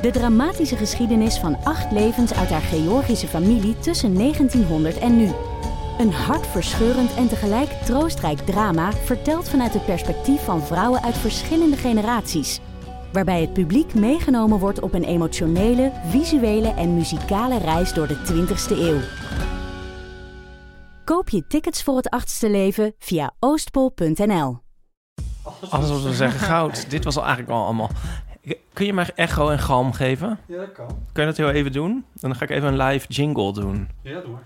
de dramatische geschiedenis van acht levens uit haar Georgische familie tussen 1900 en nu. Een hartverscheurend en tegelijk troostrijk drama... verteld vanuit het perspectief van vrouwen uit verschillende generaties waarbij het publiek meegenomen wordt op een emotionele, visuele en muzikale reis door de 20ste eeuw. Koop je tickets voor het achtste leven via oostpol.nl. Alles wat we zeggen, goud. Dit was al eigenlijk al allemaal. Kun je mij echo en galm geven? Ja, dat kan. Kun je dat heel even doen? Dan ga ik even een live jingle doen. Ja, doe maar.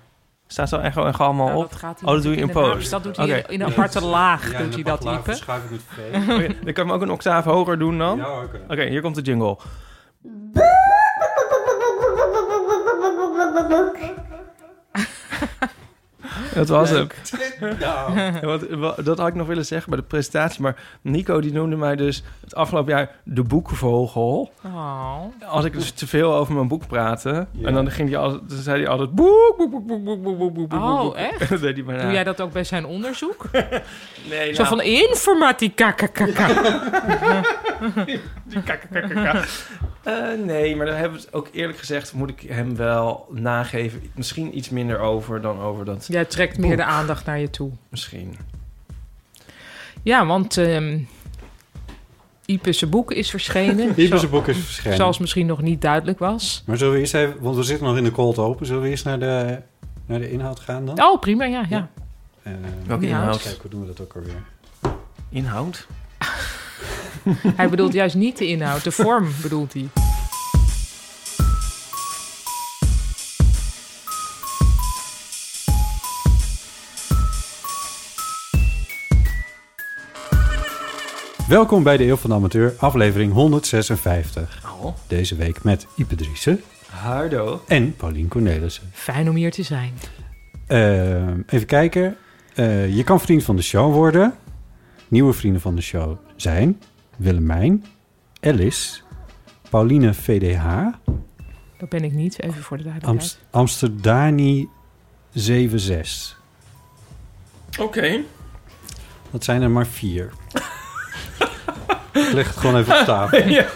Staat zo echo en galm al Nou, op? dat gaat hij oh, dat doe je in natuurlijk de post. basis. Dat doet hij Oké. in een aparte laag, Ja, doet hij dat, Ipe. Schuif ik het vee. Oh, Oké, Oh dan kan je hem ook een octaaf hoger doen dan? Ja hoor, Oké, hier komt de jingle. Dat was hem. kunnen. Nou, Ja, want, wa- dat had ik nog willen zeggen bij de presentatie. Maar Nico die noemde mij dus het afgelopen jaar de boekvogel. Oh. Als ik dus te veel over mijn boek praatte. Ja. En dan, ging die altijd, dan zei hij altijd boek, boek, boek, boek, boek, boek, boek, boek, boek. boek. Oh, echt? En dat deed hij bijna. Doe jij dat ook bij zijn onderzoek? Nee, Zo nou, van informatica. kakakaka. die kak, kak, kak, kak. Eh, nee, maar daar hebben we het ook eerlijk gezegd... moet ik hem wel nageven. Misschien iets minder over dan over dat... Jij trekt meer de aandacht naar je toe. Misschien. Ja, want ehm Ipe zijn boek is verschenen. Ipe zo- zijn boek is verschenen. Zoals misschien nog niet duidelijk was. Maar zullen we eerst even, want we zitten nog in de cold open, zullen we eerst naar de, naar de inhoud gaan dan? Oh, prima, ja, ja. Ja. Eh, Welke Ja. inhoud? kijk, hoe doen we dat ook alweer? Inhoud? Hij bedoelt juist niet de inhoud, de vorm bedoelt hij. Welkom bij de Eeuw van de Amateur, aflevering 156. Oh. Deze week met Ipe Driessen Hardo. en Paulien Cornelissen. Fijn om hier te zijn. Eh, even kijken. Eh, je kan vriend van de show worden. Nieuwe vrienden van de show zijn Willemijn, Alice, Pauline VDH, Dat ben ik niet, even voor de duidelijkheid. Amst Amsterdani 76. Oké. Dat zijn er maar vier. Ik leg het gewoon even op tafel. Ja,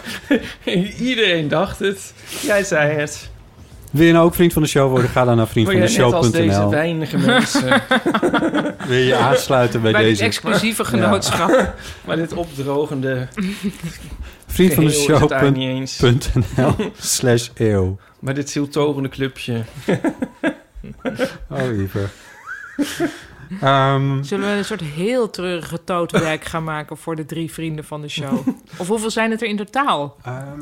iedereen dacht het. Jij zei het. Wil je nou ook vriend van de show worden? Ga dan naar Word jij net als deze vriendvandeshow.nl. weinige mensen. Wil je aansluiten bij, Bij dit deze? exclusieve genootschap. maar dit opdrogende Vriend van de geheel is het daar niet eens. show.nl slash eeuw. Maar dit zieltogende clubje. Oh, Ieper. Ehm, Zullen we een soort heel treurige tootwerk gaan maken voor de drie vrienden van de show? Of hoeveel zijn het er in totaal? ehm,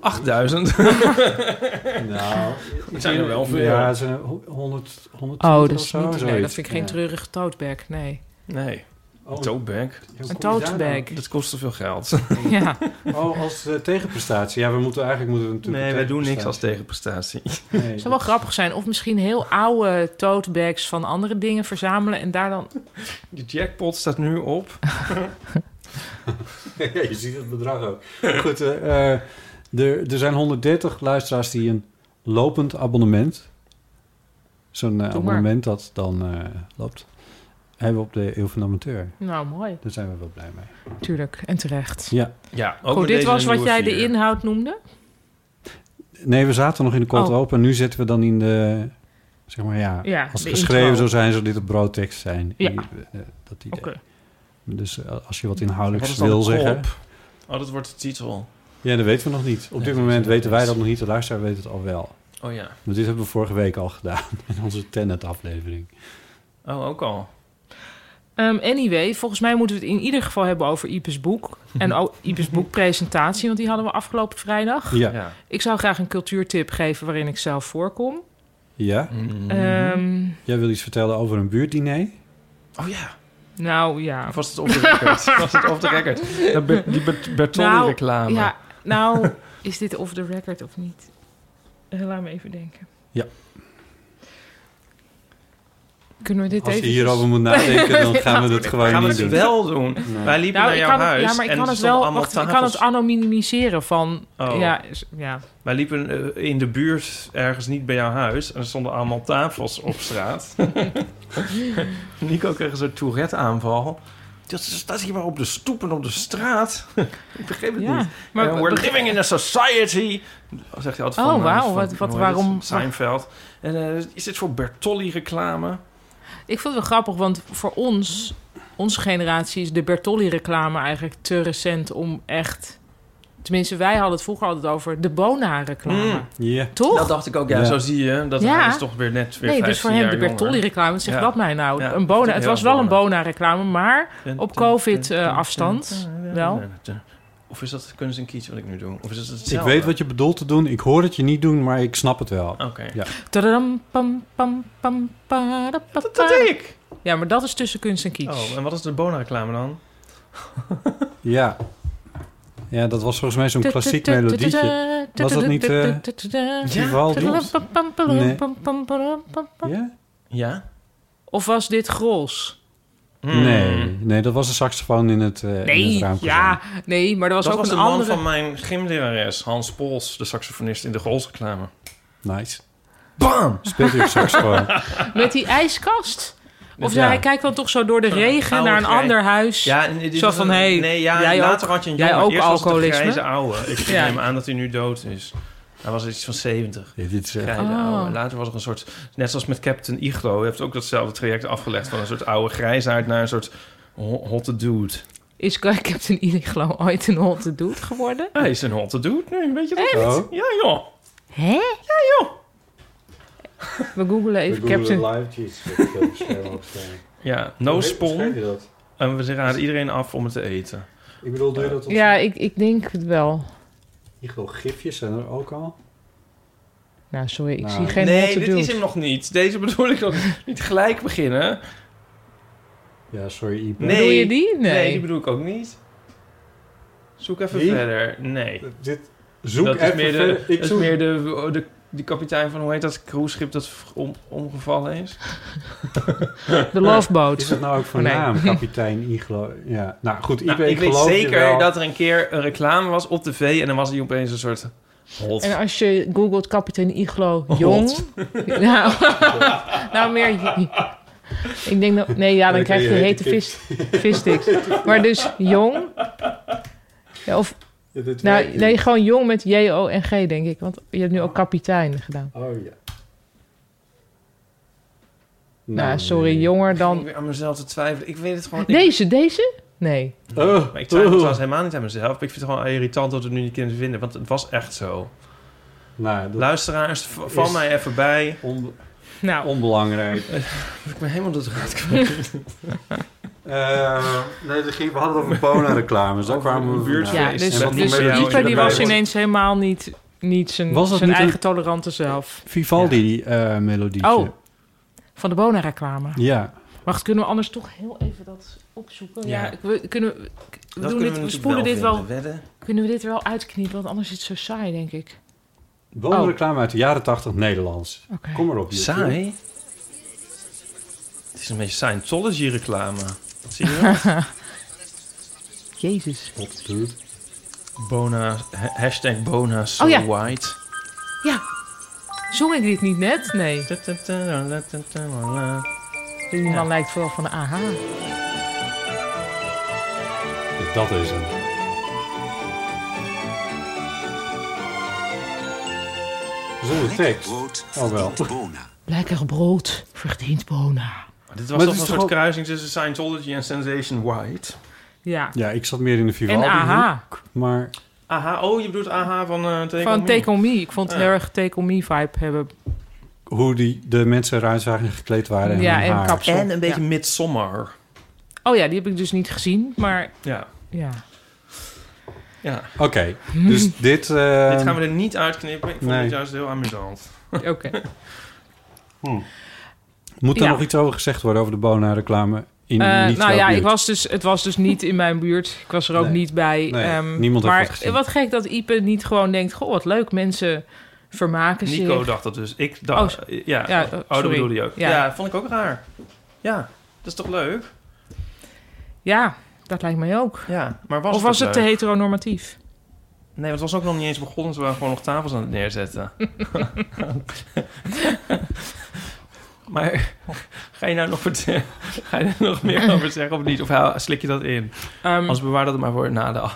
8000. Nou, Het zijn er wel veel. Ja, het zijn er ho- 100, 100 Oh, of dat is zo, niet... Nee, dat zoiets. vind ik geen Ja. treurig tootwerk, nee. Nee, Oh, een tote bag. hoe kom je Een daar tootbag. Dat kost te veel geld. Ja. nou? Oh, als eh, tegenprestatie. Ja, we moeten eigenlijk moeten we natuurlijk... Nee, een wij doen niks als tegenprestatie. tegenprestatie. Nee, Het zou wel grappig zijn. Of misschien heel oude tote bags van andere dingen verzamelen en daar dan... De jackpot staat nu op. Ja, je ziet het bedrag ook. Goed, eh, eh, er, er zijn 130 luisteraars die een lopend abonnement... Zo'n eh, Doe maar. abonnement dat dan eh, loopt... hebben op de Eeuw van de Amateur. Nou, mooi. Daar zijn we wel blij mee. Tuurlijk. En terecht. Ja. Ja, ook Goed, met dit deze was wat nieuwe jij de vier. inhoud noemde? Nee, we zaten nog in de cold Oh. open. Nu zitten we dan in de... Zeg maar ja, Ja, als het de geschreven intro. zou zijn, zou dit een broodtekst zijn. Ja. Die, eh, dat idee. Oké. Dus eh, als je wat Wat inhoudelijks is dan de wil kop? zeggen... Oh, dat wordt de titel. Ja, dat weten we nog niet. Op Nee, dit dat moment weten we weten wij niet. dat nog niet. De luisteraar weet het al wel. Oh ja. Maar dit hebben we vorige week al gedaan. In onze Tenet-aflevering. Oh, ook al. Ehm, anyway, volgens mij moeten we het in ieder geval hebben over Ipes boek. En ook Ipes boekpresentatie, want die hadden we afgelopen vrijdag. Ja. Ja. Ik zou graag een cultuurtip geven waarin ik zelf voorkom. Ja? Mm. Ehm, Jij wil iets vertellen over een buurtdiner? Oh ja. nou ja. Of was het op de record? was het op de record? Dat Be- die Be- Bertoldi Nou, reclame. ja, Nou, is dit off the record of niet? Eh, Laat me even denken. Ja. Kunnen we dit Als je even... dus- hierover moet nadenken, dan gaan we dat gewoon Gaan we niet het doen. wel doen? Nee. Wij liepen Nou, naar ik jouw kan, het, huis ja, maar ik en kan er het stonden wel... allemaal Wacht, ik kan het tafels. anonimiseren van... Oh. Ja, is- ja, Wij liepen eh, in de buurt ergens niet bij jouw huis en er stonden allemaal tafels op straat. Nico kreeg een soort Tourette-aanval. Dat staat hier maar op de stoep en op de straat. ik begreep het ja. niet. Maar we're living in a society. Dat zegt hij altijd Oh, van... eh, wauw, van- wat- hoe wat- heet waarom- het? Seinfeld. En eh, is dit voor Bertolli-reclame? Ik vond het wel grappig, want voor ons, onze generatie, is de Bertolli-reclame eigenlijk te recent om echt. Tenminste, wij hadden het vroeger altijd over de Bona-reclame. Mm. Ja. Toch? Dat dacht ik ook, ja. Ja. Zo zie je, dat Ja. hij is toch weer net weer nee, dus voor 15 hem de jaar jonger. Bertolli-reclame. Zeg Ja. dat mij nou. Ja, een dat bona, is het heel was wel een Bona. Bona-reclame, maar op COVID-afstand wel. Of is dat kunst en kies wat ik nu doe? Of is dat Ik hetzelfde? weet wat je bedoelt te doen. Ik hoor het je niet doen, maar ik snap het wel. Oké. Ja. Tadadam, pam, pam, pam, pada, pa, Dat, dat pa. deed ik! Ja, maar dat is tussen kunst en kitsch. Oh, en wat is de Bona-reclame dan? Ja. Ja, dat was volgens mij zo'n klassiek melodietje. Was dat niet, eh, Ja. Vivaldi? Nee. Ja? Ja? Of was dit Grols? Hmm. Nee, nee, dat was een saxofoon in het, eh in het Nee, raampje. ja, nee, maar er was Dat ook was de een man andere. van mijn gymlerares, Hans Pols, de saxofonist in de Grols-reclame. Nice. Bam! Speelt hij op saxofoon? Met die ijskast. Of Ja. hij kijkt dan toch zo door de Zo'n regen oude naar een grijs. ander huis. Ja, en dit Zo was van, een- hey, nee, ja, jij later ook- had je een jij jongen, ook eerst was het een alcoholisme? grijze ouwe. Ik Ja. neem aan dat hij nu dood is. Hij was iets van 70. Ja, dit is echt... Grijze Oh. ouwe. Later was er een soort, net zoals met Captain Iglo, heeft ook datzelfde traject afgelegd van een soort oude grijsaard naar een soort ho- hotte dude. Is Captain Iglo ooit een hotte dude geworden? Hij is een hotte dude nu, weet je dat? Oh, Ja joh. Hè? Ja, joh. We googelen we even googlen Captain... live, jeez, ik heb het scherm opstaan. Ja, eh. Hoe no heet- schrijf je spon. dat? En we raden iedereen af om het te eten. Ik bedoel, doe je dat op... Ja, ik, ik denk het wel. Iglo gifjes zijn er ook al. Nou, sorry, ik Nou. zie geen nee, hotte dit dude. is hem nog niet. Deze bedoel ik ook niet gelijk beginnen. Ja, sorry, Ipe. Nee. Bedoel je die? Nee. Nee. die bedoel ik ook niet. Zoek even Die? verder. Nee. Dit, zoek dat is even meer, de, verder. dat Ik is zoek... meer de, de, die kapitein van, hoe heet dat cruiseschip dat om, omgevallen is? De Love Is Boat. het nou ook van Oh, nee. naam, kapitein Iglo? Ja, nou goed, Ipe, Nou, ik, ik weet geloof je zeker wel. dat er een keer een reclame was op tv en dan was hij opeens een soort hot. En als je googelt kapitein Iglo Hot. jong... Nou, nou, meer... Ik denk dat... Nee, ja, dan Dan krijg je krijg je hete hete vis, vissticks. Maar dus jong... Ja, of, Ja, dit nou, werkt nee, niet. gewoon jong met J-O-N-G, denk ik. Want je hebt nu ook kapitein gedaan. Oh ja. Nou, sorry, jonger Dan ik dan... weer aan mezelf te twijfelen. Ik weet het gewoon. Ik, Deze, deze? Nee. Oh, maar ik twijfel oh. trouwens helemaal niet aan mezelf. Maar ik vind het gewoon irritant dat we het nu niet kunnen vinden. Want het was echt zo. Nou, dat Luisteraars, v- val Is- mij even bij. on- Nou, onbelangrijk. Ik ben helemaal de draad kwijt. Eh, nee, dat ging- we hadden het over Bona-reclames. Daar Over kwamen een we vandaan. ja, feest. dus, En wat dus die met jou Ieper in die de was wereld- ineens helemaal niet, niet zijn, Was dat zijn niet een- eigen tolerante zelf. Vivaldi eh melodietje. Oh, van de Bona-reclame. Ja. Wacht, kunnen we anders toch heel even dat opzoeken? Ja, Ja. ik- we, kunnen, we- we, Dat kunnen doen dit, we natuurlijk spoelen dit wel. vinden, Wedden. Kunnen we dit er wel uitkniepen? Want anders is het zo saai, denk ik. Bona-reclame uit de jaren 80 Nederlands. Oh. Oké. Kom maar op. YouTube. Saai? Het is een beetje Scientology-reclame. Zie je dat? Jezus. Hot dude. Bona, ha- hashtag Bona so Oh ja. white. Ja. Zong ik dit niet net? Nee. Die man lijkt vooral van de AH. Ja, dus dat is hem. Zonder tekst. Oh wel. Lekker brood, verdient bona. Dit was toch Maar het is een toch soort ook- kruising tussen Scientology en Sensation White. Ja. Ja, ik zat meer in de En Vivaldi. AH. Maar Aha, oh, je bedoelt aha van eh Take On Van Me. Take On Me. Ik vond het Ja. heel erg Take On Me vibe hebben. hoe die, de mensen eruit zagen en gekleed waren. En ja, hun en haar. kapsel. En een beetje Ja. Midsommar. Oh ja, die heb ik dus niet gezien. Maar Ja, ja. ja. Oké, dus dit... eh, Dit gaan we er niet uitknippen. Ik vond nee. het juist heel amusant. Oké. Moet daar Ja. nog iets over gezegd worden over de Bona-reclame? in Eh, niet nou jouw ja, buurt. ik was dus, het was dus niet in mijn buurt. Ik was er ook Nee. niet bij. Nee, Ehm, niemand heeft maar het gezien. wat gek dat Ipe niet gewoon denkt... Goh, wat leuk, mensen vermaken zich. Nico dacht dat dus. Ik dacht... ja, ja, oh, dat sorry. bedoelde je ook. Ja. Ja. vond ik ook raar. Ja, dat is toch leuk? Ja, dat lijkt mij ook. Ja, maar was of was het te leuk? heteronormatief? Nee, want het was ook nog niet eens begonnen. Ze waren gewoon nog tafels aan het neerzetten. maar ga je nou nog, vertellen- ga je er nog meer over zeggen of niet? Of haal- slik je dat in? Mm. Ehm, Als bewaar dat het maar voor na de...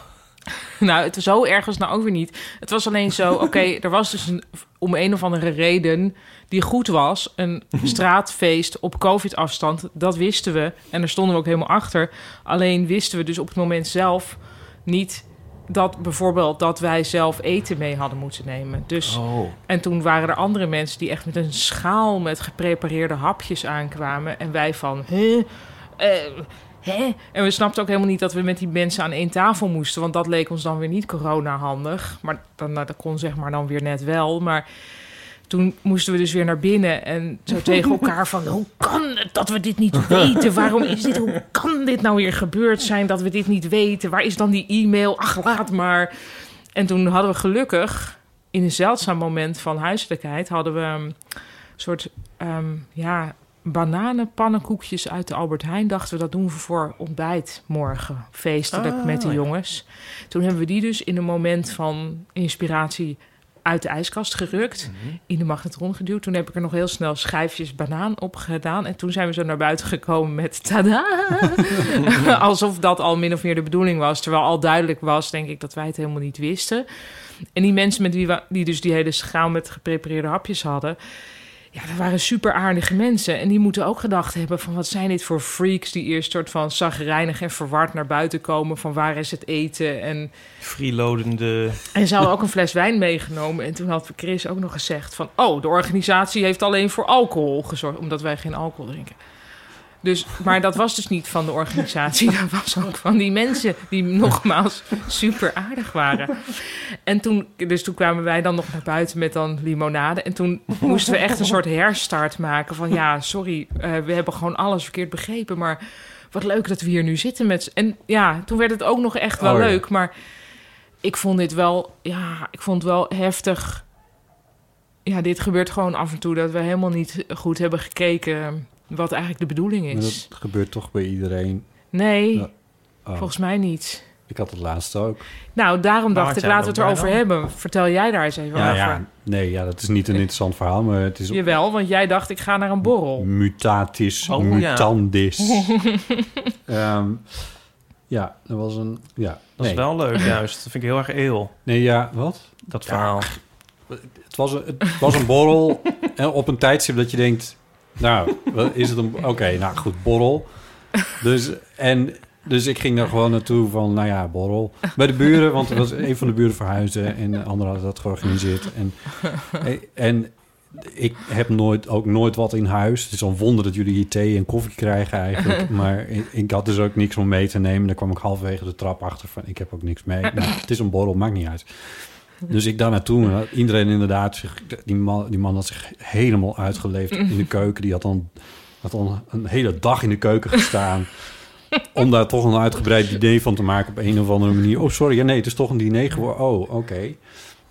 Nou, het, zo erg was het nou ook weer niet. Het was alleen zo, oké, er was dus een, om een of andere reden die goed was... een straatfeest op covid-afstand, dat wisten we. En daar stonden we ook helemaal achter. Alleen wisten we dus op het moment zelf niet... dat bijvoorbeeld dat wij zelf eten mee hadden moeten nemen. Dus, Oh. En toen waren er andere mensen die echt met een schaal... met geprepareerde hapjes aankwamen. En wij van, hè? Eh, hè? En we snapten ook helemaal niet dat we met die mensen aan één tafel moesten. Want dat leek ons dan weer niet corona-handig. Maar dan, nou, dat kon zeg maar dan weer net wel. Maar toen moesten we dus weer naar binnen. En zo tegen elkaar van... Hoe kan het dat we dit niet weten? Waarom is dit... Hoe kan dit nou weer gebeurd zijn dat we dit niet weten? Waar is dan die e-mail? Ach, laat maar. En toen hadden we gelukkig... In een zeldzaam moment van huiselijkheid hadden we een soort ehm, ja, bananenpannenkoekjes uit de Albert Heijn. Dachten we dat doen we voor ontbijt morgen. Feestelijk Ah, met de ja. jongens. Toen hebben we die dus in een moment van inspiratie uit de ijskast gerukt. In de magnetron geduwd. Toen heb ik er nog heel snel schijfjes banaan op gedaan. En toen zijn we zo naar buiten gekomen met tada. Alsof dat al min of meer de bedoeling was. Terwijl al duidelijk was, denk ik, dat wij het helemaal niet wisten. En die mensen met wie we, die dus die hele schaal met geprepareerde hapjes hadden. Ja, dat waren super aardige mensen. En die moeten ook gedacht hebben van... wat zijn dit voor freaks die eerst soort van zagrijnig en verward naar buiten komen... van waar is het eten en... Freeloadende... En ze hadden ook een fles wijn meegenomen. En toen had Chris ook nog gezegd van... oh, de organisatie heeft alleen voor alcohol gezorgd... omdat wij geen alcohol drinken. Dus, maar dat was dus niet van de organisatie. Dat was ook van die mensen die nogmaals super aardig waren. En toen, dus toen kwamen wij dan nog naar buiten met dan limonade. En toen moesten we echt een soort herstart maken. Van ja, sorry, eh, we hebben gewoon alles verkeerd begrepen. Maar wat leuk dat we hier nu zitten met... z'n- En ja, toen werd het ook nog echt wel Oh ja. leuk. Maar ik vond dit wel... Ja, ik vond het wel heftig. Ja, dit gebeurt gewoon af en toe. Dat we helemaal niet goed hebben gekeken... wat eigenlijk de bedoeling Maar is. dat gebeurt toch bij iedereen. Nee, Ja. Oh, volgens mij niet. Ik had het laatste ook. Nou, daarom Waar dacht ik, zijn we laten we het dan erover bij hebben. Vertel jij daar eens even Ja, over. ja. Nee, ja, dat is niet een interessant verhaal, maar het is Jawel, want jij dacht, ik ga naar een borrel. mutatis Oh, ja. mutandis. Ja. ja, dat was een... Ja, Dat nee. is wel leuk juist. Dat vind ik heel erg eel, nee, ja, wat? dat verhaal. Het was een, het was een borrel en op een tijdstip dat je denkt... Nou, wat is het een... Oké, nou goed, borrel. Dus, en, dus ik ging daar gewoon naartoe van, nou ja, borrel. Bij de buren, want er was een van de buren verhuisde... en de andere had dat georganiseerd. En, Eh, en ik heb nooit, ook nooit wat in huis. Het is al een wonder dat jullie hier thee en koffie krijgen eigenlijk. Maar ik, ik had dus ook niks om mee te nemen. Daar kwam ik halverwege de trap achter van, ik heb ook niks mee. Nou, het is een borrel, maakt niet uit. Dus ik daar naartoe. en had Iedereen inderdaad, zich, die, man, die man had zich helemaal uitgeleefd in de keuken. Die had dan, had dan een hele dag in de keuken gestaan. om daar toch een uitgebreid idee van te maken op een of andere manier. Oh, sorry, ja, nee, het is toch een diner geworden. Oh, oké.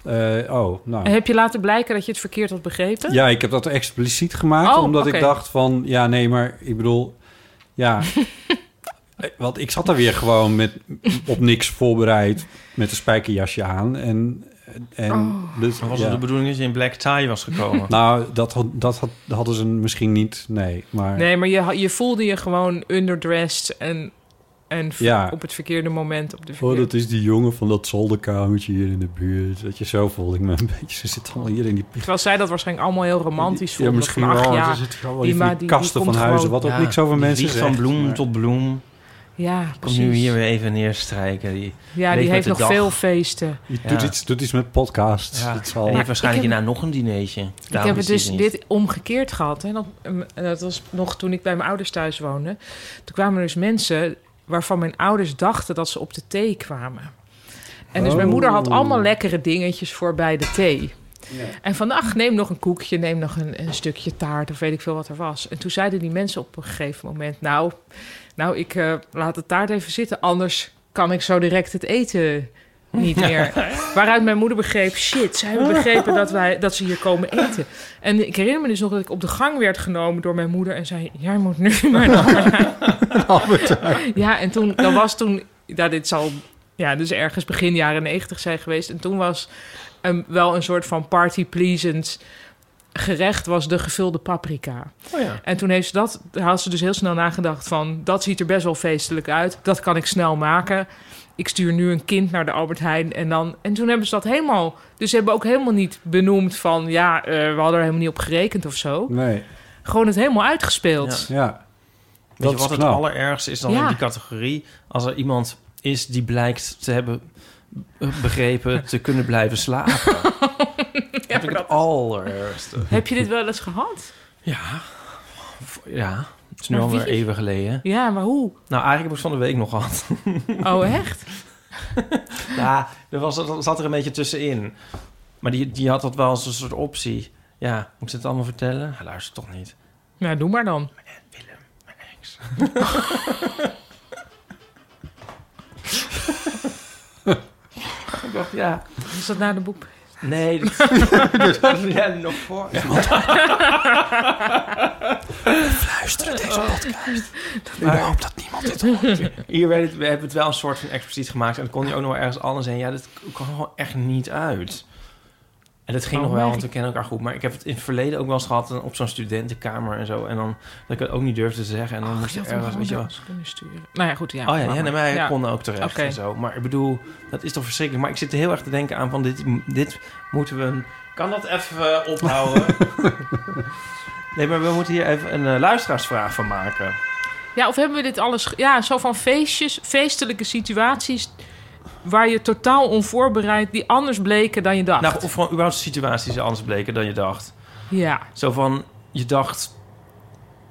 Eh, oh, nou. En Heb je laten blijken dat je het verkeerd had begrepen? Ja, ik heb dat expliciet gemaakt, Oh, omdat ik oké. dacht van... Ja, nee, maar ik bedoel... Ja, eh, want ik zat daar weer gewoon met, op niks voorbereid... met een spijkerjasje aan. En, en Oh. dus, Maar was ja. het de bedoeling dat je in black tie was gekomen? Nou, dat, had, dat had, hadden ze misschien niet, nee. Maar Nee, maar je, ha- je voelde je gewoon underdressed en, en v- Ja. op het verkeerde moment. Op de oh, verkeerde... dat is die jongen van dat zolderkamertje hier in de buurt. Dat je zo voelde ik me een beetje. Ze zitten allemaal hier in die... Terwijl zij dat waarschijnlijk allemaal heel romantisch Ja, vonden. misschien van, ach, wel. ja, Ze zitten gewoon die in van die ma- die- die kasten komt van huizen, gewoon- wat ook Ja, niks over die mensen vliegt zegt. van bloem maar- tot bloem. ja, Kom nu precies. hier weer even neerstrijken. Die. Ja, Leef die met heeft de nog dag. veel feesten. Je Ja. doet, iets, doet iets met podcasts. Ja. Dat En zal... je Maar hebt waarschijnlijk ik heb- hierna nog een dinertje. Ik Daarom heb is het dus niet. dit omgekeerd gehad. Hè? Dat, ehm, dat was nog toen ik bij mijn ouders thuis woonde. Toen kwamen er dus mensen waarvan mijn ouders dachten dat ze op de thee kwamen. En dus mijn Oh. moeder had allemaal lekkere dingetjes voor bij de thee. En van, ach, neem nog een koekje, neem nog een, een stukje taart of weet ik veel wat er was. En toen zeiden die mensen op een gegeven moment, nou, nou ik eh, laat de taart even zitten, anders kan ik zo direct het eten niet meer. Waaruit mijn moeder begreep, shit, ze hebben begrepen dat, wij, dat ze hier komen eten. En ik herinner me dus nog dat ik op de gang werd genomen door mijn moeder en zei, jij moet nu maar naar ja, en toen, dat was toen, nou, dit zal ja, dus ergens begin jaren negentig zijn geweest. En toen was een, wel een soort van party pleasant gerecht was de gevulde paprika. Oh ja. En toen heeft ze dat, daar had ze dus heel snel nagedacht van, dat ziet er best wel feestelijk uit. Dat kan ik snel maken. Ik stuur nu een kind naar de Albert Heijn en dan... En toen hebben ze dat helemaal... Dus ze hebben ook helemaal niet benoemd van... Ja, eh, we hadden er helemaal niet op gerekend of zo. Nee, Gewoon het helemaal uitgespeeld. Ja. ja. Weet Dat je is wat het knap. allerergste is dan Ja. in die categorie? Als er iemand is die blijkt te hebben eh, begrepen te kunnen blijven slapen. dat vind ik het allerergste. Heb je dit wel eens gehad? Ja. Ja. Het is nu Maar alweer wie? even geleden. Ja, maar hoe? Nou, eigenlijk heb ik het van de week nog gehad. Oh, echt? Ja, er was, dat zat er een beetje tussenin. Maar die, die had dat wel als een soort optie. Ja, moet ze het allemaal vertellen? Hij luistert toch niet. Nou, doe maar dan. Willem, mijn ex. ik dacht, ja. Is dat na de boek? Nee, dat- dat was jij nog voor. Luisteren deze podcast. Maar hoop dat niemand dit hoort. Hier werd het, we hebben het wel een soort van expliciet gemaakt. En dat kon je ook nog wel ergens anders heen. Ja, dat kwam gewoon echt niet uit. En dat ging Oh, nog wel, nee. want we kennen elkaar goed. Maar ik heb het in het verleden ook wel eens gehad eh, op zo'n studentenkamer en zo. En dan dat ik het ook niet durfde te zeggen. En Oh, dan moest je ergens, weet je wel. kunnen sturen. Nou ja, goed. Ja, Oh ja, maar- ja, nee, maar hij ja. kon ook terecht Oké. en zo. Maar ik bedoel, dat is toch verschrikkelijk. Maar ik zit er heel erg te denken aan van dit, dit moeten we... Kan dat even eh, ophouden? nee, maar we moeten hier even een eh, luisteraarsvraag van maken. Ja, of hebben we dit alles... ge- Ja, zo van feestjes, feestelijke situaties... waar je totaal onvoorbereid... die anders bleken dan je dacht. Nou, of gewoon überhaupt situaties anders bleken dan je dacht. ja. Zo van, je dacht,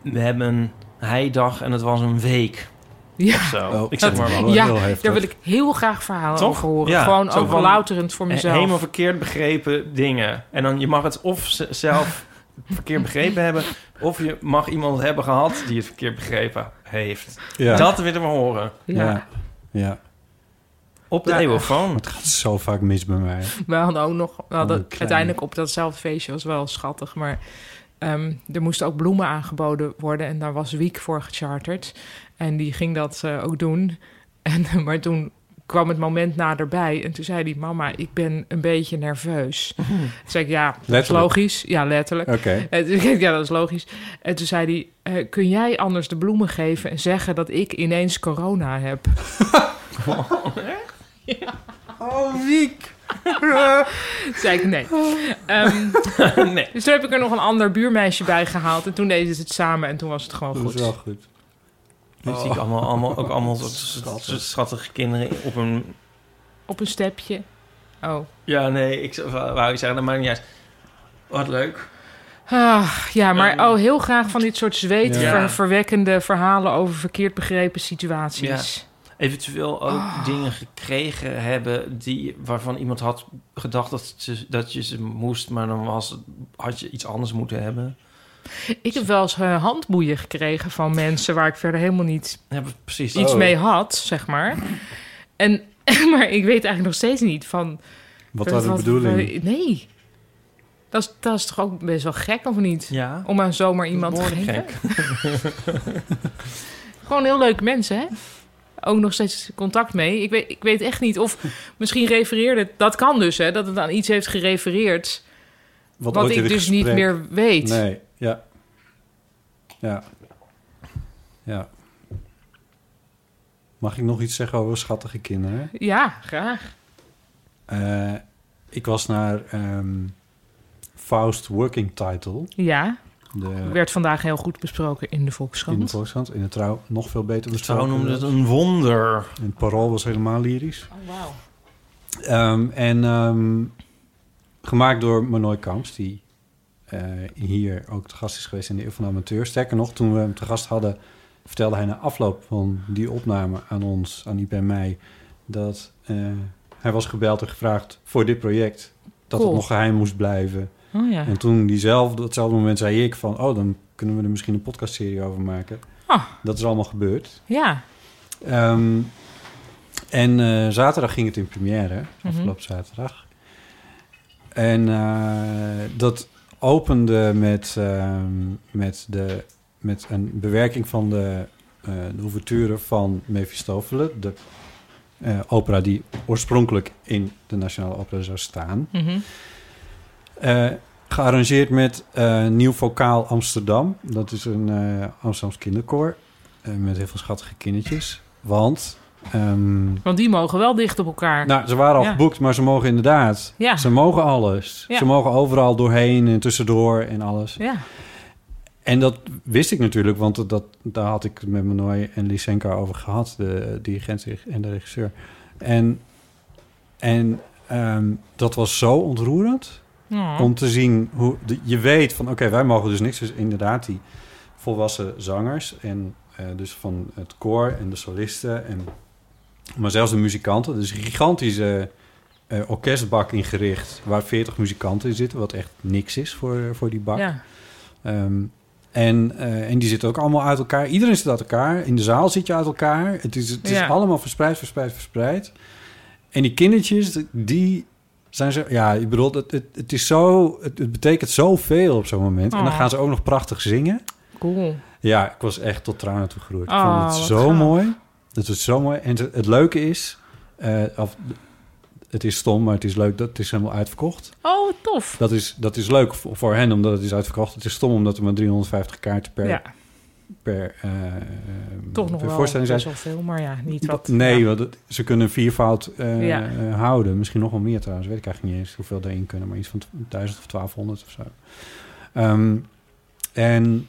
we hebben een heidag en het was een week Ja. of zo. Oh, ik zeg maar dat- wat. Heel ja, heftig. daar wil ik heel graag verhalen Toch? over horen. Ja, Gewoon zo ook van- louterend voor He- mezelf. Helemaal verkeerd begrepen dingen. En dan je mag het of z- zelf verkeerd begrepen hebben, of je mag iemand hebben gehad die het verkeerd begrepen heeft. Ja. Dat willen we horen. ja. Ja. ja. Op de Ja. eeuwofoon. Het gaat zo vaak mis bij mij. We hadden ook nog... We Oh, hadden klein. uiteindelijk op datzelfde feestje... was wel schattig, maar... ehm, er moesten ook bloemen aangeboden worden. En daar was Wiek voor gecharterd. En die ging dat eh, ook doen. En, maar toen kwam het moment naderbij. En toen zei die mama, ik ben een beetje nerveus. Toen zei ik, ja, dat is Mhm. Letterlijk. logisch. Ja, letterlijk. Oké. En toen zei ik, Ja, dat is logisch. En toen zei hij, eh, kun jij anders de bloemen geven... en zeggen dat ik ineens corona heb? Oh, wiek. Toen zei ik, nee. Ehm, nee. dus toen heb ik er nog een ander buurmeisje bij gehaald. En toen deden ze het samen en toen was het gewoon Dat goed. is wel goed. Oh. Nu zie ik allemaal, allemaal, ook allemaal soort, soort- soort schattige kinderen op een... Op een stepje. Oh. Ja, nee, ik zou- wou je zeggen, dat maakt niet uit. Wat leuk. Ah, ja, maar Ehm. oh, heel graag van dit soort Ja. zweetverwekkende verhalen over verkeerd begrepen situaties. Eventueel ook Ah. dingen gekregen hebben die, waarvan iemand had gedacht dat, ze, dat je ze moest, maar dan was, het- had je iets anders moeten hebben. Ik heb wel eens eh, handboeien gekregen van mensen waar ik verder helemaal niet Ja, precies. iets Oh. mee had, zeg maar. En, maar ik weet eigenlijk nog steeds niet van. Wat was de bedoeling? Nee. Dat is, dat is toch ook best wel gek, of niet? Ja. Om aan zomaar iemand te Behoorlijk geven. Gewoon heel leuke mensen, hè? Ook nog steeds contact mee. Ik weet, ik weet echt niet of misschien refereerde... Dat kan dus, hè? Dat het aan iets heeft gerefereerd... wat, ooit in ik het dus niet gesprek- meer weet. Nee, ja. Ja. Ja. Mag ik nog iets zeggen over schattige kinderen? Ja, graag. Eh, ik was naar ehm, Faust Working Title. Ja, De, werd vandaag heel goed besproken in de Volkskrant. in de Volkskrant. In de Trouw nog veel beter De vrouw besproken. noemde het een wonder. En het Parool was helemaal lyrisch. Oh, wauw. Ehm, en ehm, gemaakt door Manoy Kamps, die eh, hier ook te gast is geweest in de Eeuw van de Amateur. Sterker nog, toen we hem te gast hadden, vertelde hij na afloop van die opname aan ons, aan Iep en mij, dat eh, hij was gebeld en gevraagd voor dit project dat Cool. het nog geheim moest blijven. Oh ja. En toen diezelfde, datzelfde moment zei ik van... oh, dan kunnen we er misschien een podcastserie over maken. Ah. Dat is allemaal gebeurd. Ja. Ehm, en eh, zaterdag ging het in première, afgelopen zaterdag. En eh, dat opende met, ehm, met, de, met een bewerking van de, eh de ouverture van Mephistopheles... de eh, opera die oorspronkelijk in de Nationale Opera zou staan... Mhm. Eh, gearrangeerd met eh, Nieuw Vokaal Amsterdam. Dat is een eh Amsterdams kinderkoor. eh, met heel veel schattige kindertjes. Want ehm, Want die mogen wel dicht op elkaar. nou, ze waren al Ja. geboekt, maar ze mogen inderdaad. Ja. Ze mogen alles. Ja. Ze mogen overal doorheen en tussendoor en alles. ja. En dat wist ik natuurlijk, want dat, dat- daar had ik met Manoy en Lysenka over gehad, de eh, dirigent en de regisseur. En, en ehm, dat was zo ontroerend. Oh. Om te zien hoe de- je weet van oké, wij mogen dus niks. Dus inderdaad, die volwassen zangers en eh, dus van het koor en de solisten en maar zelfs de muzikanten. Dus een gigantische eh, orkestbak ingericht waar 40 muzikanten in zitten, wat echt niks is voor, voor die bak. Ja. Ehm, en, eh, en die zitten ook allemaal uit elkaar. Iedereen zit uit elkaar. In de zaal zit je uit elkaar. Het is, het is Ja. allemaal verspreid, verspreid, verspreid. En die kindertjes, die zijn zo... Ja, ik bedoel, het, het, het is zo, het, het betekent zoveel op zo'n moment. En dan Oh. gaan ze ook nog prachtig zingen. Cool. Ja, ik was echt tot tranen toe geroerd. Ik Oh, vond het wat zo gaaf. mooi. Het was zo mooi. En het, het leuke is... eh, of, het is stom, maar het is leuk. Dat het is helemaal uitverkocht. Oh, tof. Dat is, dat is leuk voor, voor hen, omdat het is uitverkocht. Het is stom, omdat er maar 350 kaarten per, ja, per, eh, toch nog per wel voorstelling zijn. best wel veel, maar ja, niet wat. nee, ja. want het- ze kunnen viervoud eh, Ja. eh, houden. Misschien nog wel meer trouwens. Weet ik eigenlijk niet eens hoeveel daarin kunnen. Maar iets van 1000 of 1200 of zo. Ehm, en,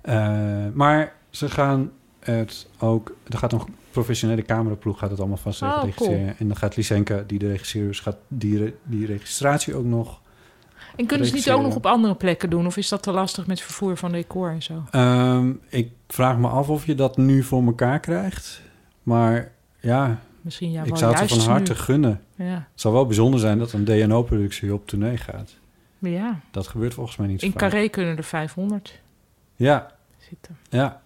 eh, maar ze gaan het ook... Er gaat een professionele cameraploeg gaat het allemaal vast Oh, regisseren. En dan gaat Lysenka, die de regisseur is, gaat die, re- die registratie ook nog... En kunnen ze niet regisseren. ook nog op andere plekken doen? Of is dat te lastig met vervoer van decor en zo? Ehm, ik vraag me af of je dat nu voor elkaar krijgt. Maar ja, Misschien ja, ik wel zou het ze juist van harte nu. gunnen. Ja. Het zou wel bijzonder zijn dat een DNO-productie op tournee gaat. Maar ja, Dat gebeurt volgens mij niet zo in vaak. Carré kunnen er 500 Ja, zitten. ja.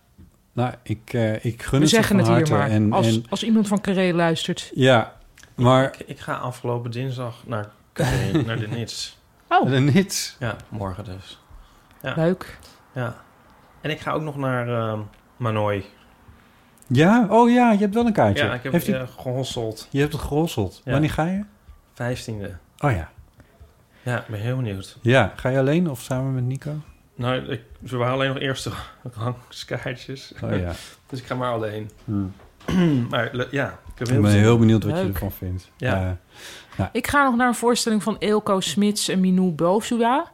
Nou, ik, eh, ik gun We het ze zeggen van het hier harte. maar. En, als, en, als iemand van Carré luistert. ja, maar Ik, ik ga afgelopen dinsdag naar, Carré, naar de Nits. Oh, er niets. Ja, morgen dus. Ja. leuk. Ja. En ik ga ook nog naar ehm Manoy. Ja? Oh ja, je hebt wel een kaartje. Ja, ik heb Heeft u- eh, gehosseld. Je hebt het gerosseld. Ja. Wanneer ga je? 15e. Oh ja. Ja, ik ben heel benieuwd. Ja, ga je alleen of samen met Nico? Nou, ik, ze waren alleen nog eerste rangskaartjes. Oh ja. Dus ik ga maar alleen. Hm. maar le- ja, ik heb Ik heel ben veel... heel benieuwd wat je Leuk. ervan vindt. Ja. Eh, Ik ga nog naar een voorstelling van Eelco Smits en Minou Bozua.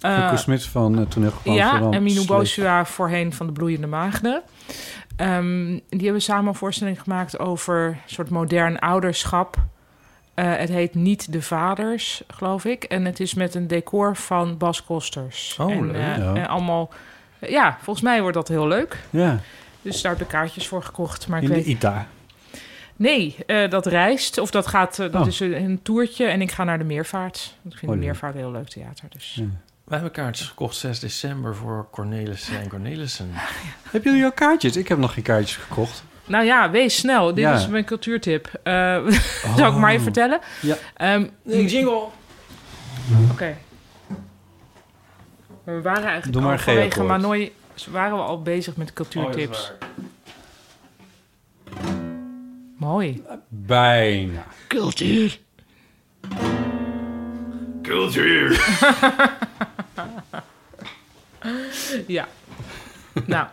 Eh, Coco Smits van uh, Toneelgebouw ja, Amsterdam. en Minou Sleep. Bozua voorheen van de Bloeiende Maagden. Ehm, die hebben samen een voorstelling gemaakt over een soort modern ouderschap. Eh, het heet Niet de Vaders, geloof ik. En het is met een decor van Bas Kosters. Oh, en, leuk. eh, Ja. en allemaal... Ja, volgens mij wordt dat heel leuk. Ja, Dus daar heb ik kaartjes voor gekocht. Maar ik in weet de ITA. Nee, eh, dat reist. Of dat gaat, eh, dat Oh. is een, een toertje. En ik ga naar de Meervaart. Want ik vind Oh, de leuk. Meervaart een heel leuk theater. Dus. Ja. Wij hebben kaartjes gekocht 6 december voor Cornelissen en Cornelissen. Hebben jullie al kaartjes? Ik heb nog geen kaartjes gekocht. Nou ja, wees snel. Dit Ja. Oh. is mijn cultuurtip. Eh Zal ik maar even vertellen? Ja. Ehm, jingle! Oké. Maar We waren eigenlijk Doe maar al een vanwege geo-akkoord. Manoy... waren we al bezig met cultuurtips. Mooi. Bijna. Cultuur. Cultuur! Ja. nou,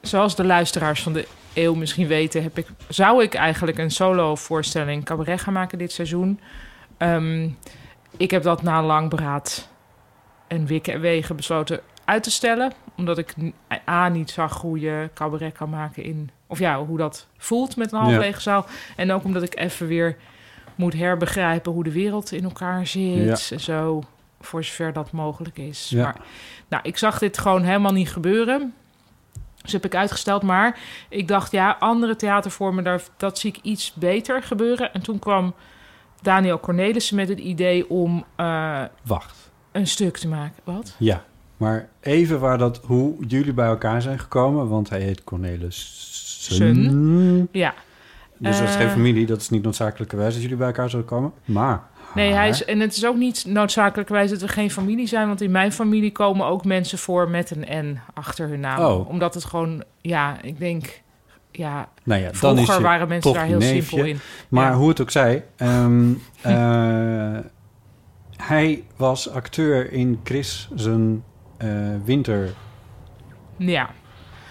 zoals de luisteraars van de eeuw misschien weten, heb ik, zou ik eigenlijk een solo-voorstelling cabaret gaan maken dit seizoen. Ehm, ik heb dat na lang beraad en wikken en wegen besloten uit te stellen, omdat ik n- A niet zag hoe je cabaret kan maken in, of ja, hoe dat voelt met een half Ja. lege zaal. En ook omdat ik even weer moet herbegrijpen hoe de wereld in elkaar zit en zo, voor zover dat mogelijk is. Ja. Maar nou, ik zag dit gewoon helemaal niet gebeuren. Dus heb ik uitgesteld. Maar ik dacht, ja, andere theatervormen, daar, dat zie ik iets beter gebeuren. En toen kwam Daniel Cornelissen met het idee om eh, Wacht. een stuk te maken. Wat? Ja. Maar even waar dat, hoe jullie bij elkaar zijn gekomen, want hij heet Cornelis. Ja. Dus dat is Eh. geen familie, dat is niet noodzakelijkerwijs dat jullie bij elkaar zouden komen. Maar. Nee, haar- hij is, en het is ook niet noodzakelijkerwijs dat we geen familie zijn, want in mijn familie komen ook mensen voor met een N achter hun naam. Oh. Omdat het gewoon, ja, ik denk, ja, Nou ja, dan is vroeger hij waren mensen toch daar heel neefje. simpel in. Maar Ja. hoe het ook zij, ehm, eh, hij was acteur in Chris zijn eh winter Ja.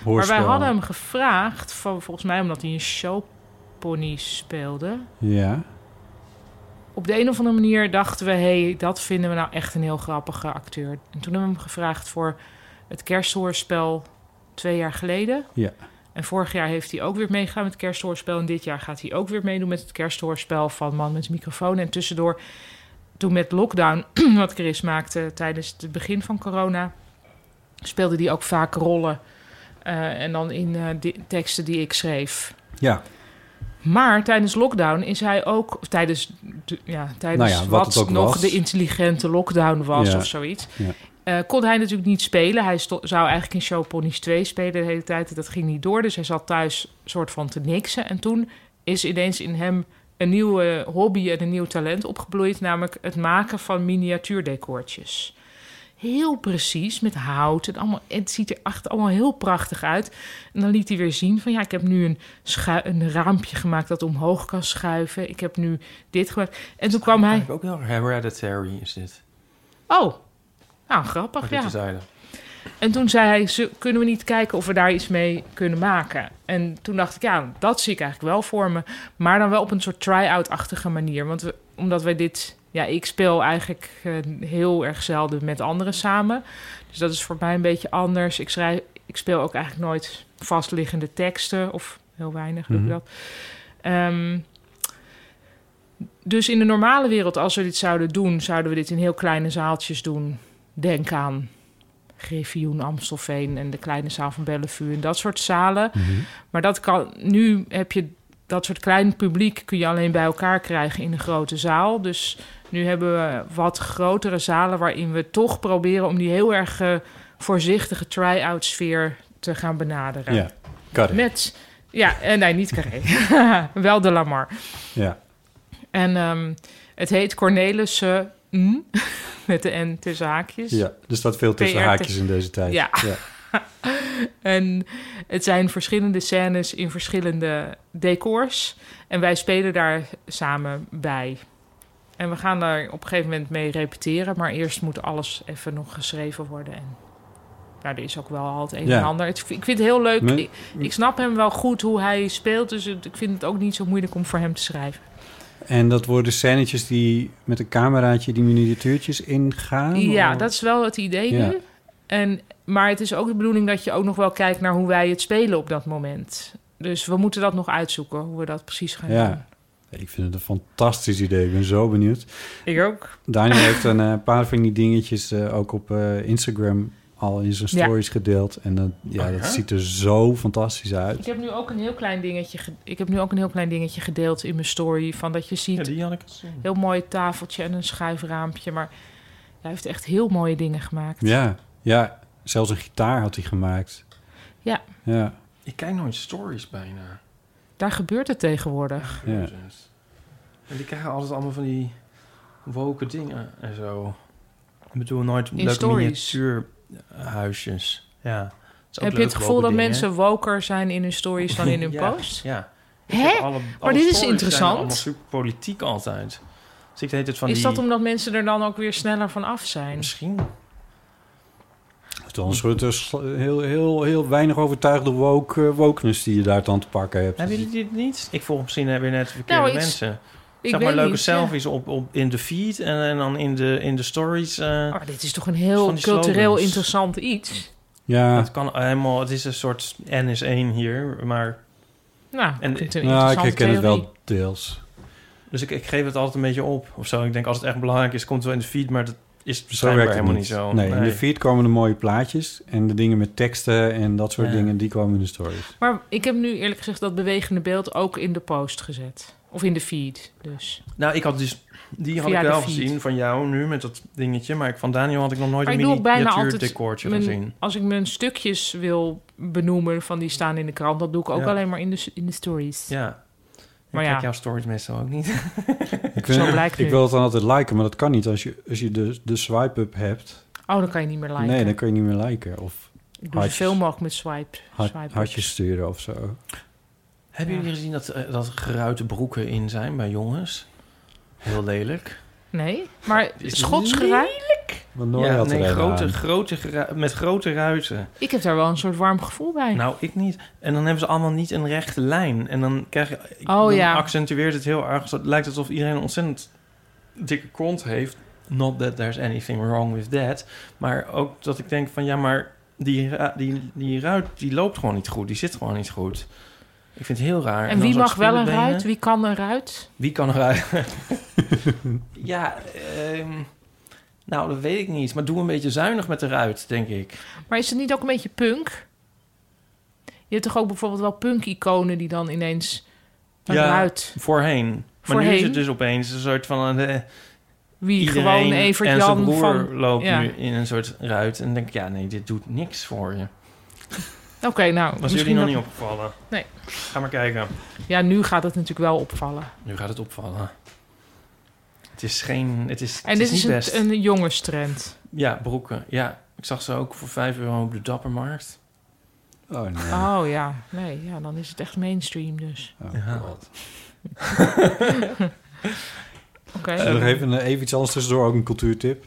Maar wij hadden hem gevraagd, van, volgens mij omdat hij een showpony speelde. Ja, Op de een of andere manier dachten we, hé, hey, dat vinden we nou echt een heel grappige acteur. En toen hebben we hem gevraagd voor het kersthoorspel twee jaar geleden. ja. En vorig jaar heeft hij ook weer meegegaan met het kersthoorspel. En dit jaar gaat hij ook weer meedoen met het kersthoorspel van Man met de microfoon. En tussendoor, toen met lockdown, wat Chris maakte tijdens het begin van corona, speelde hij ook vaak rollen. eh, en dan in eh, di- teksten die ik schreef. ja. Maar tijdens lockdown is hij ook, of tijdens, de- ja, tijdens Nou ja, wat wat, het ook nog was. de intelligente lockdown was Ja. of zoiets, Ja. eh, kon hij natuurlijk niet spelen. Hij sto- zou eigenlijk in Show Ponies 2 spelen de hele tijd. Dat ging niet door, dus hij zat thuis soort van te niksen. En toen is ineens in hem een nieuwe hobby en een nieuw talent opgebloeid, namelijk het maken van miniatuurdecoortjes. Heel precies, met hout en allemaal. en Het ziet er echt allemaal heel prachtig uit. En dan liet hij weer zien van ja, ik heb nu een, schui- een raampje gemaakt dat omhoog kan schuiven. Ik heb nu dit gemaakt. En toen kwam hij. Eigenlijk ook heel hereditary is dit. Oh, nou grappig, Maar ja. dit is eigenlijk. En toen zei hij, "Zo- kunnen we niet kijken of we daar iets mee kunnen maken? En toen dacht ik, ja, dat zie ik eigenlijk wel voor me. Maar dan wel op een soort try-out-achtige manier. Want we- omdat wij dit... Ja, ik speel eigenlijk eh, heel erg zelden met anderen samen. Dus dat is voor mij een beetje anders. Ik, schrijf, ik speel ook eigenlijk nooit vastliggende teksten. Of heel weinig doe ik Mhm. dat. Ehm, dus in de normale wereld, als we dit zouden doen... zouden we dit in heel kleine zaaltjes doen. Denk aan Griffioen, Amstelveen en de kleine zaal van Bellevue en dat soort zalen. Maar dat kan, nu heb je dat soort klein publiek kun je alleen bij elkaar krijgen in een grote zaal. Dus nu hebben we wat grotere zalen waarin we toch proberen om die heel erg eh, voorzichtige try-out sfeer te gaan benaderen. ja. Got it. Met, ja, en nee, niet Carré. Wel de Lamar. Ja. En ehm, het heet Cornelissen N, met de N tussen haakjes. ja, er staat veel tussen PR haakjes in deze tijd. Ja. ja. En het zijn verschillende scènes in verschillende decors. En wij spelen daar samen bij. En we gaan daar op een gegeven moment mee repeteren. Maar eerst moet alles even nog geschreven worden. En nou, er is ook wel al het een Ja. en ander. Het- ik vind het heel leuk. Nee. Ik, ik snap hem wel goed hoe hij speelt. Dus het- ik vind het ook niet zo moeilijk om voor hem te schrijven. En dat worden scènetjes die met een cameraatje die miniatuurtjes ingaan? Ja, of- dat is wel het idee Oh, Ja. nu. En, maar het is ook de bedoeling dat je ook nog wel kijkt naar hoe wij het spelen op dat moment. Dus we moeten dat nog uitzoeken, hoe we dat precies gaan doen. Ja. Ik vind het een fantastisch idee. Ik ben zo benieuwd. Ik ook. Daniel heeft een eh, paar van die dingetjes eh, ook op eh, Instagram al in zijn Ja. Uh-huh. stories gedeeld. En dat, ja, dat ziet er zo fantastisch uit. Ik heb nu ook een heel klein dingetje, ge- ik heb nu ook een heel klein dingetje gedeeld in mijn story. Van dat je ziet, Ja, die had ik gezien. heel mooi tafeltje en een schuifraampje. Maar hij heeft echt heel mooie dingen gemaakt. Ja, ja. Zelfs een gitaar had hij gemaakt. Ja. Ja, Ik kijk nooit stories bijna. Daar gebeurt het tegenwoordig. ja. Jezus. En die krijgen altijd allemaal van die woke dingen en zo. Ik bedoel, nooit leuke stories. miniatuurhuisjes. Ja. Het is ook heb je leuk, het gevoel woke dat dingen. mensen woker zijn in hun stories dan in hun Ja, posts? Ja. Hè? Alle, Maar dit is interessant. Allemaal super politiek altijd. Dus ik heet het van Is die... dat omdat mensen er dan ook weer sneller van af zijn? Misschien. Het is wel een soort eh, sl- heel, heel, heel weinig overtuigde woke, eh, wokeness die je daar dan te pakken hebt. Hebben jullie dit niet? Ik volg misschien eh, weer net de verkeerde Nou, ik- mensen. Ik zeg maar weet leuke niet, ja. selfies op, op, in de feed en, en dan in de, in de stories. eh, Maar Oh, dit is toch een Van heel die cultureel slogans. interessant iets. Ja, Het kan helemaal... Het is een soort N is 1 hier, maar... Nou, En- eh, ik vind het een nou, ik interessante herken het theorie. wel deels. Dus ik, ik geef het altijd een beetje op of zo. Ik denk, als het echt belangrijk is, komt het wel in de feed, maar dat is Zo werkt het helemaal niet. niet zo. Nee, in de feed komen de mooie plaatjes en de dingen met teksten en dat soort Ja. dingen, die komen in de stories. Maar ik heb nu eerlijk gezegd dat bewegende beeld ook in de post gezet. Of in de feed, dus. Nou, ik had dus... Die had Via ik de wel feed. gezien van jou nu met dat dingetje. Maar ik, van Daniel had ik nog nooit Maar een ik doe ook bijna miniatuur altijd decoortje mijn- gezien. Als ik mijn stukjes wil benoemen van die staan in de krant... dat doe ik ook Ja. alleen maar in de, in de stories. Ja. Maar Maar ik ja. kijk jouw stories meestal ook niet. Ik, Zo blijkt nu. ik wil het dan altijd liken, maar dat kan niet. Als je, als je de, de swipe-up hebt, Oh, dan kan je niet meer liken. nee, dan kun je niet meer liken. Of ik doe hartjes. zoveel mogelijk met swipe. hart- swipe hartjes sturen of zo. Hebben Ja. jullie gezien dat, eh, dat geruite broeken in zijn bij jongens? Heel lelijk. Nee, maar Is Schots geruim? Want Noor had er nee, een grote, aan. grote, gera- met grote ruiten. Ik heb daar wel een soort warm gevoel bij. Nou, ik niet. En dan hebben ze allemaal niet een rechte lijn. En dan krijg je... ik- Oh, dan ja. accentueert het heel erg. Het lijkt alsof iedereen een ontzettend dikke kont heeft. Not that there's anything wrong with that. Maar ook dat ik denk van... Ja, maar die, ra- die, die ruit die loopt gewoon niet goed. Die zit gewoon niet goed. Ik vind het heel raar. en dan wie zo'n mag wel een spielenbenen. ruit? Wie kan een ruit? Wie kan eruit? ja, ehm, nou, dat weet ik niet. Maar doe een beetje zuinig met de ruit, denk ik. Maar is het niet ook een beetje punk? Je hebt toch ook bijvoorbeeld wel punk-iconen die dan ineens een Ja. ruit... Voorheen. Maar nu is Voorheen? het dus opeens een soort van... eh, Wie gewoon Evert en zijn Jan broer van... loopt ja. nu in een soort ruit. En denk ik, ja, nee, dit doet niks voor je. Oké, nou, Was misschien jullie nog dat- niet opgevallen? Nee. Ga maar kijken. Ja, nu gaat het natuurlijk wel opvallen. Nu gaat het opvallen. Het is geen... Het is, En het dit is is, niet best. een, een jongenstrend. Ja, broeken. Ja, ik zag ze ook voor 5 euro op de Dappermarkt. Oh nee. Oh ja, nee, ja, dan is het echt mainstream dus. Oh, Ja. God. Oké. Nog even, eh, even iets anders tussendoor, ook een cultuurtip.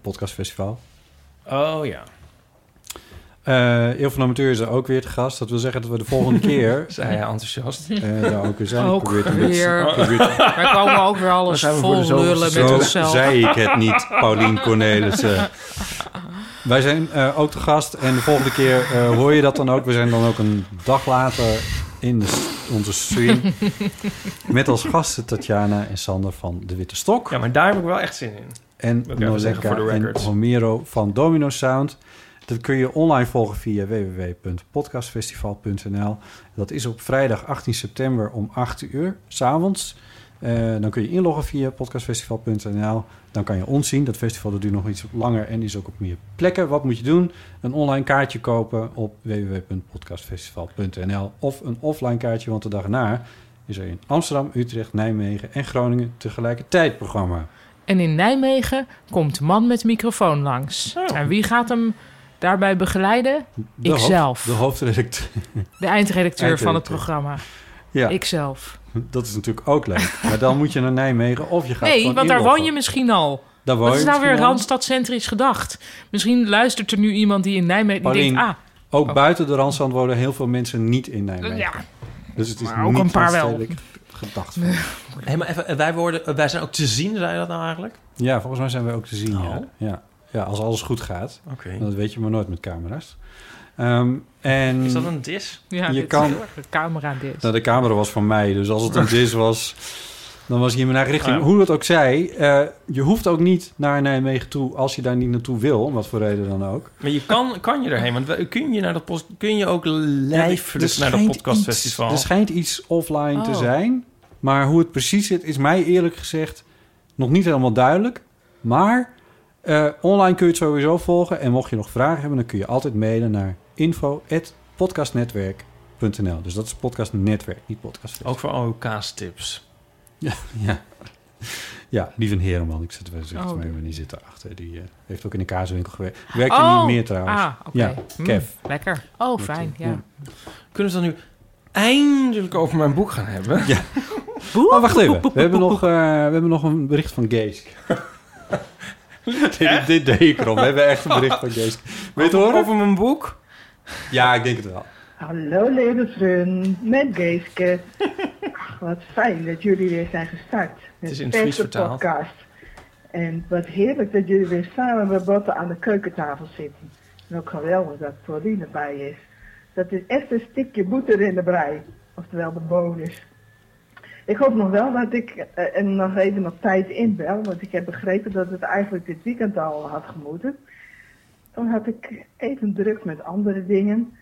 Podcastfestivaal. Oh ja. Eh Eel van Amateur is er ook weer te gast. Dat wil zeggen dat we de volgende keer Zei hij enthousiast. eh daar ook weer zijn. Ik ook probeer het een beetje- weer. probeer- Daar komen we ook weer alles Dan zijn we voor de vol zoveelste lullen Oh. met Zo onszelf. zei ik het niet, Paulien eh. Cornelissen. Wij zijn eh, ook te gast en de volgende keer eh, hoor je dat dan ook. We zijn dan ook een dag later in de s- onze stream. Met als gasten Tatjana en Sander van de Witte Stok. Ja, maar daar heb ik wel echt zin in. En Oké, we zeggen Nozeka voor de en records. Romero van Domino Sound. Dat kun je online volgen via www.podcastfestival.nl. Dat is op vrijdag 18 september om 8 uur s'avonds. Eh dan kun je inloggen via podcastfestival.nl. Dan kan je ons zien. Dat festival dat duurt nog iets langer en is ook op meer plekken. Wat moet je doen? Een online kaartje kopen op www.podcastfestival.nl of een offline kaartje, want de dag erna is er in Amsterdam, Utrecht, Nijmegen en Groningen tegelijkertijd programma. En in Nijmegen komt man met microfoon langs. Oh. En wie gaat hem daarbij begeleiden? De hoofd- Ikzelf. de hoofdredacteur. De eindredacteur van het Eindredacteur. programma. Ja, Ikzelf. dat is natuurlijk ook leuk. Maar dan moet je naar Nijmegen of je gaat Nee, gewoon want daar inloggen. woon je misschien al. Daar woon Wat is je nou weer misschien al. randstadcentrisch gedacht? Misschien luistert er nu iemand die in Nijmegen... Die Paulien, denkt, ah, Ook Oh. buiten de Randstand wonen heel veel mensen niet in Nijmegen. ja, Dus het is maar ook niet een paar wel. aanstekelijk Gedacht. van. Hé, maar even, eh, wij, worden, wij zijn ook te zien, zei je dat nou eigenlijk? Ja, volgens mij zijn we ook te zien. Ja. Oh. Ja. ja, als alles goed gaat. Oké. Dat weet je maar nooit met camera's. Ehm, en Is dat een dis? ja Je dit is kan- heel erg de camera dit. nou, de camera was van mij, dus als het een dis was, dan was je in mijn eigen richting. Ah, ja. Hoe dat ook zij, eh, je hoeft ook niet naar Nijmegen toe als je daar niet naartoe wil, om wat voor reden dan ook. Maar je kan, kan je erheen, want we- kun je, naar dat post, kun je ook lijfelijk Er naar dat schijnt podcastfestival? iets- Er schijnt iets offline te Oh. zijn. Maar hoe het precies zit, is mij eerlijk gezegd nog niet helemaal duidelijk. Maar eh, online kun je het sowieso volgen. En mocht je nog vragen hebben, dan kun je altijd mailen naar info.podcastnetwerk.nl. Dus dat is podcastnetwerk, niet podcast. Ook voor AOK-tips. Ja. Ja, lieve Herenman, ik zit er Oh. oh. mee, maar die zit erachter. Die eh, heeft ook in een kaaswinkel gewerkt. Werkt er Oh. niet meer trouwens. Ah, oké. Ja, Hm, Kev. lekker. Oh, fijn, ja. Ja. Kunnen ze dan nu eindelijk over mijn boek gaan hebben? Oh, wacht even. We hebben, nog, eh, we hebben nog een bericht van Geesk. dit, dit deed ik erom. We hebben echt een bericht van Geesk. Wil je het horen? Over mijn boek? Ja, ik denk het wel. Hallo levensrun, met Geeske. Ach, wat fijn dat jullie weer zijn gestart. Het Met is in het deze Fries vertaald. podcast. En wat heerlijk dat jullie weer samen met Botte aan de keukentafel zitten. En ook geweldig dat Pauline erbij is. Dat is echt een stukje boeter in de brei. Oftewel de bonus. Ik hoop nog wel dat ik eh, en nog even op tijd inbel. Want ik heb begrepen dat het eigenlijk dit weekend al had gemoeten. Dan had ik even druk met andere dingen.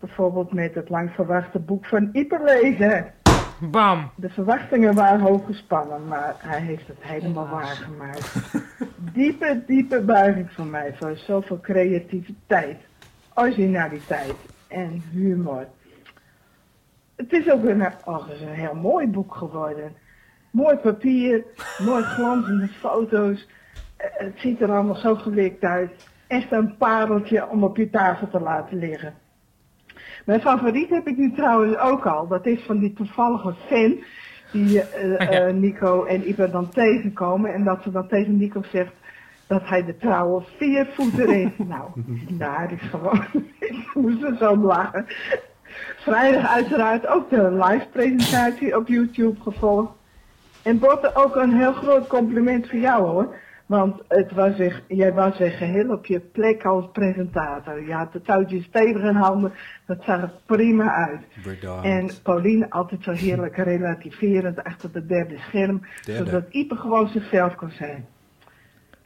Bijvoorbeeld met het lang verwachte boek van Ieper lezen. Bam. De verwachtingen waren hoog gespannen, maar hij heeft het helemaal waargemaakt. Diepe, diepe buiging van mij voor zoveel creativiteit, originaliteit en humor. Het is ook een, oh, het is een heel mooi boek geworden. Mooi papier, mooi glanzende foto's. Eh, Het ziet er allemaal zo gewikt uit. Echt een pareltje om op je tafel te laten liggen. Mijn favoriet heb ik nu trouwens ook al. Dat is van die toevallige fan die eh, Ah, ja. eh, Nico en Ipa dan tegenkomen. En dat ze dan tegen Nico zegt dat hij de trouwe viervoeter is. nou, daar is gewoon. ik moest er zo om lachen. Vrijdag uiteraard ook de live presentatie op YouTube gevolgd. En Botte, ook een heel groot compliment voor jou hoor. Want het was echt, jij was echt geheel op je plek als presentator. Je had de touwtjes stevig in handen. Dat zag er prima uit. Bedankt. En Pauline altijd zo heerlijk relativerend achter de derde scherm, Derde. zodat Ipe gewoon zichzelf kon zijn.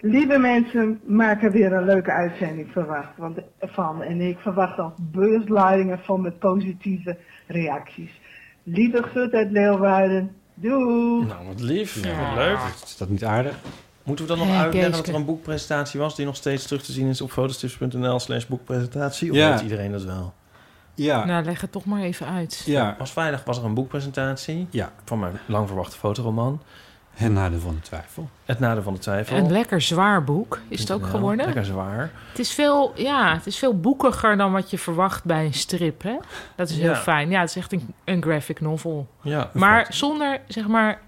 Lieve mensen, maak er weer een leuke uitzending verwacht, want, van. En ik verwacht al beursladingen van met positieve reacties. Lieve Gut uit Leeuwarden, doei! Nou, wat lief. Ja. Wat leuk. Is dat niet aardig? Moeten we dan nog Hey, uitleggen dat Geeske. er een boekpresentatie was... die nog steeds terug te zien is op fotostips.nl slash boekpresentatie? Of Ja. weet iedereen dat wel? Ja. Nou, leg het toch maar even uit. ja. Pas vrijdag was er een boekpresentatie... Ja. van mijn lang verwachte fotoroman. En nadeel van de twijfel. Het nadeel van de twijfel. Een lekker zwaar boek is het ook Ja, geworden. Lekker zwaar. Het is, veel, ja, het is veel boekiger dan wat je verwacht bij een strip. Hè? Dat is heel Ja. fijn. Ja, het is echt een, een graphic novel. Ja, Maar zonder zeg maar,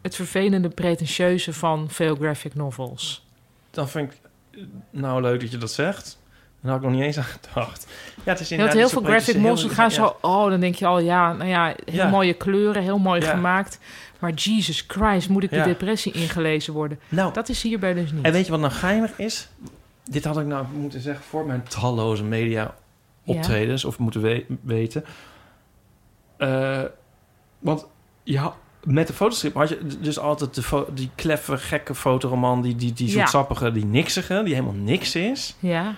het vervelende pretentieuze van veel graphic novels. dan vind ik eh, nou leuk dat je dat zegt. Daar had ik nog niet eens aan gedacht. Ja, het is Ja, want inderdaad heel niet zo veel graphic prettig, novels heel- gaan ja. zo... Oh, dan denk je al, ja, nou ja, heel Ja. mooie kleuren, heel mooi Ja. gemaakt. Maar Jesus Christ, moet ik die Ja. depressie ingelezen worden? Nou, Dat is hierbij dus niet. en weet je wat nou geinig is? Dit had ik nou moeten zeggen voor mijn talloze media optredens. Of moeten we- weten. Eh, want ja, met de fotostrip had je d- dus altijd de fo- die kleffe, gekke fotoroman... die, die, die Ja. zoetsappige, die niksige, die helemaal niks is. Ja,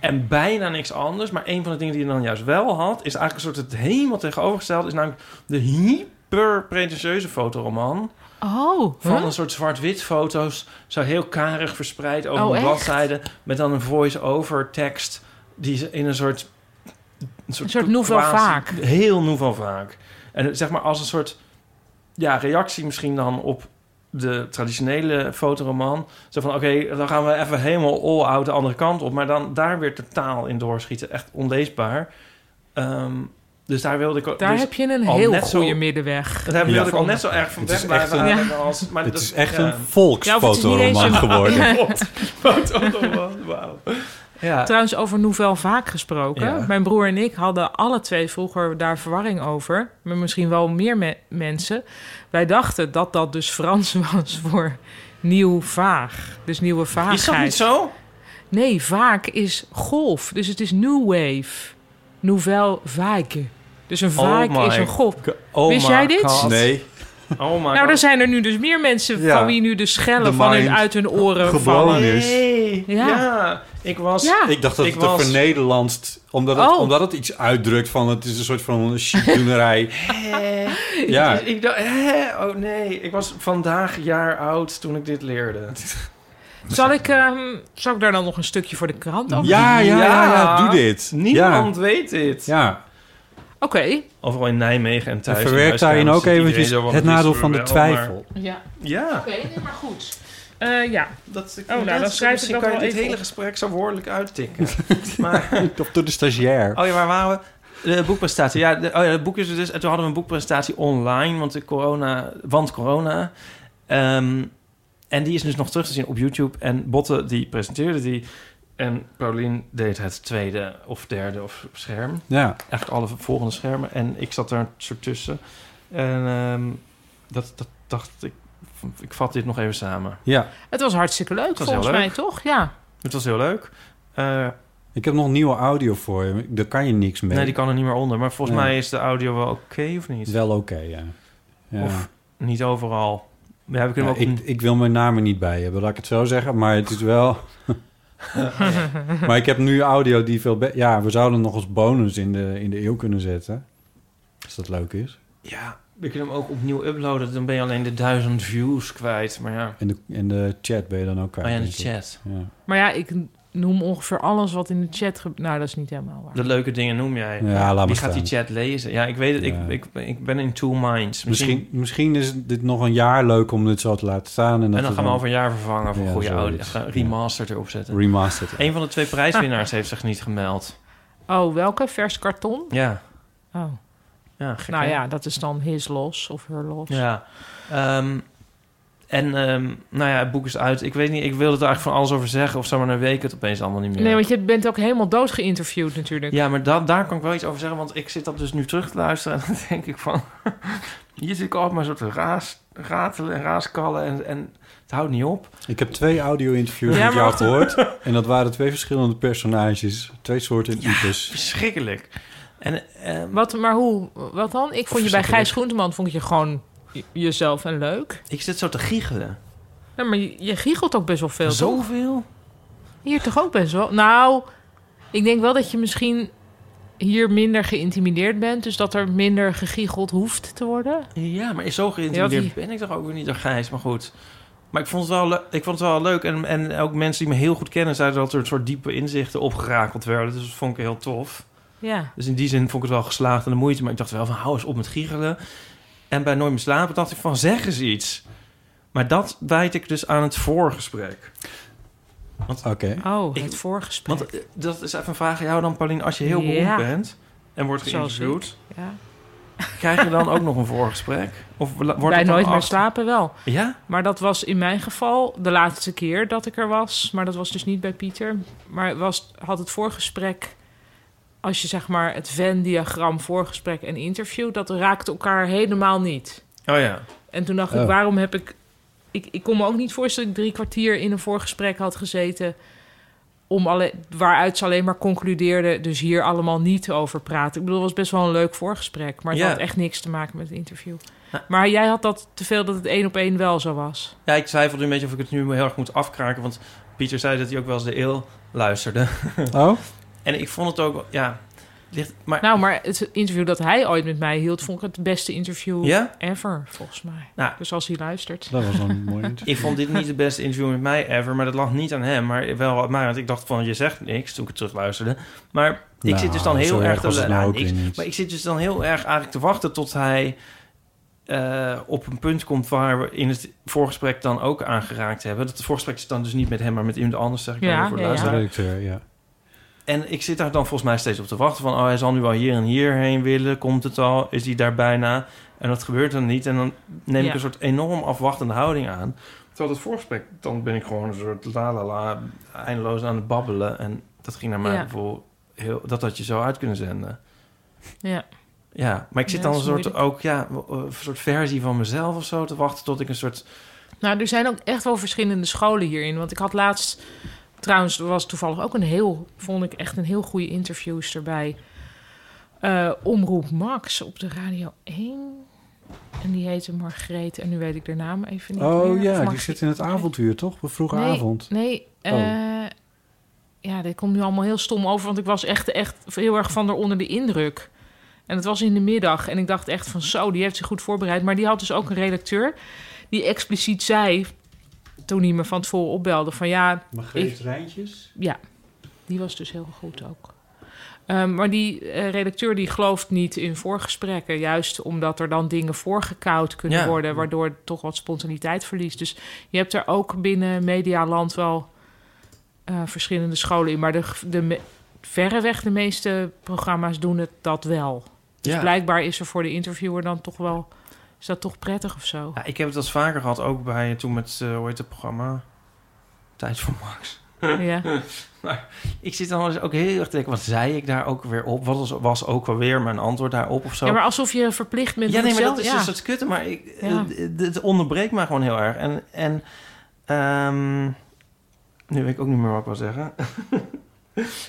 En bijna niks anders. Maar een van de dingen die je dan juist wel had... is eigenlijk een soort het helemaal tegenovergesteld... is namelijk de hyper pretentieuze fotoroman... Oh, van huh? een soort zwart-wit foto's... zo heel karig verspreid over Oh, een echt? bladzijde... met dan een voice-over tekst... die ze in een soort... Een soort nouveau quasi- vaak. Heel nouveau vaak. En het, zeg maar als een soort ja, reactie misschien dan op de traditionele fotoroman. Zo van, oké, dan gaan we even helemaal all-out de andere kant op. Maar dan daar weer totaal in doorschieten. Echt onleesbaar. Ehm, dus daar wilde ik... ook- daar dus, heb je een al heel net zo- goede middenweg. daar wilde Ja. ik al net zo erg van Het weg is echt blijven een- halen als... Maar het dat- is echt ja. een Ja, of het is volksfotoroman niet eens een- geworden. Klopt. Fotoroman, wauw. Ja. Trouwens, over Nouvelle vaak gesproken. Ja. Mijn broer en ik hadden alle twee vroeger daar verwarring over. Maar misschien wel meer me- mensen. Wij dachten dat dat dus Frans was voor nieuw vaag. Dus nieuwe vaagheid. Is dat niet zo? Nee, vaak is golf. Dus het is new wave. Nouvelle vague. Dus een vaak Oh my is een golf. Oh Wist my jij dit? God. Nee, Oh my Nou, God. er zijn er nu dus meer mensen Ja. van wie nu de schellen De van hun, mind uit hun oren gebroken. vallen. is. Nee. Ja. Ja. ik was... Ja. ik dacht dat Ik het er was- vernederlandst... Omdat het, Oh. omdat het iets uitdrukt van... Het is een soort van chicdoenerij. ja, Dus ik dacht, hè? Oh nee, ik was vandaag jaar oud toen ik dit leerde. Zal ik, ehm, zal ik daar dan nog een stukje voor de krant over? ja, ja, ja, ja, Ja. doe dit. Niemand weet dit. Ja, ja. Oké. Overal in Nijmegen en En thuis. verwerk daarin ook eventjes het nadeel van de twijfel. Ja. Ja, Oké, nee, maar goed. Eh, ja, dat, ik, nou, inderdaad, dan schrijf ik misschien dat kan je wel dit even hele op. gesprek zo woordelijk uittikken. maar, Of door de stagiair. oh ja, waar waren we? De boekpresentatie. Ja, de, oh ja, het boek is er dus. En toen hadden we een boekpresentatie online, want de corona, want corona. Ehm, en die is dus nog terug te zien op YouTube. En Botte die presenteerde die. En Paulien deed het tweede of derde of scherm. Ja, eigenlijk alle volgende schermen. En ik zat daar een soort tussen. En ehm, dat, dat dacht ik, ik vat dit nog even samen. ja. het was hartstikke leuk was volgens heel mij, leuk. toch? Ja. Het was heel leuk. Eh, Ik heb nog nieuwe audio voor je. Daar kan je niks mee. nee, die kan er niet meer onder. Maar volgens Nee. mij is de audio wel oké of niet? is wel oké, ja. ja. Of niet overal. Ja, we kunnen Ja, ook ik, ik wil mijn naam er niet bij hebben, laat ik het zo zeggen. Maar het is wel... maar ik heb nu audio die veel... be- Ja, we zouden nog als bonus in de, in de eeuw kunnen zetten. Als dat leuk is. Ja, we kunnen hem ook opnieuw uploaden. Dan ben je alleen de duizend views kwijt. Maar ja, En de, en de chat ben je dan ook kwijt. maar Oh ja, de denk ik. chat. Ja. Dus Maar ja, ik noem ongeveer alles wat in de chat... ge- Nou, dat is niet helemaal waar. De leuke dingen noem jij. Ja, laat maar Wie gaat die staan. chat lezen? Ja, ik weet het. Ja. Ik, ik, ik ben in two minds. Misschien, misschien is dit nog een jaar leuk om dit zo te laten staan. En, dat En dan we gaan we over een jaar vervangen voor Ja, goede zoiets. audio. Gaan we Remastered erop zetten. remastered. Een van de twee prijswinnaars heeft zich niet gemeld. Oh, welke? Vers karton? Ja, Oh, ja gek, nou hè? ja, dat is dan his loss of her loss. Ja. Ehm, en ehm, nou ja, het boek is uit. Ik weet niet, ik wilde er eigenlijk van alles over zeggen. Of zou maar een week het opeens allemaal niet meer. Nee, want je bent ook helemaal dood geïnterviewd natuurlijk. Ja, maar da- daar kan ik wel iets over zeggen. Want ik zit dat dus nu terug te luisteren. En dan denk ik van... Hier zit ik altijd maar zo te raas, ratelen en raaskallen. En, en het houdt niet op. Ik heb twee audio-interviews Ja, met maar jou wacht. gehoord. En dat waren twee verschillende personages. Twee soorten types. Verschrikkelijk. En, ehm, Wat, maar hoe? Wat dan? Ik vond je bij Gijs Groenteman vond ik je gewoon je- jezelf en leuk. ik zit zo te giechelen. Nee, maar je, je giechelt ook best wel veel. toch? Zoveel? Hier toch ook best wel? Nou, ik denk wel dat je misschien hier minder geïntimideerd bent. Dus dat er minder gegiegeld hoeft te worden. Ja, maar zo Ja, geïntimideerd die- ben ik toch ook weer niet door Gijs. Maar goed. Maar ik vond het wel, le- ik vond het wel leuk. En, en ook mensen die me heel goed kennen... zeiden dat er een soort diepe inzichten opgerakeld werden. Dus dat vond ik heel tof. Ja. Dus in die zin vond ik het wel geslaagd en de moeite. Maar ik dacht wel van, hou eens op met giechelen. En bij Nooit meer slapen dacht ik van, zeg eens iets. Maar dat wijd ik dus aan het voorgesprek. Oké. Oh, Ik- het voorgesprek. Want eh, dat is even een vraag aan jou dan, Paulien. Als je heel Ja. beroemd bent en wordt Zoals geïnterviewd... ja. krijg je dan ook nog een voorgesprek? Of la- wordt het Bij dan Nooit meer achter- slapen wel. Ja? Maar dat was in mijn geval de laatste keer dat ik er was. Maar dat was dus niet bij Pieter. Maar het was, had het voorgesprek, als je zeg maar het Venn-diagram voorgesprek en interview, dat raakte elkaar helemaal niet. Oh ja. En toen dacht Oh. ik, waarom heb ik, ik... Ik kon me ook niet voorstellen dat ik drie kwartier in een voorgesprek had gezeten... Om alle, waaruit ze alleen maar concludeerden, dus hier allemaal niet over praten. Ik bedoel, het was best wel een leuk voorgesprek, maar het Ja. had echt niks te maken met het interview. Ja. Maar jij had dat te veel dat het één op één wel zo was. Ja, ik twijfelde een beetje of ik het nu heel erg moet afkraken. Want Pieter zei dat hij ook wel eens de eeuw luisterde. Oh? En ik vond het ook... Ja, ligt, maar... Nou, maar het interview dat hij ooit met mij hield, vond ik het beste interview ja? ever, volgens mij. Nou. Dus als hij luistert. Dat was een mooi interview. Ik vond dit niet het beste interview met mij ever, maar dat lag niet aan hem, maar wel aan mij. Want ik dacht van, je zegt niks toen ik het terugluisterde. Maar ik Nou, zit dus dan zo heel erg... erg was te- het nou nou, ook weer niet. Maar ik zit dus dan heel erg eigenlijk te wachten tot hij eh, op een punt komt... waar we in het voorgesprek dan ook aangeraakt hebben. Dat het voorgesprek is dan dus niet met hem, maar met iemand anders, zeg ik Ja, dan voor de ja, ja. De luisteraar. redacteur, eh, ja. En ik zit daar dan volgens mij steeds op te wachten van... oh, hij zal nu wel hier en hierheen willen, komt het al, is hij daar bijna? En dat gebeurt dan niet. En dan neem ik Ja. een soort enorm afwachtende houding aan. Terwijl het voorgesprek, dan ben ik gewoon een soort la la la... eindeloos aan het babbelen. En dat ging naar mijn Ja. gevoel... Heel, dat had je zo uit kunnen zenden. Ja. Ja, maar ik zit Ja, dan dat een is soort, moeilijk. ook, ja, een soort versie van mezelf of zo te wachten... tot ik een soort... Nou, er zijn ook echt wel verschillende scholen hierin. Want ik had laatst, trouwens, er was toevallig ook een heel, vond ik echt een heel goede interviewster bij eh, Omroep Max op de Radio 1. En die heette Margreet, en nu weet ik haar naam even niet meer. Oh Of ja, die Margreet- zit in het avonduur, toch? We vroege nee, avond. Nee, eh, ja, dit komt nu allemaal heel stom over, want ik was echt, echt heel erg van onder de indruk. En het was in de middag en ik dacht echt van zo, die heeft zich goed voorbereid. Maar die had dus ook een redacteur die expliciet zei, toen hij me van tevoren opbelde, van ja, Margreet Rijntjes? ja, die was dus heel goed ook. Ehm, maar die eh, redacteur die gelooft niet in voorgesprekken. Juist omdat er dan dingen voorgekoud kunnen Ja. worden... waardoor het toch wat spontaniteit verliest. Dus je hebt er ook binnen medialand wel eh, verschillende scholen in. Maar de, de me- verreweg de meeste programma's doen het dat wel. Dus Ja. blijkbaar is er voor de interviewer dan toch wel... is dat toch prettig of zo? Ja, ik heb het als vaker gehad, ook bij toen met, eh, hoe heet het programma? Tijd voor Max. ja. Ik zit dan wel eens ook heel erg te denken, wat zei ik daar ook weer op? Wat was, was ook wel weer mijn antwoord daarop of zo? ja, maar alsof je verplicht bent... Ja, om nee, maar zelf- dat is dus ja. een soort kutte, maar ik, Ja. eh, het, het onderbreekt mij gewoon heel erg. En, en ehm, nu weet ik ook niet meer wat ik wil zeggen.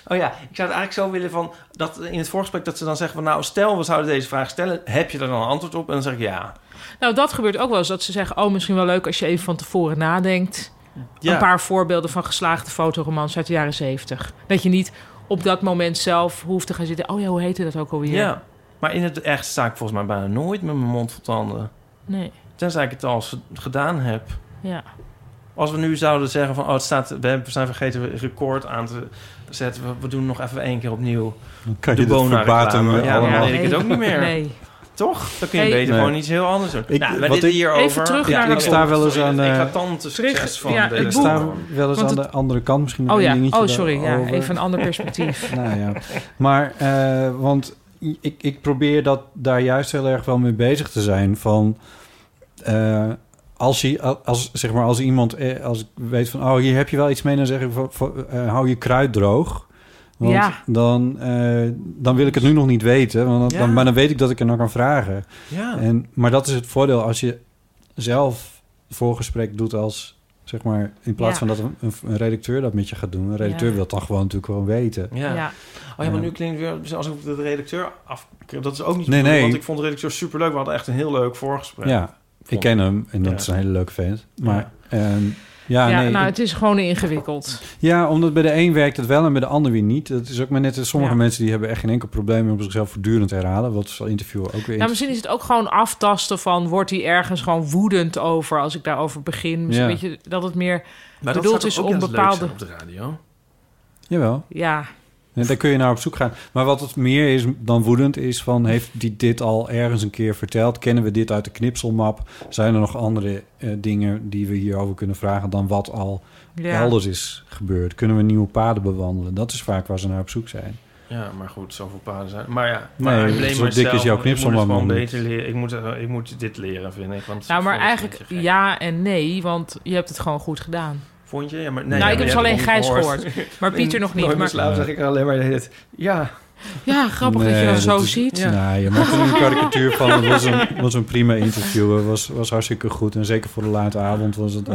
oh ja, ik zou het eigenlijk zo willen van, dat in het voorgesprek dat ze dan zeggen van, nou, stel we zouden deze vraag stellen, heb je daar dan een antwoord op? En dan zeg ik ja. Nou, dat gebeurt ook wel eens. Dat ze zeggen, oh, misschien wel leuk als je even van tevoren nadenkt. ja. Een paar voorbeelden van geslaagde fotoromans uit de jaren zeventig. Dat je niet op dat moment zelf hoeft te gaan zitten. Oh ja, hoe heette dat ook alweer? Ja. Maar Maar in het echt sta ik volgens mij bijna nooit met mijn mond vol tanden. Nee, Tenzij ik het al eens gedaan heb. ja. Als we nu zouden zeggen van... Oh, het staat, we hebben- we zijn vergeten record aan te zetten. We, we doen nog even één keer opnieuw. Dan kan De je dit Bona verbaten reclame. Ja, eh, allemaal. dan Ja, weet ik het ook niet meer. Nee. Toch? Dan kun je Hey. beter Nee. gewoon iets heel anders doen. Ik- nou, maar wat dit ik- hierover... Even terug Ja, naar ik het sta boek. wel eens aan... Sorry, ik eh, ga tante succes terug- van ja, deze het Ik boek. sta wel eens Want aan de andere kant. Misschien nog Oh één ja, dingetje oh sorry. Ja, daarover. even een ander perspectief. Nou ja, maar eh, want ik, ik probeer dat daar juist heel erg wel mee bezig te zijn. Van eh, als, je, als, zeg maar, als iemand, eh, als ik weet van, oh hier heb je wel iets mee, dan zeg ik van, van, eh, hou je kruid droog. Want Ja. dan, eh, dan wil ik het nu nog niet weten, want dan, Ja. maar dan weet ik dat ik er nog kan vragen. Ja. Ah. En, maar dat is het voordeel als je zelf voorgesprek doet als, zeg maar, in plaats Ja. van dat een, een- een redacteur dat met je gaat doen. Een redacteur Ja. wil dat dan gewoon natuurlijk gewoon weten. Ja. ja. Oh ja, maar nu klinkt het weer alsof ik de redacteur af... Dat is ook niet zo Nee, bedoeld, nee. want ik vond de redacteur superleuk. We hadden echt een heel leuk voorgesprek. Ja, ik Vond ken hem en dat Ja. is een hele leuke vent. Maar ehm, ja, ja, nee, nou, ik- het is gewoon ingewikkeld. ja, omdat bij de een werkt het wel en bij de ander weer niet. Dat is ook maar net, sommige Ja. mensen die hebben echt geen enkel probleem om zichzelf voortdurend te herhalen. Wat zal interviewen ook weer Nou, misschien is het ook gewoon aftasten van... wordt hij ergens gewoon woedend over als ik daarover begin? Misschien Ja. weet je dat het meer... Maar Bedoeld dat zou is toch ook juist leuk onbepaalde- zijn op de radio. Jawel, Ja, en daar kun je naar op zoek gaan. Maar wat het meer is dan woedend is van... heeft die dit al ergens een keer verteld? Kennen we dit uit de knipselmap? Zijn er nog andere eh, dingen die we hierover kunnen vragen... dan wat al ja. elders is gebeurd? Kunnen we nieuwe paden bewandelen? Dat is vaak waar ze naar op zoek zijn. Ja, maar goed, zoveel paden zijn. Maar ja, maar Nee, ik blame zo dik mezelf, is want ik moet jouw het knipselman gewoon nog beter leren. Ik moet, eh, ik moet dit leren, vind ik. Want Nou, maar vond ik een eigenlijk beetje gek. ja en nee, want je hebt het gewoon goed gedaan. Vond je? Ja, maar, nee, nou, ja, maar ik heb ze je alleen hebt het Gijs nog niet gehoord. Maar Pieter nog niet. Nooit meer Maar, slaap zeg ik alleen maar dit. Ja, ja, grappig dat je Nee, dat zo is- ziet. Ja. Nou, je maakt er een karikatuur van. Het was een, was een prima interview. Het was, was hartstikke goed. En zeker voor de late avond was het...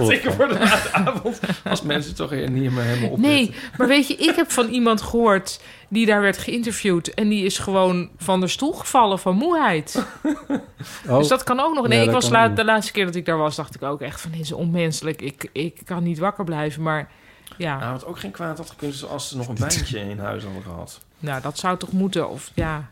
zeker voor de late avond. Als mensen toch hier niet meer helemaal op Nee, maar weet je, ik heb van iemand gehoord die daar werd geïnterviewd... en die is gewoon van de stoel gevallen van moeheid. Oh, Dus dat kan ook nog. Nee, Ja, ik dat was kan la- ook. de laatste keer dat ik daar was, dacht ik ook echt van... dit is onmenselijk, ik, ik kan niet wakker blijven, maar... Ja, Nou, wat ook geen kwaad had gekund is als ze nog een wijntje in huis hadden gehad. nou, dat zou toch moeten? Of ja.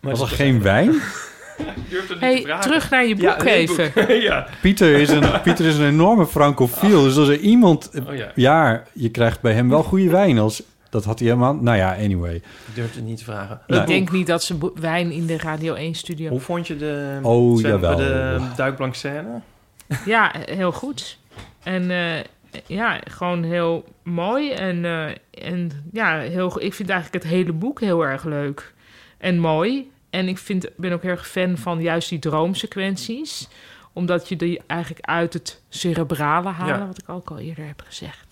Maar was er dat geen wijn? durfde niet te Hey, vragen. terug naar je boek Ja, nee, boek. even. ja. Pieter is een, Pieter is een enorme francofiel. Dus als er iemand... Oh ja, Ja, je krijgt bij hem wel goede wijn. Als, dat had hij helemaal... Nou ja, anyway. ik durfde niet te vragen. Nou, Nee. Ik denk niet dat ze bo- wijn in de Radio 1 studio. Hoe vond je de, Oh, zwem- jawel. de duikblank scène? Ja, heel goed. En eh, ja, gewoon heel mooi. En, eh, en ja, heel, go- ik vind eigenlijk het hele boek heel erg leuk en mooi. En ik vind, ben ook heel erg fan van juist die droomsequenties. Omdat je die eigenlijk uit het cerebrale halen, Ja. wat ik ook al eerder heb gezegd.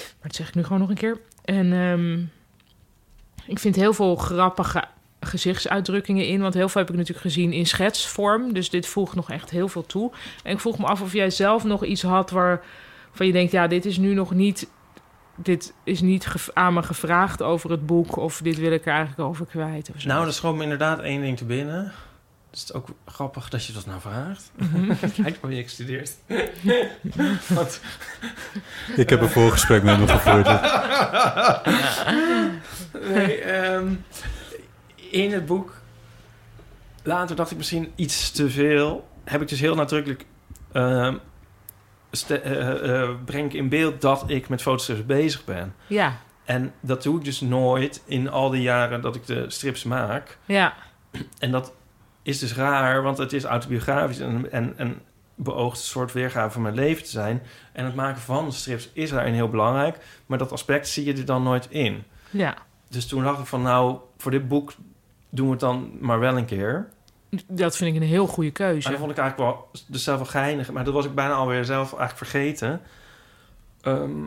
Maar dat zeg ik nu gewoon nog een keer. En ehm, ik vind heel veel grappige gezichtsuitdrukkingen in. Want heel veel heb ik natuurlijk gezien in schetsvorm. Dus dit voegt nog echt heel veel toe. En ik vroeg me af of jij zelf nog iets had waarvan je denkt... ja, dit is nu nog niet... dit is niet ge- aan me gevraagd over het boek... of dit wil ik er eigenlijk over kwijt of zo. Nou, er schoot me inderdaad één ding te binnen. Dus het is ook grappig dat je dat nou vraagt. Hij heeft project gestudeerd. Want, Ik heb een voorgesprek met hem gevoerd. nee, ehm, in het boek... Later dacht ik misschien iets te veel. Heb ik dus heel nadrukkelijk... ehm, ste- eh, eh, breng ik in beeld dat ik met fotostrips bezig ben. Ja, En dat doe ik dus nooit in al die jaren dat ik de strips maak. ja, En dat is dus raar, want het is autobiografisch en, en, en beoogt een soort weergave van mijn leven te zijn. En het maken van strips is daarin heel belangrijk, maar dat aspect zie je er dan nooit in. ja. Dus toen dacht ik van, nou, voor dit boek doen we het dan maar wel een keer. Dat vind ik een heel goede En keuze. dat vond ik eigenlijk wel dus zelf wel geinig, maar dat was ik bijna alweer zelf eigenlijk vergeten. Ehm,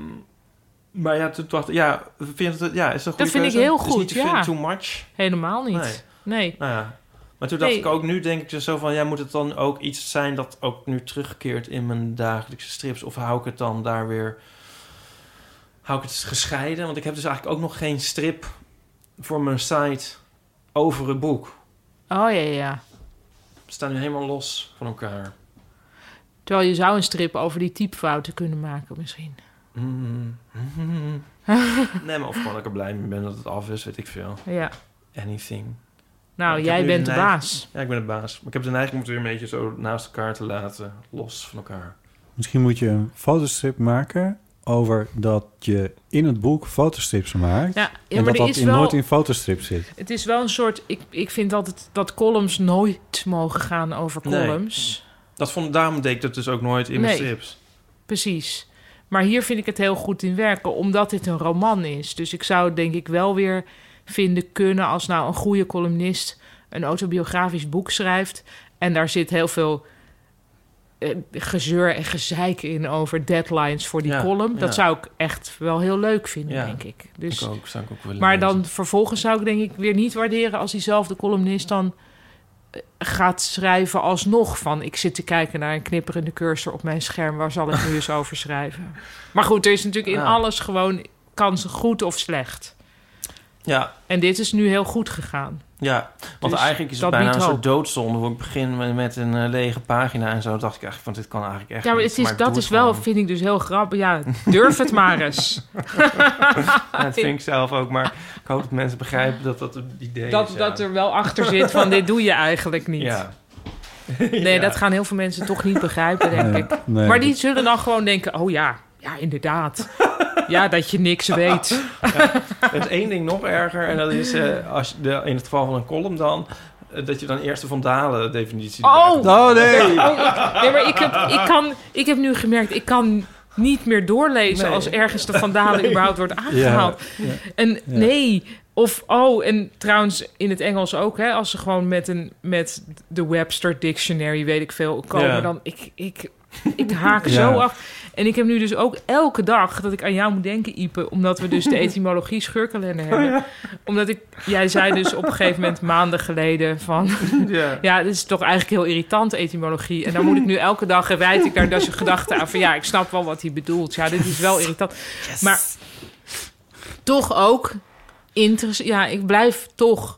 maar ja, toen dacht ik, ja, vind je het, ja, is dat een goede Dat vind ik keuze? heel Dus goed, niet te veel ja. too much. Helemaal niet. Nee. Nou ja. Maar toen dacht Nee. ik ook, nu denk ik dus zo van... ja, moet het dan ook iets zijn dat ook nu terugkeert in mijn dagelijkse strips? Of hou ik het dan daar weer... Hou ik het gescheiden? Want ik heb dus eigenlijk ook nog geen strip voor mijn site over het boek. Oh ja, ja, ja. Ze staan nu helemaal los van elkaar. Terwijl je zou een strip over die typfouten kunnen maken misschien. Mm. nee, maar of gewoon dat ik er blij mee ben dat het af is, weet ik veel. Ja, Anything. Nou, Ik heb jij nu bent de een baas. Ja, ik ben de baas. Maar ik heb de neiging om het weer een beetje zo naast elkaar te laten, los van elkaar. Misschien moet je een fotostrip maken over dat je in het boek fotostrips maakt. Ja, ja en maar dat er dat is in wel, nooit in fotostrip zit. het is wel een soort... Ik, ik vind altijd dat columns nooit mogen gaan over Nee. columns. Dat vond, daarom deed ik dat dus ook nooit in mijn Nee. strips. Precies. Maar hier vind ik het heel goed in werken, omdat dit een roman is. Dus ik zou het denk ik wel weer vinden kunnen als nou een goede columnist een autobiografisch boek schrijft. En daar zit heel veel eh, gezeur en gezeik in over deadlines voor die Ja, column. Dat ja. zou ik echt wel heel leuk vinden, Ja, denk ik. Dus, ik ook, zou ik ook willen maar lezen. dan vervolgens zou ik denk ik weer niet waarderen als diezelfde columnist dan eh, gaat schrijven alsnog van ik zit te kijken naar een knipperende cursor op mijn scherm waar zal ik nu eens over schrijven. Maar goed, er is natuurlijk in Ja. alles gewoon kansen goed of slecht. Ja, En dit is nu heel goed gegaan. ja. want Dus eigenlijk is het dat bijna een biedt soort hoop. doodzonde. Hoe ik begin met, met een eh, lege pagina en zo, dacht ik eigenlijk van dit kan eigenlijk echt Ja, maar niet, het is, ik dat doe is het wel, gewoon. vind ik dus heel grappig. Ja, durf het maar eens. Ja, dat vind ik zelf ook, maar ik hoop dat mensen begrijpen dat dat het idee is. Dat, ja. dat er wel achter zit van dit doe je eigenlijk niet. Ja. Nee, Ja. dat gaan heel veel mensen toch niet begrijpen, denk ik. Eh, Nee, Maar die zullen dan gewoon denken: oh ja, ja, inderdaad. Ja, dat je niks weet. Er is één ding nog erger en dat is eh, als je de, in het geval van een column dan... eh, dat je dan eerst de vandalen definitie... Oh! erbij- Oh nee! Nee, maar ik heb, ik, kan, ik heb nu gemerkt, ik kan niet meer doorlezen Nee. als ergens de vandalen überhaupt wordt aangehaald. ja. En nee, of oh, en trouwens in het Engels ook, hè, als ze gewoon met, een, met de Webster Dictionary, weet ik veel, komen, Ja. dan ik, ik, ik haak Ja. zo af. En ik heb nu dus ook elke dag dat ik aan jou moet denken, Ipe, omdat we dus de etymologie scheurkalender hebben. Oh Omdat ik, jij zei dus op een gegeven moment maanden geleden van... Ja. Ja, dit is toch eigenlijk heel irritant, etymologie. En dan moet ik nu elke dag, rijd ik daar dus een gedachte aan van... ja, ik snap wel wat hij bedoelt. Ja, dit is wel irritant. Maar toch ook interessant. Ja, ik blijf toch...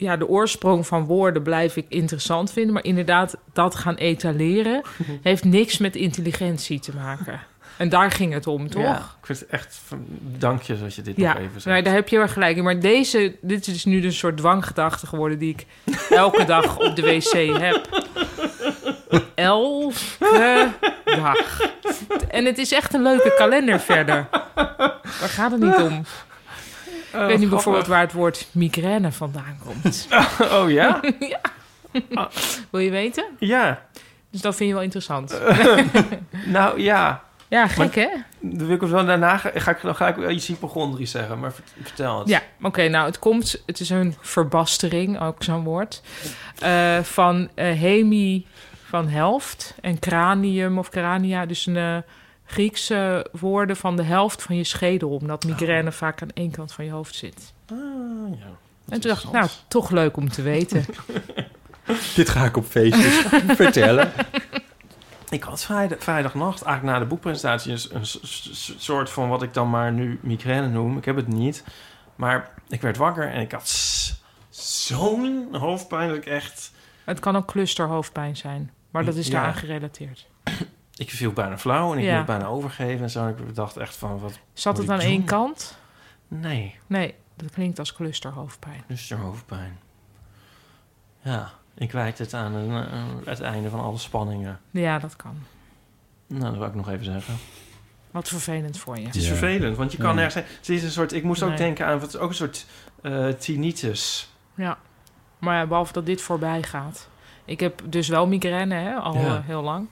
Ja, de oorsprong van woorden blijf ik interessant vinden. Maar inderdaad, dat gaan etaleren... heeft niks met intelligentie te maken. En daar ging het om, toch? Ja, ik vind het echt... van- Dank je dat je dit Ja, nog even zegt. nee, daar heb je wel gelijk in. Maar deze, dit is nu dus een soort dwanggedachte geworden die ik elke dag op de wc heb. Elke dag. En het is echt een leuke kalender verder. Daar gaat het niet om. Ik weet nu bijvoorbeeld waar het woord migraine vandaan komt. Oh ja? Wil je weten? ja. Dus dat vind je wel interessant. Nou ja. Ja, gek hè? Dan wil ik wel daarna ga, ga ik, dan ga ik wel iets hypochondrisch zeggen, maar vert- vertel het. Ja, oké. nou, het komt... Het is een verbastering, ook zo'n woord. eh, van eh, hemi van helft en cranium of crania. Dus een eh, Griekse woorden van de helft van je schedel. Omdat Oh. migraine vaak aan één kant van je hoofd zit. Ah, ja. en toen dacht ik, nou, interessant. toch leuk om te weten. Dit ga ik op feestjes vertellen. Ik had vrijdag, vrijdagnacht, eigenlijk na de boekpresentatie, een, s- een s- s- soort van wat ik dan maar nu migraine noem. Ik heb het niet. Maar ik werd wakker en ik had s- zo'n hoofdpijn dat ik echt... het kan ook clusterhoofdpijn zijn. Maar dat is Ja. daaraan gerelateerd. Ik viel bijna flauw en ik Ja. moest bijna overgeven en zo. En ik dacht echt van, wat... Zat Moet het ik aan één doen? kant? Nee, Nee, dat klinkt als clusterhoofdpijn. dus je hoofdpijn. Ja, ik wijd het aan een, eh, het einde van alle spanningen. Ja, dat kan. Nou, dat wil ik nog even zeggen. Wat vervelend voor je. Het is Ja. vervelend, want je kan Ja. nergens... Het is een soort... Ik moest ook Nee. denken aan... Het is ook een soort eh, tinnitus. Ja, maar ja, behalve dat dit voorbij gaat. Ik heb dus wel migraine hè, al Ja. eh, heel lang.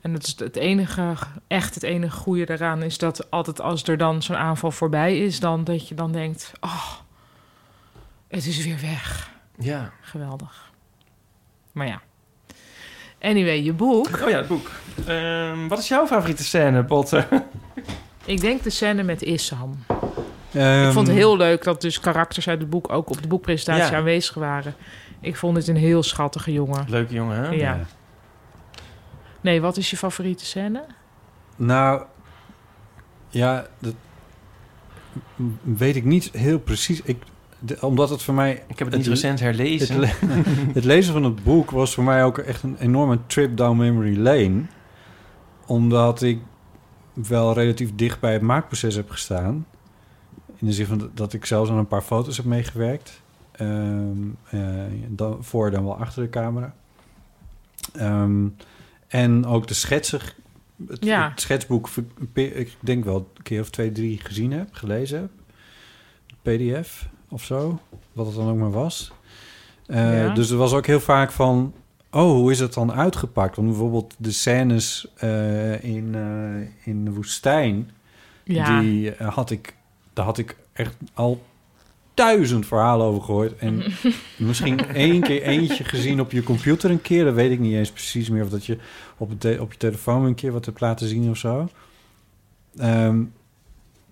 En dat is het enige, echt het enige goede daaraan is dat altijd als er dan zo'n aanval voorbij is, dan dat je dan denkt, oh, het is weer weg. Ja. Geweldig. Maar ja. Anyway, je boek. Oh ja, het boek. Ehm, wat is jouw favoriete scène, Botte? Ik denk de scène met Issam. Ehm, Ik vond het heel leuk dat dus karakters uit het boek ook op de boekpresentatie Ja. aanwezig waren. Ik vond het een heel schattige jongen. Leuke jongen, hè? Ehm, Ja. Nee, wat is je favoriete scène? Nou, ja, dat weet ik niet heel precies. Ik, de- omdat het voor mij Ik heb het Het niet le- recent herlezen. Het, le- het lezen van het boek was voor mij ook echt een enorme trip down memory lane. Omdat ik wel relatief dicht bij het maakproces heb gestaan. In de zin van dat ik zelfs aan een paar foto's heb meegewerkt. Eh, Ehm, eh, dan, voor dan wel achter de camera. Ehm, en ook de schetsen, het, Ja. het schetsboek, ver- ik denk wel een keer of twee, drie gezien heb, gelezen heb. PDF of zo, wat het dan ook maar was. Eh, Ja. Dus er was ook heel vaak van, oh, hoe is het dan uitgepakt? Want bijvoorbeeld de scènes eh, in, eh, in de woestijn, Ja. die eh, had ik, daar had ik echt al duizend verhalen over gehoord. En misschien één keer eentje gezien op je computer een keer. Dat weet ik niet eens precies meer. Of dat je op, het te- op je telefoon een keer wat hebt laten zien of zo. Ehm,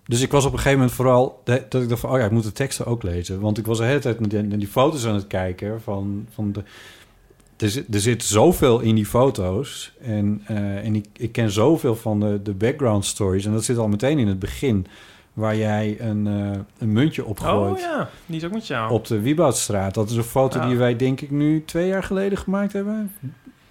dus ik was op een gegeven moment vooral... de- dat ik dacht van, oh ja, ik moet de teksten ook lezen. Want ik was de hele tijd naar die, naar die foto's aan het kijken. Van, van de, er, zit, er zit zoveel in die foto's. En, eh, en ik, ik ken zoveel van de, de background stories. En dat zit al meteen in het begin. Waar jij een, eh, een muntje opgooit Oh ja, die is ook met jou. op de Wieboudstraat. Dat is een foto Ja. die wij denk ik nu twee jaar geleden gemaakt hebben.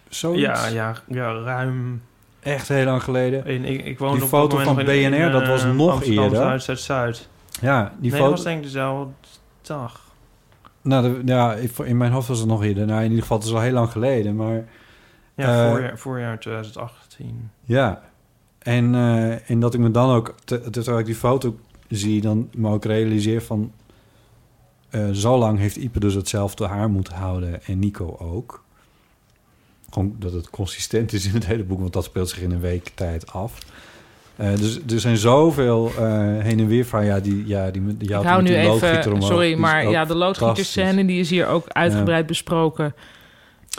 Zoiets. ja, ja, ja, ruim. Echt heel lang geleden. En ik, ik woonde Die op foto dat moment van nog in- in, BNR, dat was eh, nog Amsterdam, eerder. Zuid, Zuid, Zuid. Ja, die nee, dat foto. was denk ik dezelfde dag. Nou, de- ja, ik- in mijn hoofd was het nog eerder. Nou, in ieder geval, het is al heel lang geleden. Maar Ja, Eh, voorjaar, voorjaar 2018. ja. En, eh, en dat ik me dan ook, te- terwijl ik die foto zie, dan me ook realiseer van... eh, zo lang heeft Ipe dus hetzelfde haar moeten houden en Nico ook. Gewoon dat het consistent is in het hele boek, want dat speelt zich in een week tijd af. Eh, dus er zijn zoveel eh, heen en weer van... Ja, die, ja, die, die, Ik hou nu even, sorry, maar ja, de zijn. loodgieterscène die is hier ook uitgebreid besproken.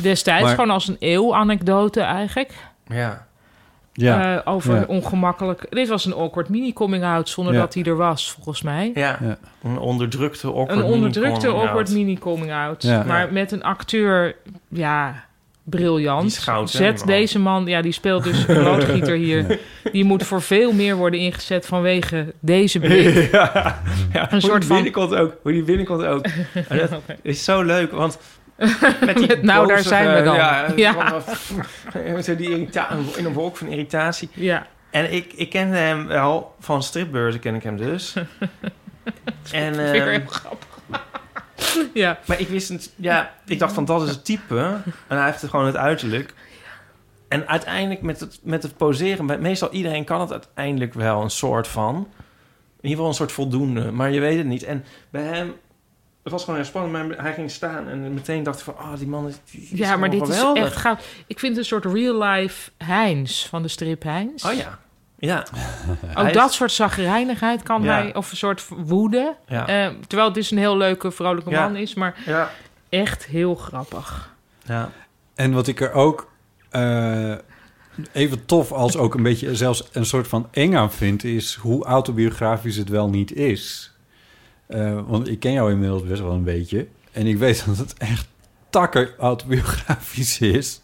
Destijds Maar- gewoon als een eeuw-anekdote eigenlijk. Ja. Ja. Eh, over ja. een ongemakkelijk... Dit was een awkward mini-coming-out zonder Ja. dat hij er was, volgens mij. Ja. Ja. Een onderdrukte awkward Een onderdrukte mini-coming-out. awkward mini-coming-out. Ja. Maar Ja. met een acteur, ja, Die briljant. is goud, hè, Zet die man. deze man, ja, die speelt dus een loodgieter hier. Die moet voor veel meer worden ingezet vanwege deze blik. ja, ja, een soort soort van- binnenkant ook. Hoe die binnenkant ook. En dat is zo leuk, want met die Met nou, daar zijn we bozige- dan. Ja, Ja. van- zo die irrita- in een wolk van irritatie. Ja, En ik, ik kende hem wel van stripbeurzen, ken ik hem dus. en, vind ik ehm, heel grappig. ja, maar ik wist het, ja, ik dacht van dat is het type. En hij heeft het gewoon het uiterlijk. En uiteindelijk met het, met het poseren, bij- meestal iedereen kan het uiteindelijk wel een soort van. In ieder geval een soort voldoende, maar je weet het niet. En bij hem, het was gewoon heel spannend, maar hij ging staan en meteen dacht ik van, ah, die man is, die is ja maar gewoon dit geweldig. is echt goud. Ik vind het een soort real-life Heinz van de strip Heinz. Oh ja, ja. Ook Hij dat is- soort zagrijnigheid kan Ja. hij, of een soort woede. Ja. Eh, terwijl het dus een heel leuke, vrolijke Ja. man is, maar ja. echt heel grappig. ja. En wat ik er ook eh, even tof als ook een beetje zelfs een soort van eng aan vind, is hoe autobiografisch het wel niet is. Eh, want ik ken jou inmiddels best wel een beetje. En ik weet dat het echt takker autobiografisch is.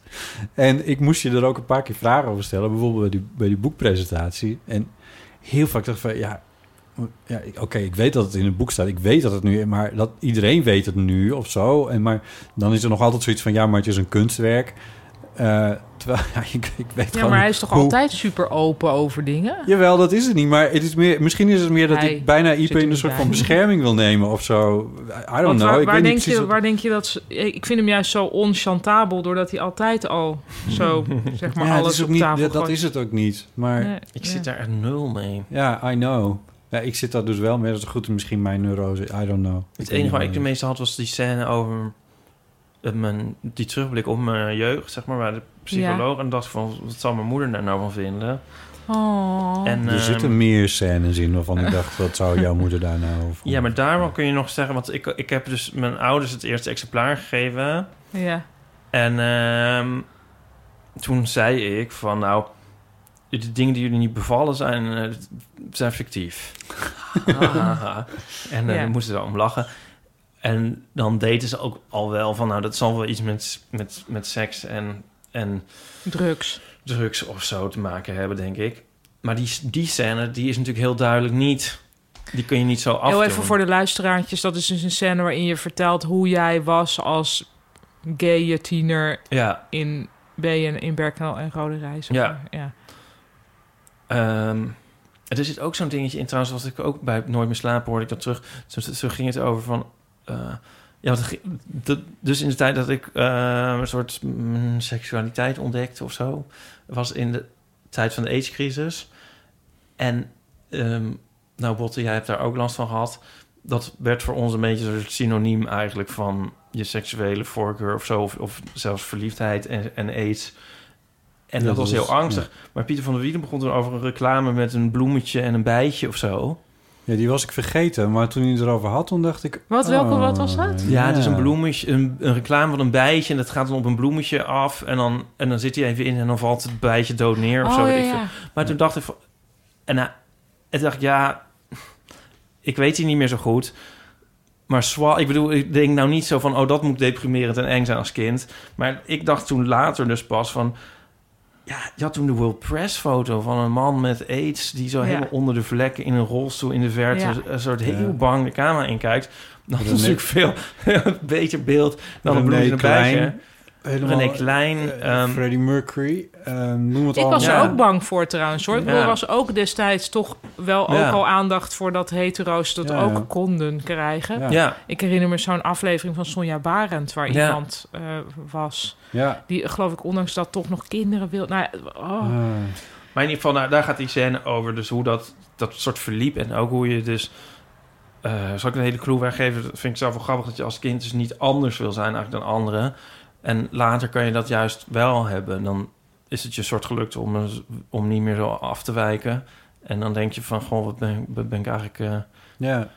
En ik moest je er ook een paar keer vragen over stellen. Bijvoorbeeld bij die, bij die boekpresentatie. En heel vaak dacht ik van, ja, ja ik- oké, ik weet dat het in het boek staat. Ik weet dat het nu, maar dat iedereen weet het nu of zo. En maar dan is er nog altijd zoiets van, ja, maar het is een kunstwerk. Eh, terwijl, ja, ik, ik weet Ja, gewoon maar hij is toch hoe- altijd super open over dingen? Jawel, dat is het niet. Maar het is meer, misschien is het meer dat Hij ik bijna zit IP er in een niet soort bij. van bescherming wil nemen of zo. I don't Want know. waar, ik waar weet denk niet precies je, wat- waar denk je dat ze... Ik vind hem juist zo onchantabel, doordat hij altijd al zo, zeg maar, Ja, het alles is ook op niet, tafel ja, Dat gooit. is het ook niet. Maar Nee, Ik ja. zit daar echt nul mee. ja, I know. Ja, ik zit daar dus wel mee. Dat is goed. Misschien mijn neurose. I don't know. Het weet enige waar niet ik de meeste had was die scène over eh, mijn, die terugblik op mijn jeugd, zeg maar, bij de psycholoog. En dacht van, wat zal mijn moeder daar nou van vinden? Oh. En, Er ehm, zitten meer scènes in waarvan ik dacht, wat zou jouw moeder daar nou over? Ja, maar daarvan kun je nog zeggen, want ik, ik heb dus mijn ouders het eerste exemplaar gegeven. ja. En ehm, toen zei ik van, nou, de dingen die jullie niet bevallen zijn, eh, zijn fictief. Ah. Hahaha. en eh, Ja. we moesten er om lachen. En dan deden ze ook al wel van, nou, dat zal wel iets met, met, met seks en, en Drugs. drugs of zo te maken hebben, denk ik. Maar die, die scène, die is natuurlijk heel duidelijk niet... Die kun je niet zo afdoen. Heel even voor de luisteraartjes. Dat is dus een scène waarin je vertelt hoe jij was als gay tiener Ja, in BN, in Berkel en Rode Reis. of Ja. zo. ja. Ehm, er zit ook zo'n dingetje in, trouwens, was ik ook bij Nooit meer slapen hoorde ik dat terug. Toen, toen ging het over van... eh, Ja, want ge- dat, dus in de tijd dat ik eh, een soort mm, seksualiteit ontdekte of zo, was in de tijd van de AIDS-crisis. En ehm, nou, Botte, jij hebt daar ook last van gehad. Dat werd voor ons een beetje een soort synoniem eigenlijk van je seksuele voorkeur of zo, of, of zelfs verliefdheid en, en AIDS. En Ja, dat dat was is- heel angstig. Maar Pieter van der Wielen begon toen over een reclame met een bloemetje en een bijtje of zo. Ja, die was ik vergeten. Maar toen hij het erover had, toen dacht ik... oh, Wat, welke- wat was dat? Ja, het is een bloemetje, een, een reclame van een bijtje en dat gaat dan op een bloemetje af en dan, en dan zit hij even in en dan valt het bijtje dood neer of zo. oh, weet ja, ik veel. ja. Maar toen dacht ik van, en, hij- en dacht ik, ja, ik weet die niet meer zo goed. Maar zwa, ik bedoel, ik denk nou niet zo van, oh, dat moet deprimerend en eng zijn als kind. Maar ik dacht toen later dus pas van, ja, je had toen de World Press foto van een man met aids... die zo Ja. helemaal onder de vlekken in een rolstoel in de verte... Ja. een soort Ja. heel bang de camera inkijkt. Dan René- is natuurlijk veel een beter beeld dan een René bloedje erbij. hè. Klein. Helemaal, René Klein, eh, ehm, Freddie Mercury. eh, noem het Ik allemaal. was Ja. er ook bang voor trouwens hoor. Ik bedoel, Ja. Er was ook destijds toch wel Ja. ook al aandacht voor dat hetero's dat Ja, ook ja. konden krijgen. Ja. ja. Ik herinner me zo'n aflevering van Sonja Barend waar Ja. iemand eh, was. Ja. Die eh, geloof ik ondanks dat toch nog kinderen wil. Nou, ja, oh. Ah. Maar in ieder geval, nou, daar gaat die scène over. Dus hoe dat, dat soort verliep. En ook hoe je dus... eh, zal ik een hele clue weggeven? Dat vind ik zelf wel grappig. Dat je als kind dus niet anders wil zijn eigenlijk dan anderen. En later kan je dat juist wel hebben. Dan is het je soort gelukt om, een- om niet meer zo af te wijken. En dan denk je van, goh, wat ben, ik- wat ben ik eigenlijk... eh ja.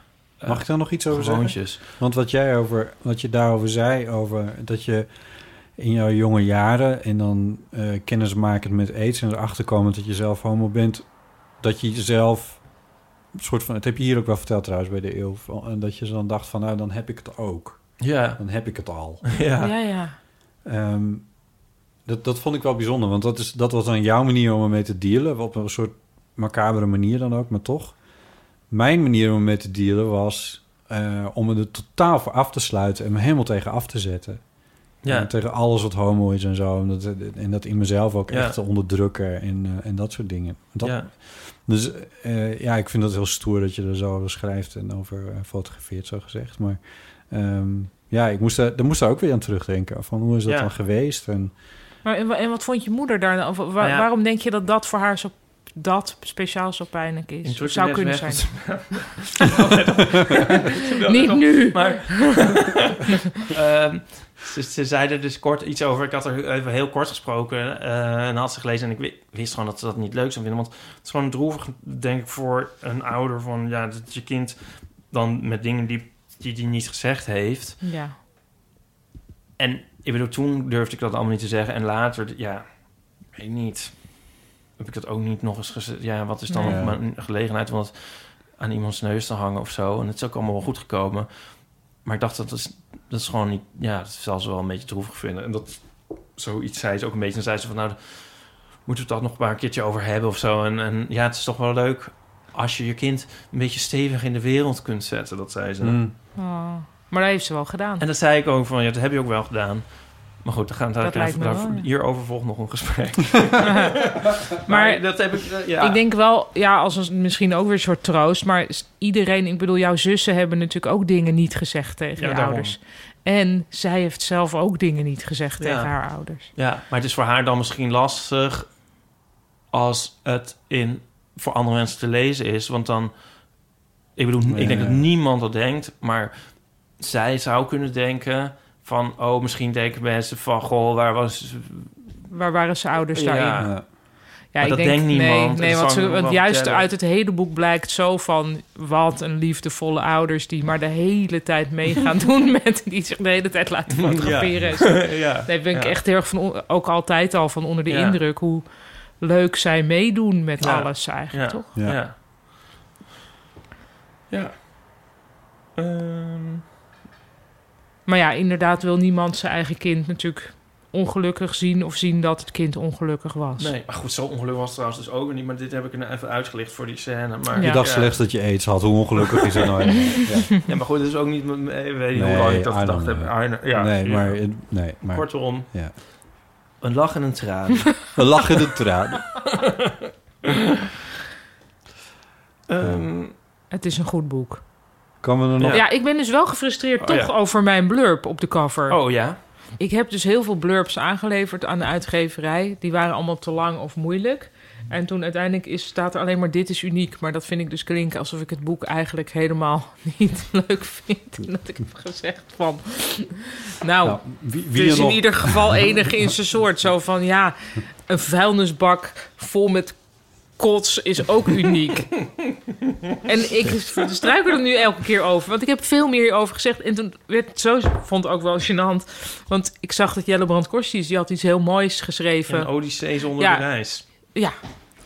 Mag ik daar nog iets over zeggen? gewoontjes. Want wat jij over, wat je daarover zei, over dat je in jouw jonge jaren en dan eh kennis maken met aids en erachter komen dat je zelf homo bent, dat je jezelf een soort van, het heb je hier ook wel verteld trouwens bij de eeuw, van- en dat je dan dacht van nou dan heb ik het ook, Ja, dan heb ik het al. ja. ja, ja. Ehm, dat, dat vond ik wel bijzonder, want dat, is, dat was dan jouw manier om ermee te dealen. Op een soort macabere manier dan ook, maar toch. Mijn manier om ermee te dealen was eh, om me er totaal voor af te sluiten en me helemaal tegen af te zetten. En ja. tegen alles wat homo is en zo. En dat, en dat in mezelf ook Ja. echt te onderdrukken en, eh, en dat soort dingen. Dat, ja. Dus eh, ja, ik vind dat heel stoer dat je er zo over schrijft en over eh, fotografeert, zo gezegd. Maar ehm, ja, ik moest daar, daar moest daar ook weer aan terugdenken. Van hoe is dat Ja. dan geweest? En, Maar, en, wa- en wat vond je moeder daar dan? over? Wa- Nou ja. Waarom denk je dat dat voor haar zo dat speciaal zo pijnlijk is? In Of zou kunnen Turkije zijn. is Niet nu. Maar ehm, ze, ze zei er dus kort iets over. Ik had er even heel kort gesproken eh, en had ze gelezen. En ik wi- wist gewoon dat ze dat niet leuk zou vinden. Want het is gewoon droevig, denk ik, voor een ouder van ja, dat je kind dan met dingen die die, die niet gezegd heeft. Ja. En ik bedoel, toen durfde ik dat allemaal niet te zeggen. En later, ja, weet ik niet. Heb ik dat ook niet nog eens gezegd? Ja, wat is dan Nee. nog maar een gelegenheid om dat aan iemands neus te hangen of zo? En het is ook allemaal wel goed gekomen. Maar ik dacht, dat is, dat is gewoon niet... Ja, dat zal ze wel een beetje droevig vinden. En dat zoiets zei ze ook een beetje. Dan zei ze van, nou, moeten we het dat nog maar een keertje over hebben of zo? En, en ja, het is toch wel leuk als je je kind een beetje stevig in de wereld kunt zetten, dat zei ze. Oh. Maar dat heeft ze wel gedaan. En dat zei ik ook van, ja, dat heb je ook wel gedaan. Maar goed, dan gaan we daar, Dat lijkt me daar- wel, ja. hierover volgt nog een gesprek. maar dat heb ik, eh, ja. Ik denk wel, ja, als een, misschien ook weer een soort troost. Maar s- iedereen, ik bedoel, jouw zussen hebben natuurlijk ook dingen niet gezegd tegen Ja, je daarom. ouders. En zij heeft zelf ook dingen niet gezegd Ja. tegen haar ouders. Ja, maar het is voor haar dan misschien lastig als het in, voor andere mensen te lezen is. Want dan, ik bedoel, Ja. ik denk dat niemand dat denkt, maar zij zou kunnen denken van, oh, misschien denken mensen van, goh, waar was... Waar waren ze ouders Ah. Ja. Ja. daarin? Ja, Maar ik dat denk, denkt nee, niemand. nee Dat zou want, ze, ik nog want wel juist vertellen. uit het hele boek blijkt zo van... wat een liefdevolle ouders die maar de hele tijd mee gaan doen... met die zich de hele tijd laten fotograferen. en zo. ja. Nee, ben ik Ja. echt heel erg van, on- ook altijd al van onder de Ja. indruk... hoe leuk zij meedoen met Ja. alles eigenlijk, Ja. toch? Ja. Ja. Ja. Ehm, Maar ja, inderdaad wil niemand zijn eigen kind natuurlijk ongelukkig zien... of zien dat het kind ongelukkig was. nee, maar goed, zo ongeluk was het trouwens dus ook weer niet. Maar dit heb ik er even uitgelicht voor die scène. Maar, Ja. Je dacht ja. slechts dat je aids had. Hoe ongelukkig is dat nou? eigenlijk? Ja. Ja, maar goed, het is ook niet... m- m- Ik weet niet hoe Nee, lang ik dat I don't gedacht heb. know. I know- Ja, nee, ja. maar, het- nee, maar Kortom, Ja. een lach en een traan. een lachende traan. Ehm, Het is een goed boek. Kan we er Ehm, nog... Ja. ik ben dus wel gefrustreerd Oh, toch ja. over mijn blurb op de cover. Oh ja? Ik heb dus heel veel blurbs aangeleverd aan de uitgeverij. Die waren allemaal te lang of moeilijk. En toen uiteindelijk is, staat er alleen maar dit is uniek. Maar dat vind ik dus klinken alsof ik het boek eigenlijk helemaal niet leuk vind. En dat ik heb gezegd van... Nou, Nou, wie, wie het is er in nog... ieder geval enig in zijn soort. Zo van, ja, een vuilnisbak vol met kots is ook uniek. en ik struikel er nu elke keer over. Want ik heb veel meer hierover gezegd. En toen werd het zo, ik vond het ook wel gênant. Want ik zag dat Jelle Brand Korsies, die had iets heel moois geschreven. Een Odyssee zonder Ja. reis. Ja.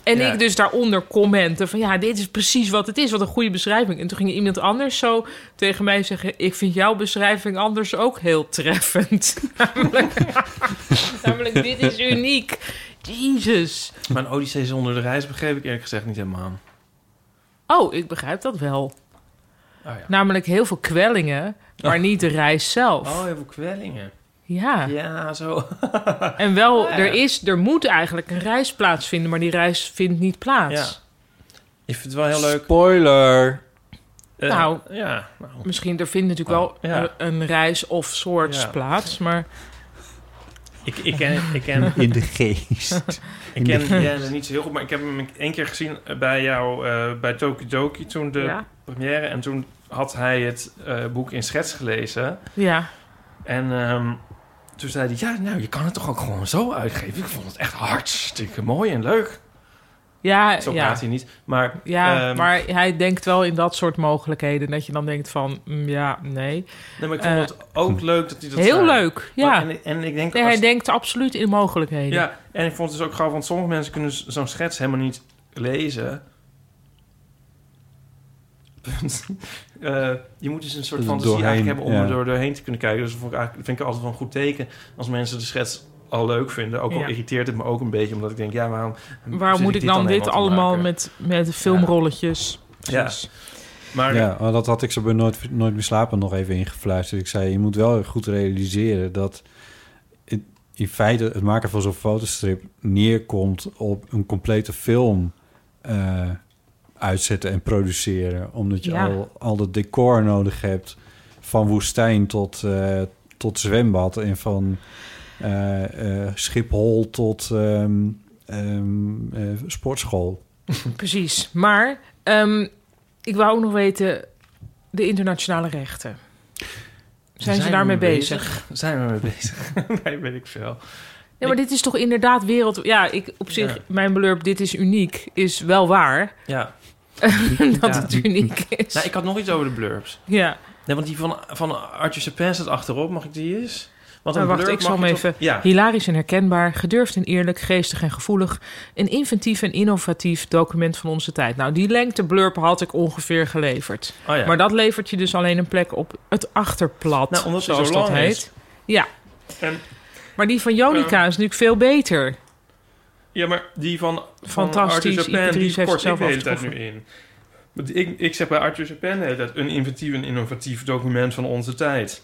En Ja. ik dus daaronder commenten van ja, dit is precies wat het is. Wat een goede beschrijving. En toen ging iemand anders zo tegen mij zeggen... ik vind jouw beschrijving anders ook heel treffend. namelijk, namelijk, dit is uniek. Jezus. Maar een Odyssee zonder de reis begreep ik eerlijk gezegd niet helemaal. Oh, ik begrijp dat wel. Oh ja. Namelijk heel veel kwellingen, maar niet de reis zelf. Oh, heel veel kwellingen. ja. Ja, zo. En wel, Ja. er, is, er moet eigenlijk een reis plaatsvinden... maar die reis vindt niet plaats. Ik vind het wel heel leuk. Spoiler! Eh, Nou. Ja. Nou. Misschien, er vindt natuurlijk Oh, wel ja. een- een reis of soorts Ja. plaats, maar... Ik, ik ken, ik ken, In de geest. ik ken Jens niet zo heel goed, maar ik heb hem één keer gezien bij jou eh bij Tokidoki toen de Ja. première. En toen had hij het eh, boek in schets gelezen. ja. En ehm, toen zei hij, ja, nou, je kan het toch ook gewoon zo uitgeven? Ik vond het echt hartstikke mooi en leuk. Ja, Zo Eh, ja. praat hij niet. Maar Ja, Ehm. maar hij denkt wel in dat soort mogelijkheden. Dat je dan denkt van, mm, ja, nee. Nee, maar ik vond het ook leuk Dus dat hij dat Eh, Heel zei. leuk, ja. Maar- en, en ik denk... Nee, als- hij denkt absoluut in mogelijkheden. ja, en ik vond het dus ook grappig, want sommige mensen kunnen z- zo'n schets helemaal niet lezen. Punt. Eh, je moet dus een soort Er fantasie doorheen, eigenlijk hebben om ja. er door, doorheen te kunnen kijken. Dus dat vond ik, eigenlijk, vind ik altijd wel een goed teken als mensen de schets al leuk vinden. Ook al Ja. irriteert het me ook een beetje, omdat ik denk, ja, waarom... Waarom zit moet ik dan dit helemaal te allemaal maken? met, met filmrolletjes? Ja. Precies. Maar Ja, maar dat had ik ze bij Nooit, nooit meer slapen nog even ingefluisterd. Ik zei, je moet wel goed realiseren dat het- in feite het maken van zo'n fotostrip neerkomt op een complete film eh, uitzetten en produceren. Omdat je Ja. al, al dat decor nodig hebt, van woestijn tot, eh, tot zwembad en van eh, eh, Schiphol tot ehm, ehm, eh, sportschool. Precies. Maar ehm, ik wou ook nog weten, de internationale rechten. Zijn, ze we daarmee mee bezig? Zijn we mee bezig? nee, weet ik veel. Ja, maar dit is toch inderdaad wereld... Ja, ik, op zich, Ja. mijn blurb, dit is uniek, is wel waar. Ja. dat Ja. het uniek is. Nou, ik had nog iets over de blurbs. Ja. Nee, want die van, van Arthur Chapin staat achterop. Mag ik die eens? Want Maar een wacht, blurb ik zal mag hem je toch- even- Ja, Hilarisch en herkenbaar, gedurfd en eerlijk, geestig en gevoelig. Een inventief en innovatief document van onze tijd. Nou, die lengte blurb had ik ongeveer geleverd. oh ja. Maar dat levert je dus alleen een plek op het achterplat, Nou, omdat die zoals zo dat lang heet. is. Ja. En- ehm, maar die van Jonica is natuurlijk veel beter. ja, maar die van, van Fantastisch, Arthur Chapin, Idris die heeft kort ik zichzelf de hele tijd nu afgetroffen. in. Want ik, ik zeg bij Arthur Chapin de hele tijd... een inventief en innovatief document van onze tijd.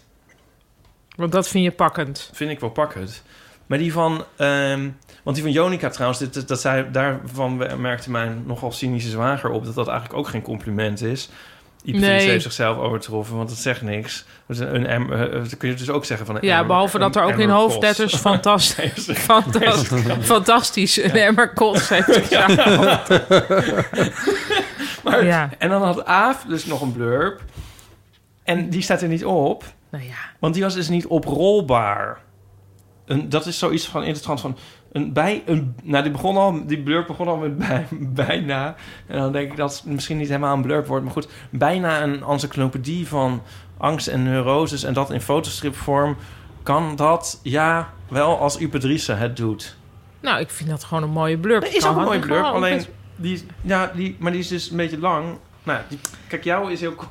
Want dat vind je pakkend. Vind ik wel pakkend. Maar die van... ehm, want die van Jonica trouwens, dit, dat, dat zij, daarvan merkte mijn nogal cynische zwager op... dat dat eigenlijk ook geen compliment is... Iep Nee. heeft zichzelf overtroffen, want dat zegt niks. Dus een, em- eh, eh, dan kun je dus ook zeggen van een Ja, emmer- behalve dat een er ook in emmer kost. hoofdletters fantastisch, fantastisch, fantastisch een emmer kots heeft Maar- Ja. En dan had Aaf dus nog een blurb. En die staat er niet op, Nou ja, want die was dus niet oprolbaar. En dat is zoiets van in de trant van een bij een. Nou, die begon al, die blurb begon al met bij, bijna. En dan denk ik dat het misschien niet helemaal een blurb wordt, maar goed, bijna een encyclopedie van angst en neuroses en dat in fotostripvorm. Kan dat ja wel als Upedrice het doet? nou ik vind dat gewoon een mooie blurb. Er is ook een mooie blurb, Gewoon alleen best- die, is- ja, die, maar die is dus een beetje lang. Nou, die, kijk, jou is heel kort.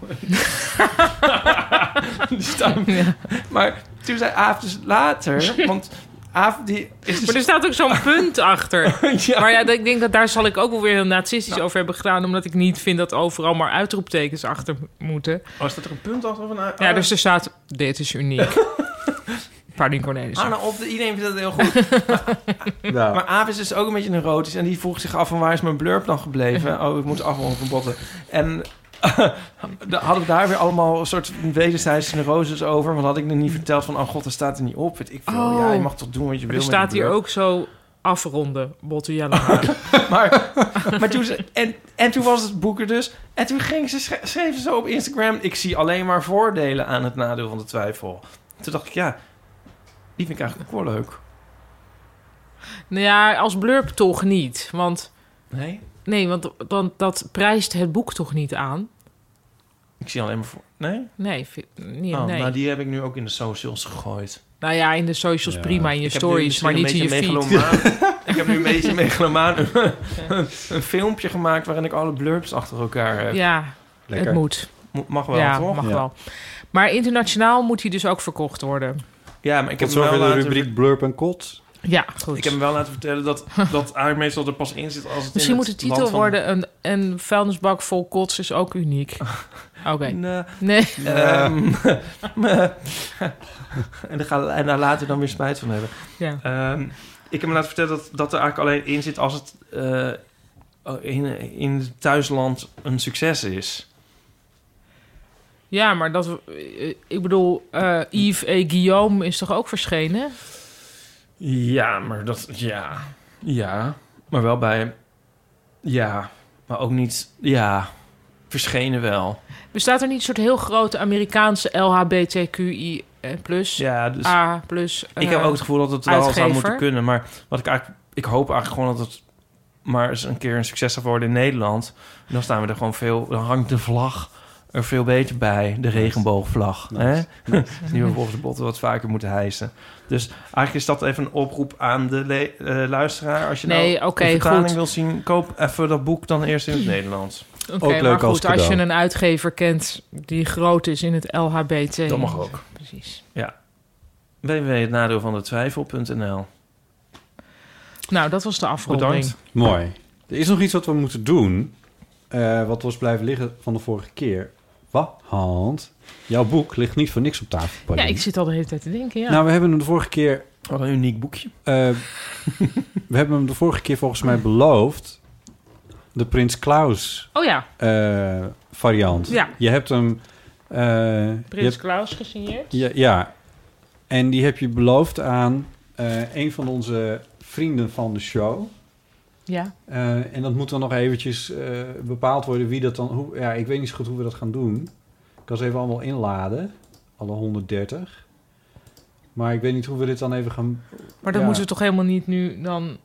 die staat, Ja. maar toen zei Aaf dus later, want Aaf die is dus... Maar er staat ook zo'n punt achter. ja, Maar ja, dat- ik denk dat daar zal ik ook wel weer heel nazistisch over hebben gedaan. Omdat ik niet vind dat overal maar uitroeptekens achter moeten. Oh, staat er een punt achter of een... Ja, dus er staat, dit is uniek. Pardon Cornelis. Ah, nou, op de, iedereen vindt dat heel goed. Nou, Maar Aaf is dus ook een beetje neurotisch. En die vroeg zich af van waar is mijn blurb dan gebleven? Oh, ik moet afronden van botten. En Da- hadden we daar weer allemaal een soort wederzijdse neuroses over? Want had ik nog niet verteld van... oh god, daar staat er niet op. Weet ik veel. Oh. Ja, je mag toch doen wat je Maar wil er met staat die hier blur. ook zo afronden, Bottujella. Maar, maar toen ze, en, en toen was het boek er dus. En toen ging ze, schre- schreef ze zo op Instagram... ik zie alleen maar voordelen aan het nadeel van de twijfel. Toen dacht ik, ja... die vind ik eigenlijk ook wel leuk. nou ja, als blurb toch niet. Want, Nee? nee, want dan, dat prijst het boek toch niet aan? Ik zie alleen maar voor... Nee? Nee, vind- nee, Oh, nee. Nou, die heb ik nu ook in de socials gegooid. Nou ja, in de socials Ja. prima, in je Ik heb nu stories, misschien maar een niet in je beetje feed. megalomaan- ik heb nu een beetje megalomaan een, een filmpje gemaakt... waarin ik alle blurbs achter elkaar heb. Ja, Lekker. het moet. Mo- Mag wel, ja, toch? mag Ja. wel. Maar internationaal moet hij dus ook verkocht worden. Ja, maar ik heb, Tot hem wel zover de laten rubriek Blurp en Kot. Ja, goed. ver- ik heb hem wel laten vertellen dat, dat AI meestal er pas in zit als het Misschien in moet de het titel land van- worden... Een, een vuilnisbak vol kots is ook uniek. Oké. Nee, Nee, ehm, en, daar gaan, en daar later dan weer spijt van hebben. ja. Ehm, ik heb hem laten vertellen dat, dat er eigenlijk alleen in zit als het eh, in, in het thuisland een succes is. ja, maar dat... eh, Ik bedoel, eh, Yves E. Guillaume is toch ook verschenen? Ja, maar dat... Ja. Ja. Maar wel bij... Ja. Maar ook niet... Ja. Verschenen wel. Bestaat er niet een soort heel grote Amerikaanse LHBTQI eh, plus? Ja, dus... A plus... Ik heb eh, ook het gevoel dat het wel zou uitgever. moeten kunnen. Maar wat ik eigenlijk, ik hoop eigenlijk gewoon dat het maar eens een keer een succes zou worden in Nederland. En dan staan we er gewoon veel, dan hangt de vlag er veel beter bij, de regenboogvlag. Hè? Die we volgens de botten wat vaker moeten hijsen. Dus eigenlijk is dat even een oproep aan de le- eh, luisteraar. Als je Nee, nou oké, de vertaling goed. wil zien, koop even dat boek dan eerst in het Nederlands. Oké, Ook maar leuk goed, als als je cadeau. een uitgever kent die groot is in het LHBT. Dat mag ook. Precies. www.hetnadeelvandetwijfel.nl Nou, dat was de afronding. Bedankt. Mooi. Er is nog iets wat we moeten doen. eh, wat was blijven liggen van de vorige keer. Wat? Hand. Jouw boek ligt niet voor niks op tafel. Ja, Pauline. ik zit al de hele tijd te denken, ja. Nou, we hebben hem de vorige keer. Wat een uniek boekje. eh, we hebben hem de vorige keer volgens mij beloofd. De Prins Klaus oh ja, eh, variant. Ja. Je hebt hem. eh, je Prins hebt- Klaus gesigneerd. ja, ja. En die heb je beloofd aan eh, een van onze vrienden van de show. Ja. Eh, en dat moet dan nog eventjes eh, bepaald worden wie dat dan... Hoe, ja, ik weet niet zo goed hoe we dat gaan doen. Ik kan ze even allemaal inladen. Alle 130. Maar ik weet niet hoe we dit dan even gaan... Maar dat Ja. moeten we toch helemaal niet nu dan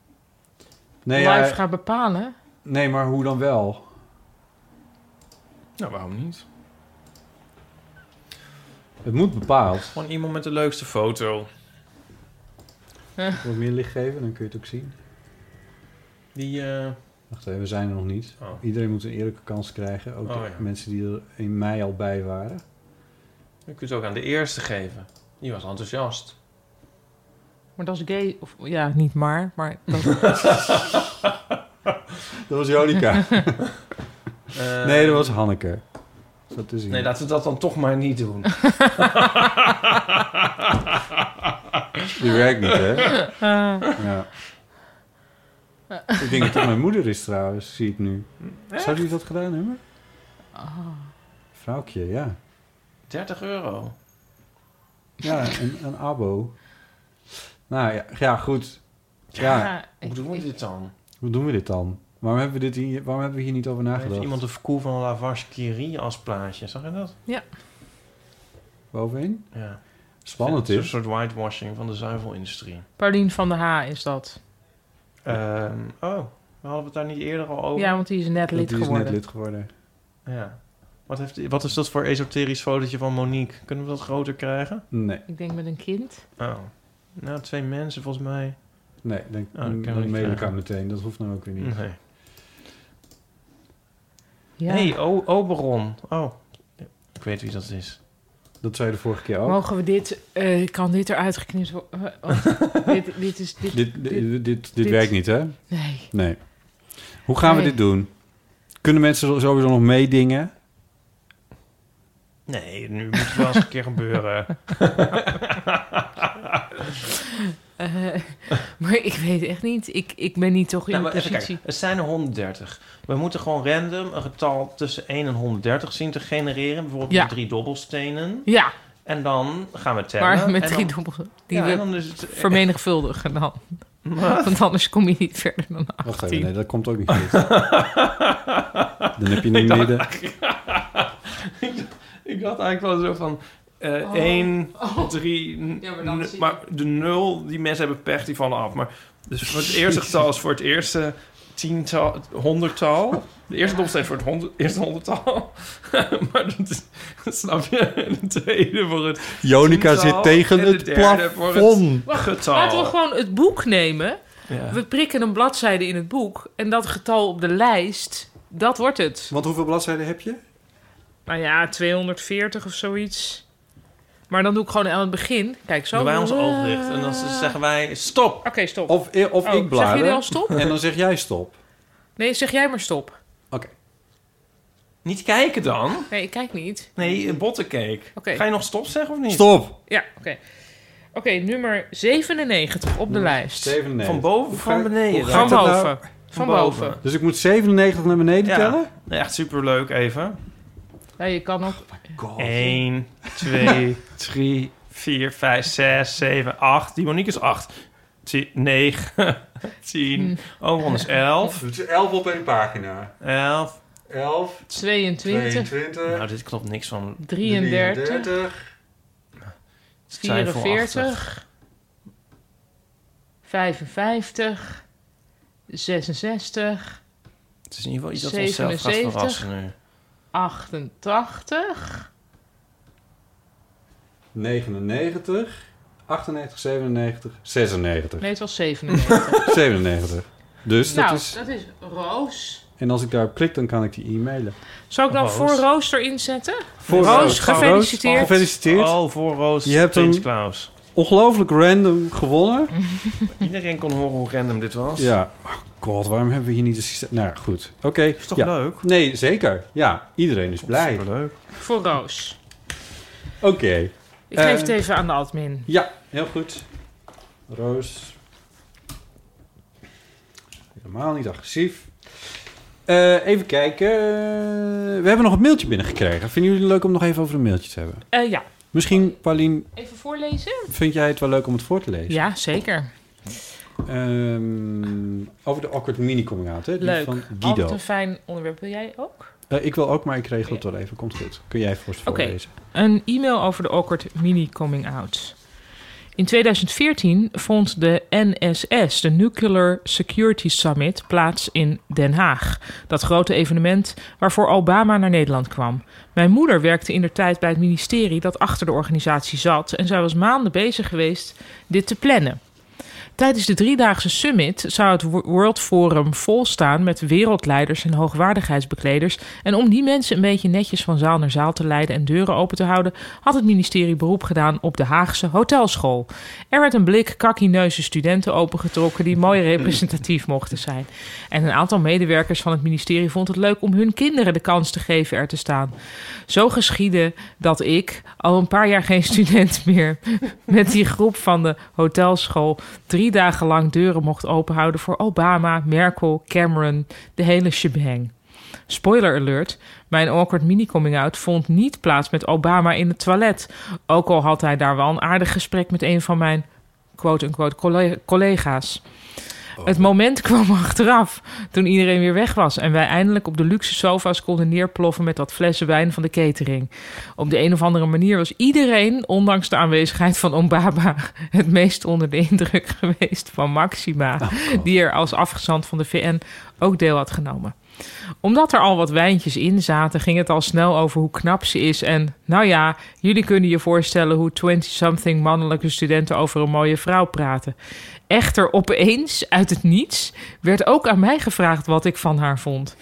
Nee, live ja, gaan bepalen? nee, maar hoe dan wel? Nou, waarom niet? Het moet bepaald. Gewoon iemand met de leukste foto. Wat meer licht geven, dan kun je het ook zien. Die... eh, Wacht even, we zijn er nog niet. oh. Iedereen moet een eerlijke kans krijgen. Ook Oh, de ja. mensen die er in mei al bij waren. Je kunt het ook aan de eerste geven. Die was enthousiast. Maar dat is gay. Of, ja, niet maar. Maar dat, Dat was Jonica. Eh, nee, dat was Hanneke. Is Dat te zien. Nee, laten we dat dan toch maar niet doen. Die werkt niet, hè? Ja. Ik denk dat het mijn moeder is trouwens, zie ik nu. Zou die dat gedaan hebben? Vrouwtje, ja. 30 euro. Ja, een, een abo. Nou ja, ja goed. Ja, Hoe doen we dit dan? hoe doen we dit dan? Waarom hebben we, dit hier, waarom hebben we hier niet over Heeft nagedacht? iemand de verkoer van Lavash Curie als plaatje? Zag je dat? Bovenin? Ja. Spannend Een is. soort whitewashing van de zuivelindustrie. Paulien van der Ha is dat. Ehm, oh, we hadden het daar niet eerder al over. Ja, want die is net Dat lid die is geworden. net lid geworden. Ja. Wat, heeft, wat is dat voor esoterisch fotootje van Monique? Kunnen we dat groter krijgen? Nee, Ik denk met een kind. Oh. Nou, twee mensen volgens mij. nee dan, Oh, dat kan ik dan niet mail ik vragen. haar meteen. Dat hoeft nou ook weer niet. Nee. Ja. hey, o- Oberon. Oh, ik weet wie dat is. Dat zei je de vorige keer ook. Mogen we dit... eh, kan dit eruit geknipt worden? Oh, dit, dit is... Dit, Dit, dit, dit, dit dit- werkt niet, hè? nee. Nee. Hoe gaan we Nee. dit doen? Kunnen mensen sowieso nog meedingen? Nee, nu moet het wel eens een keer gebeuren. Eh, maar ik weet echt niet. Ik, ik ben niet toch in Nou, de maar even positie. kijken. Het zijn er 130. We moeten gewoon random een getal tussen 1 en 130 zien te genereren. Bijvoorbeeld Ja. met drie dobbelstenen. Ja, En dan gaan we tellen. maar met en drie dan- dobbels. Die ja, en we dan is het... vermenigvuldigen dan. Want anders kom je niet verder dan Wacht 18. even, nee, dat komt ook niet goed. Dan heb je niet meer de... Ik had eigenlijk wel zo van... eh, Oh. 1, 3... Ja, maar dan zie je- Maar de 0, die mensen hebben pech, die vallen af. Maar dus voor het eerste getal is voor het eerste tiental, honderdtal. De eerste dobbelsteen is voor het honderd, eerste honderdtal. maar dat, is- dat snap je. En de tweede voor het Jonica tiental. zit tegen En de het derde voor het plafond. getal. Laten we gewoon het boek nemen. Ja. We prikken een bladzijde in het boek. En dat getal op de lijst, dat wordt het. Want hoeveel bladzijden heb je? Nou ja, 240 of zoiets. Maar dan doe ik gewoon aan het begin. Kijk, zo. Eh, Doen wij ons oog dicht en dan zeggen wij stop. Oké, stop. Of, of Oh, ik zeg jullie al blader. stop? En dan zeg jij stop. Nee, zeg jij maar stop. Oké. Niet kijken dan. Nee, ik kijk niet. Nee, bottencake. Oké. Ga je nog stop zeggen of niet? Stop! Ja, oké. Oké, nummer 97 op de lijst. 97. Van boven, Hoe ga van ik- beneden. hoe ga Van ik dat nou- boven. Van boven. Dus ik moet 97 naar beneden Ja. tellen? Nee, Echt superleuk even. Ja, je kan nog... 1, 2, 3, 4, 5, 6, 7, 8. Die Monique is 8. 9, 10. Hm. Oh, dan is 11. Het is 11 op één pagina. 11. 11, 22, Nou, dit klopt niks van. 33, 44, 55, 66, Het is in ieder geval iets dat onszelf gaat 77. verrassen nu. 88, 99, 98, 97, 96. nee, het was 97. 97. Dus nou, dat is... dat is Roos. En als ik daarop klik, dan kan ik die e-mailen. Zal ik dan Roos. voor Roos erin zetten? Voor Roos, gefeliciteerd. Roos, gefeliciteerd. Oh, voor Roos. Je hebt Prins hem- Klaus. Ongelooflijk random gewonnen. Iedereen kon horen hoe random dit was. Ja. Oh god, waarom hebben we hier niet een systeem? Nou ja, goed. Oké. Is toch ja. leuk? Nee, zeker. Ja, iedereen is blij. Oké. Superleuk. Voor Roos. Ik geef Eh, het even aan de admin. Ja, heel goed. Roos. Helemaal niet agressief. Eh, even kijken. We hebben nog een mailtje binnengekregen. Vinden jullie het leuk om nog even over een mailtje te hebben? Eh, ja, Misschien, Paulien, even voorlezen? vind jij het wel leuk om het voor te lezen? Ja, zeker. Ehm, over de awkward mini coming out, hè? Die Leuk. van Guido. Altijd een fijn onderwerp. Wil jij ook? Eh, ik wil ook, maar ik regel het wel even. Komt goed. Kun jij voor Oké. voorlezen? Een e-mail over de awkward mini coming out. In 2014 vond de NSS, de Nuclear Security Summit, plaats in Den Haag. Dat grote evenement waarvoor Obama naar Nederland kwam. Mijn moeder werkte in de tijd bij het ministerie dat achter de organisatie zat en zij was maanden bezig geweest dit te plannen. Tijdens de driedaagse summit zou het Wo- World Forum volstaan met wereldleiders en hoogwaardigheidsbekleders. En om die mensen een beetje netjes van zaal naar zaal te leiden en deuren open te houden, had het ministerie beroep gedaan op de Haagse hotelschool. Er werd een blik kakkineuze studenten opengetrokken die mooi representatief mochten zijn. En een aantal medewerkers van het ministerie vond het leuk om hun kinderen de kans te geven er te staan. Zo geschiedde dat ik, al een paar jaar geen student meer, met die groep van de hotelschool drie dagen lang deuren mocht openhouden voor Obama, Merkel, Cameron, de hele shebang. Spoiler alert, mijn awkward mini-coming-out vond niet plaats met Obama in het toilet. Ook al had hij daar wel een aardig gesprek met een van mijn quote-unquote colle- collega's. Het moment kwam achteraf, toen iedereen weer weg was... en wij eindelijk op de luxe sofa's konden neerploffen... met dat flessen wijn van de catering. Op de een of andere manier was iedereen, ondanks de aanwezigheid van Ombaba, het meest onder de indruk geweest van Maxima, Nou, die er als afgezant van de VN ook deel had genomen. Omdat er al wat wijntjes in zaten, ging het al snel over hoe knap ze is. En nou ja, jullie kunnen je voorstellen hoe 20-something mannelijke studenten over een mooie vrouw praten. Echter, opeens, uit het niets, werd ook aan mij gevraagd wat ik van haar vond.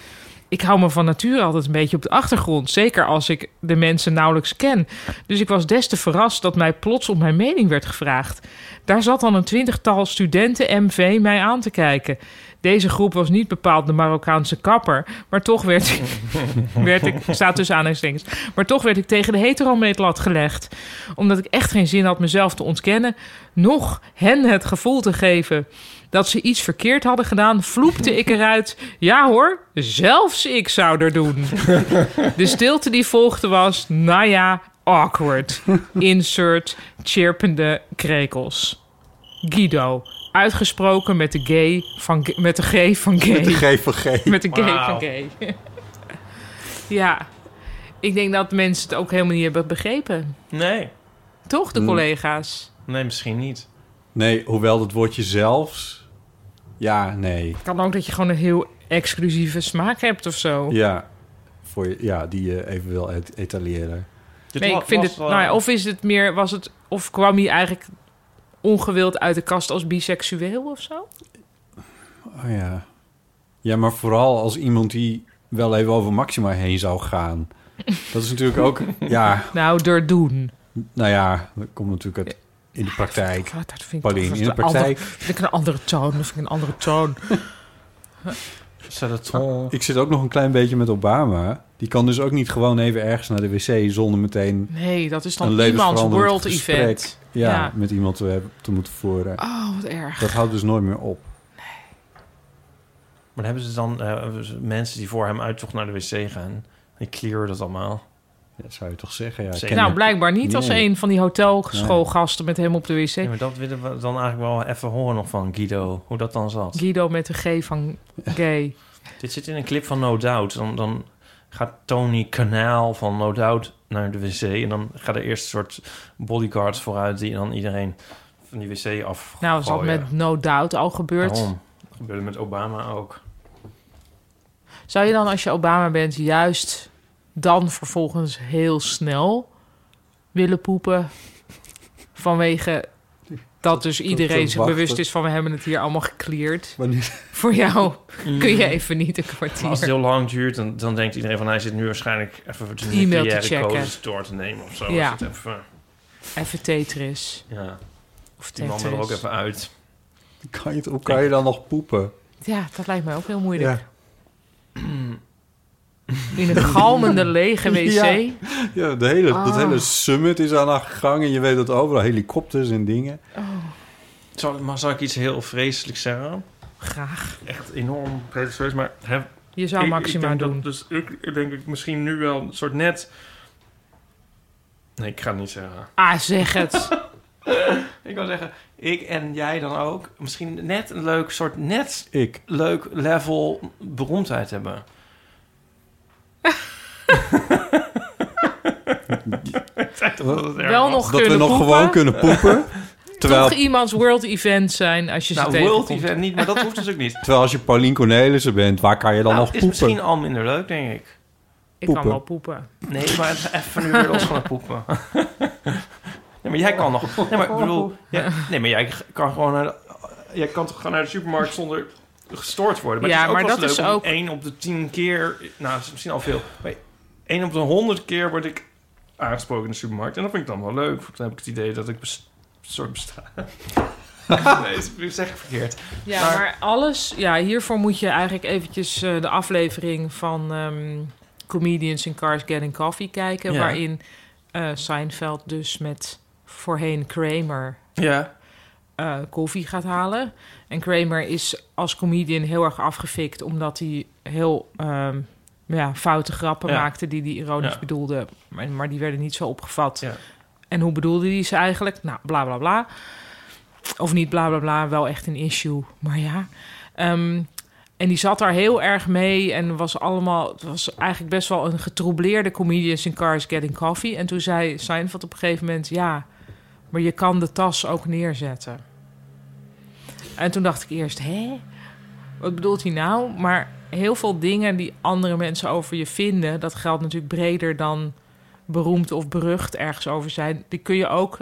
Ik hou me van nature altijd een beetje op de achtergrond. Zeker als ik de mensen nauwelijks ken. Dus ik was des te verrast dat mij plots om mijn mening werd gevraagd. Daar zat dan een twintigtal studenten MV mij aan te kijken. Deze groep was niet bepaald de Marokkaanse kapper, maar toch werd, werd ik, staat tussen aanhalingstekens, maar toch werd ik tegen de heteromeetlat gelegd. Omdat ik echt geen zin had mezelf te ontkennen, nog hen het gevoel te geven dat ze iets verkeerd hadden gedaan, vloepte ik eruit. Ja hoor, zelfs ik zou er doen. De stilte die volgde was, nou ja, awkward. Insert chirpende krekels. Guido, uitgesproken met de gay van ge- met de G van gay. Met de G van G. Met de gay Wauw. van gay. ja, ik denk dat mensen het ook helemaal niet hebben begrepen. Nee. Toch, Mm. de collega's? Nee, misschien niet. Nee, hoewel dat woordje zelfs... Ja, nee. Kan ook dat je gewoon een heel exclusieve smaak hebt of zo. Ja, voor, je- ja die je even wil et- etaleren. Dit nee, wa- ik vind was, het. eh, Nou ja, of is het meer, was het, of kwam hij eigenlijk ongewild uit de kast als biseksueel of zo? Oh ja. Ja, maar vooral als iemand die wel even over Maxima heen zou gaan. Dat is natuurlijk ook... Ja, Nou, door doen. nou ja, dat komt natuurlijk uit, in de praktijk. Wat, Oh, dat vind ik Paulien, toch- in de dat is een praktijk... andere- vind ik een andere toon, dat vind ik een andere toon. zet het toch- Ik zit ook nog een klein beetje met Obama. Die kan dus ook niet gewoon even ergens naar de wc zonder meteen Nee, dat een is dan iemands levensveranderend world gesprek event. Ja, Ja. met iemand te, hebben- te moeten voeren. Oh, wat erg. Dat houdt dus nooit meer op. Maar dan hebben ze dan eh, mensen die voor hem uit toch naar de wc gaan. Die clearen dat allemaal. Dat zou je toch zeggen? Ja, Zeker. ken nou, je- blijkbaar niet als Nee. een van die hotelschoolgasten met hem op de wc. Ja, maar dat willen we dan eigenlijk wel even horen nog van Guido. Hoe dat dan zat. Guido met de G Nou, van gay. Dit zit in een clip van No Doubt. Dan, dan gaat Tony Kanaal van No Doubt naar de wc. En dan gaat er eerst een soort bodyguards vooruit... die dan iedereen van die wc af. Nou, dat is al gooien. met no doubt al gebeurd. Oh, Daarom. Dat gebeurde met Obama ook. Zou je dan als je Obama bent juist dan vervolgens heel snel willen poepen? Vanwege dat dus iedereen zich wachten. bewust is van we hebben het hier allemaal gecleared. Wanneer- Voor jou kun je even niet een Maar als het kwartier. heel lang duurt, dan, dan denkt iedereen van... hij zit nu waarschijnlijk even de E-mail te nucleaire checken. codes door te nemen of zo. Ja. Is het even, Even Tetris. ja. Of Die man wil er ook Tetris. even uit. Kan je het, hoe kan je dan nog poepen? Ja, dat lijkt mij ook heel moeilijk. In een galmende lege wc. Ja. Ja, de hele, dat Ah. hele summit is aan haar gang en je weet dat overal helikopters en dingen. Zal, maar zal ik iets heel vreselijks zeggen? Graag. Echt enorm pretentieus, maar... Heb, Je zou ik- Maxima ik denk doen. Dat, dus ik ik denk ik misschien nu wel een soort net... Nee, ik ga het niet zeggen. Ah, zeg het. Ik wil zeggen, ik en jij dan ook... misschien net een leuk soort net Ik. leuk level beroemdheid hebben. Wel dat nog we kunnen nog poepen. gewoon kunnen poepen. terwijl, Toch iemands world event zijn als je ze Nou, tegenkomt. world event niet, maar dat hoeft dus ook niet. terwijl als je Paulien Cornelissen bent, waar kan je dan Nou, nog is misschien poepen? al minder leuk, denk ik. Ik Poepen. kan wel poepen. Nee, maar het- even nu weer los van het poepen. Nee, maar jij kan nog. Nee, maar ik bedoel... jij- nee, maar jij kan gewoon naar de, jij kan toch gewoon naar de supermarkt zonder gestoord worden. Maar Ja, het is ook maar wel eens leuk dat is om ook- één op de tien keer... Nou, dat is misschien al veel. Maar één op de honderd keer word ik aangesproken in de supermarkt. En dat vind ik dan wel leuk. want Dan heb ik het idee dat ik bes, soort besta. nee, dat zeg ik verkeerd. Ja, Maar- maar, alles... Ja, hiervoor moet je eigenlijk eventjes eh, de aflevering van ehm, Comedians in Cars Getting Coffee kijken. Ja. Waarin eh, Seinfeld dus met voorheen Kramer Ja. eh, koffie gaat halen. En Kramer is als comedian heel erg afgefikt... omdat hij heel ehm, ja, foute grappen Ja. maakte die hij ironisch Ja. bedoelde. Maar, maar die werden niet zo opgevat. Ja. En hoe bedoelde hij ze eigenlijk? Nou, bla bla bla. Of niet bla bla bla, wel echt een issue. Maar ja. Ehm, en die zat daar heel erg mee en was allemaal... Het was eigenlijk best wel een getroubleerde comedians in Cars Getting Coffee. En toen zei Seinfeld op een gegeven moment... Ja, maar je kan de tas ook neerzetten. En toen dacht ik eerst, hè? Wat bedoelt hij nou? Maar heel veel dingen die andere mensen over je vinden... dat geldt natuurlijk breder dan beroemd of berucht ergens over zijn... die kun je ook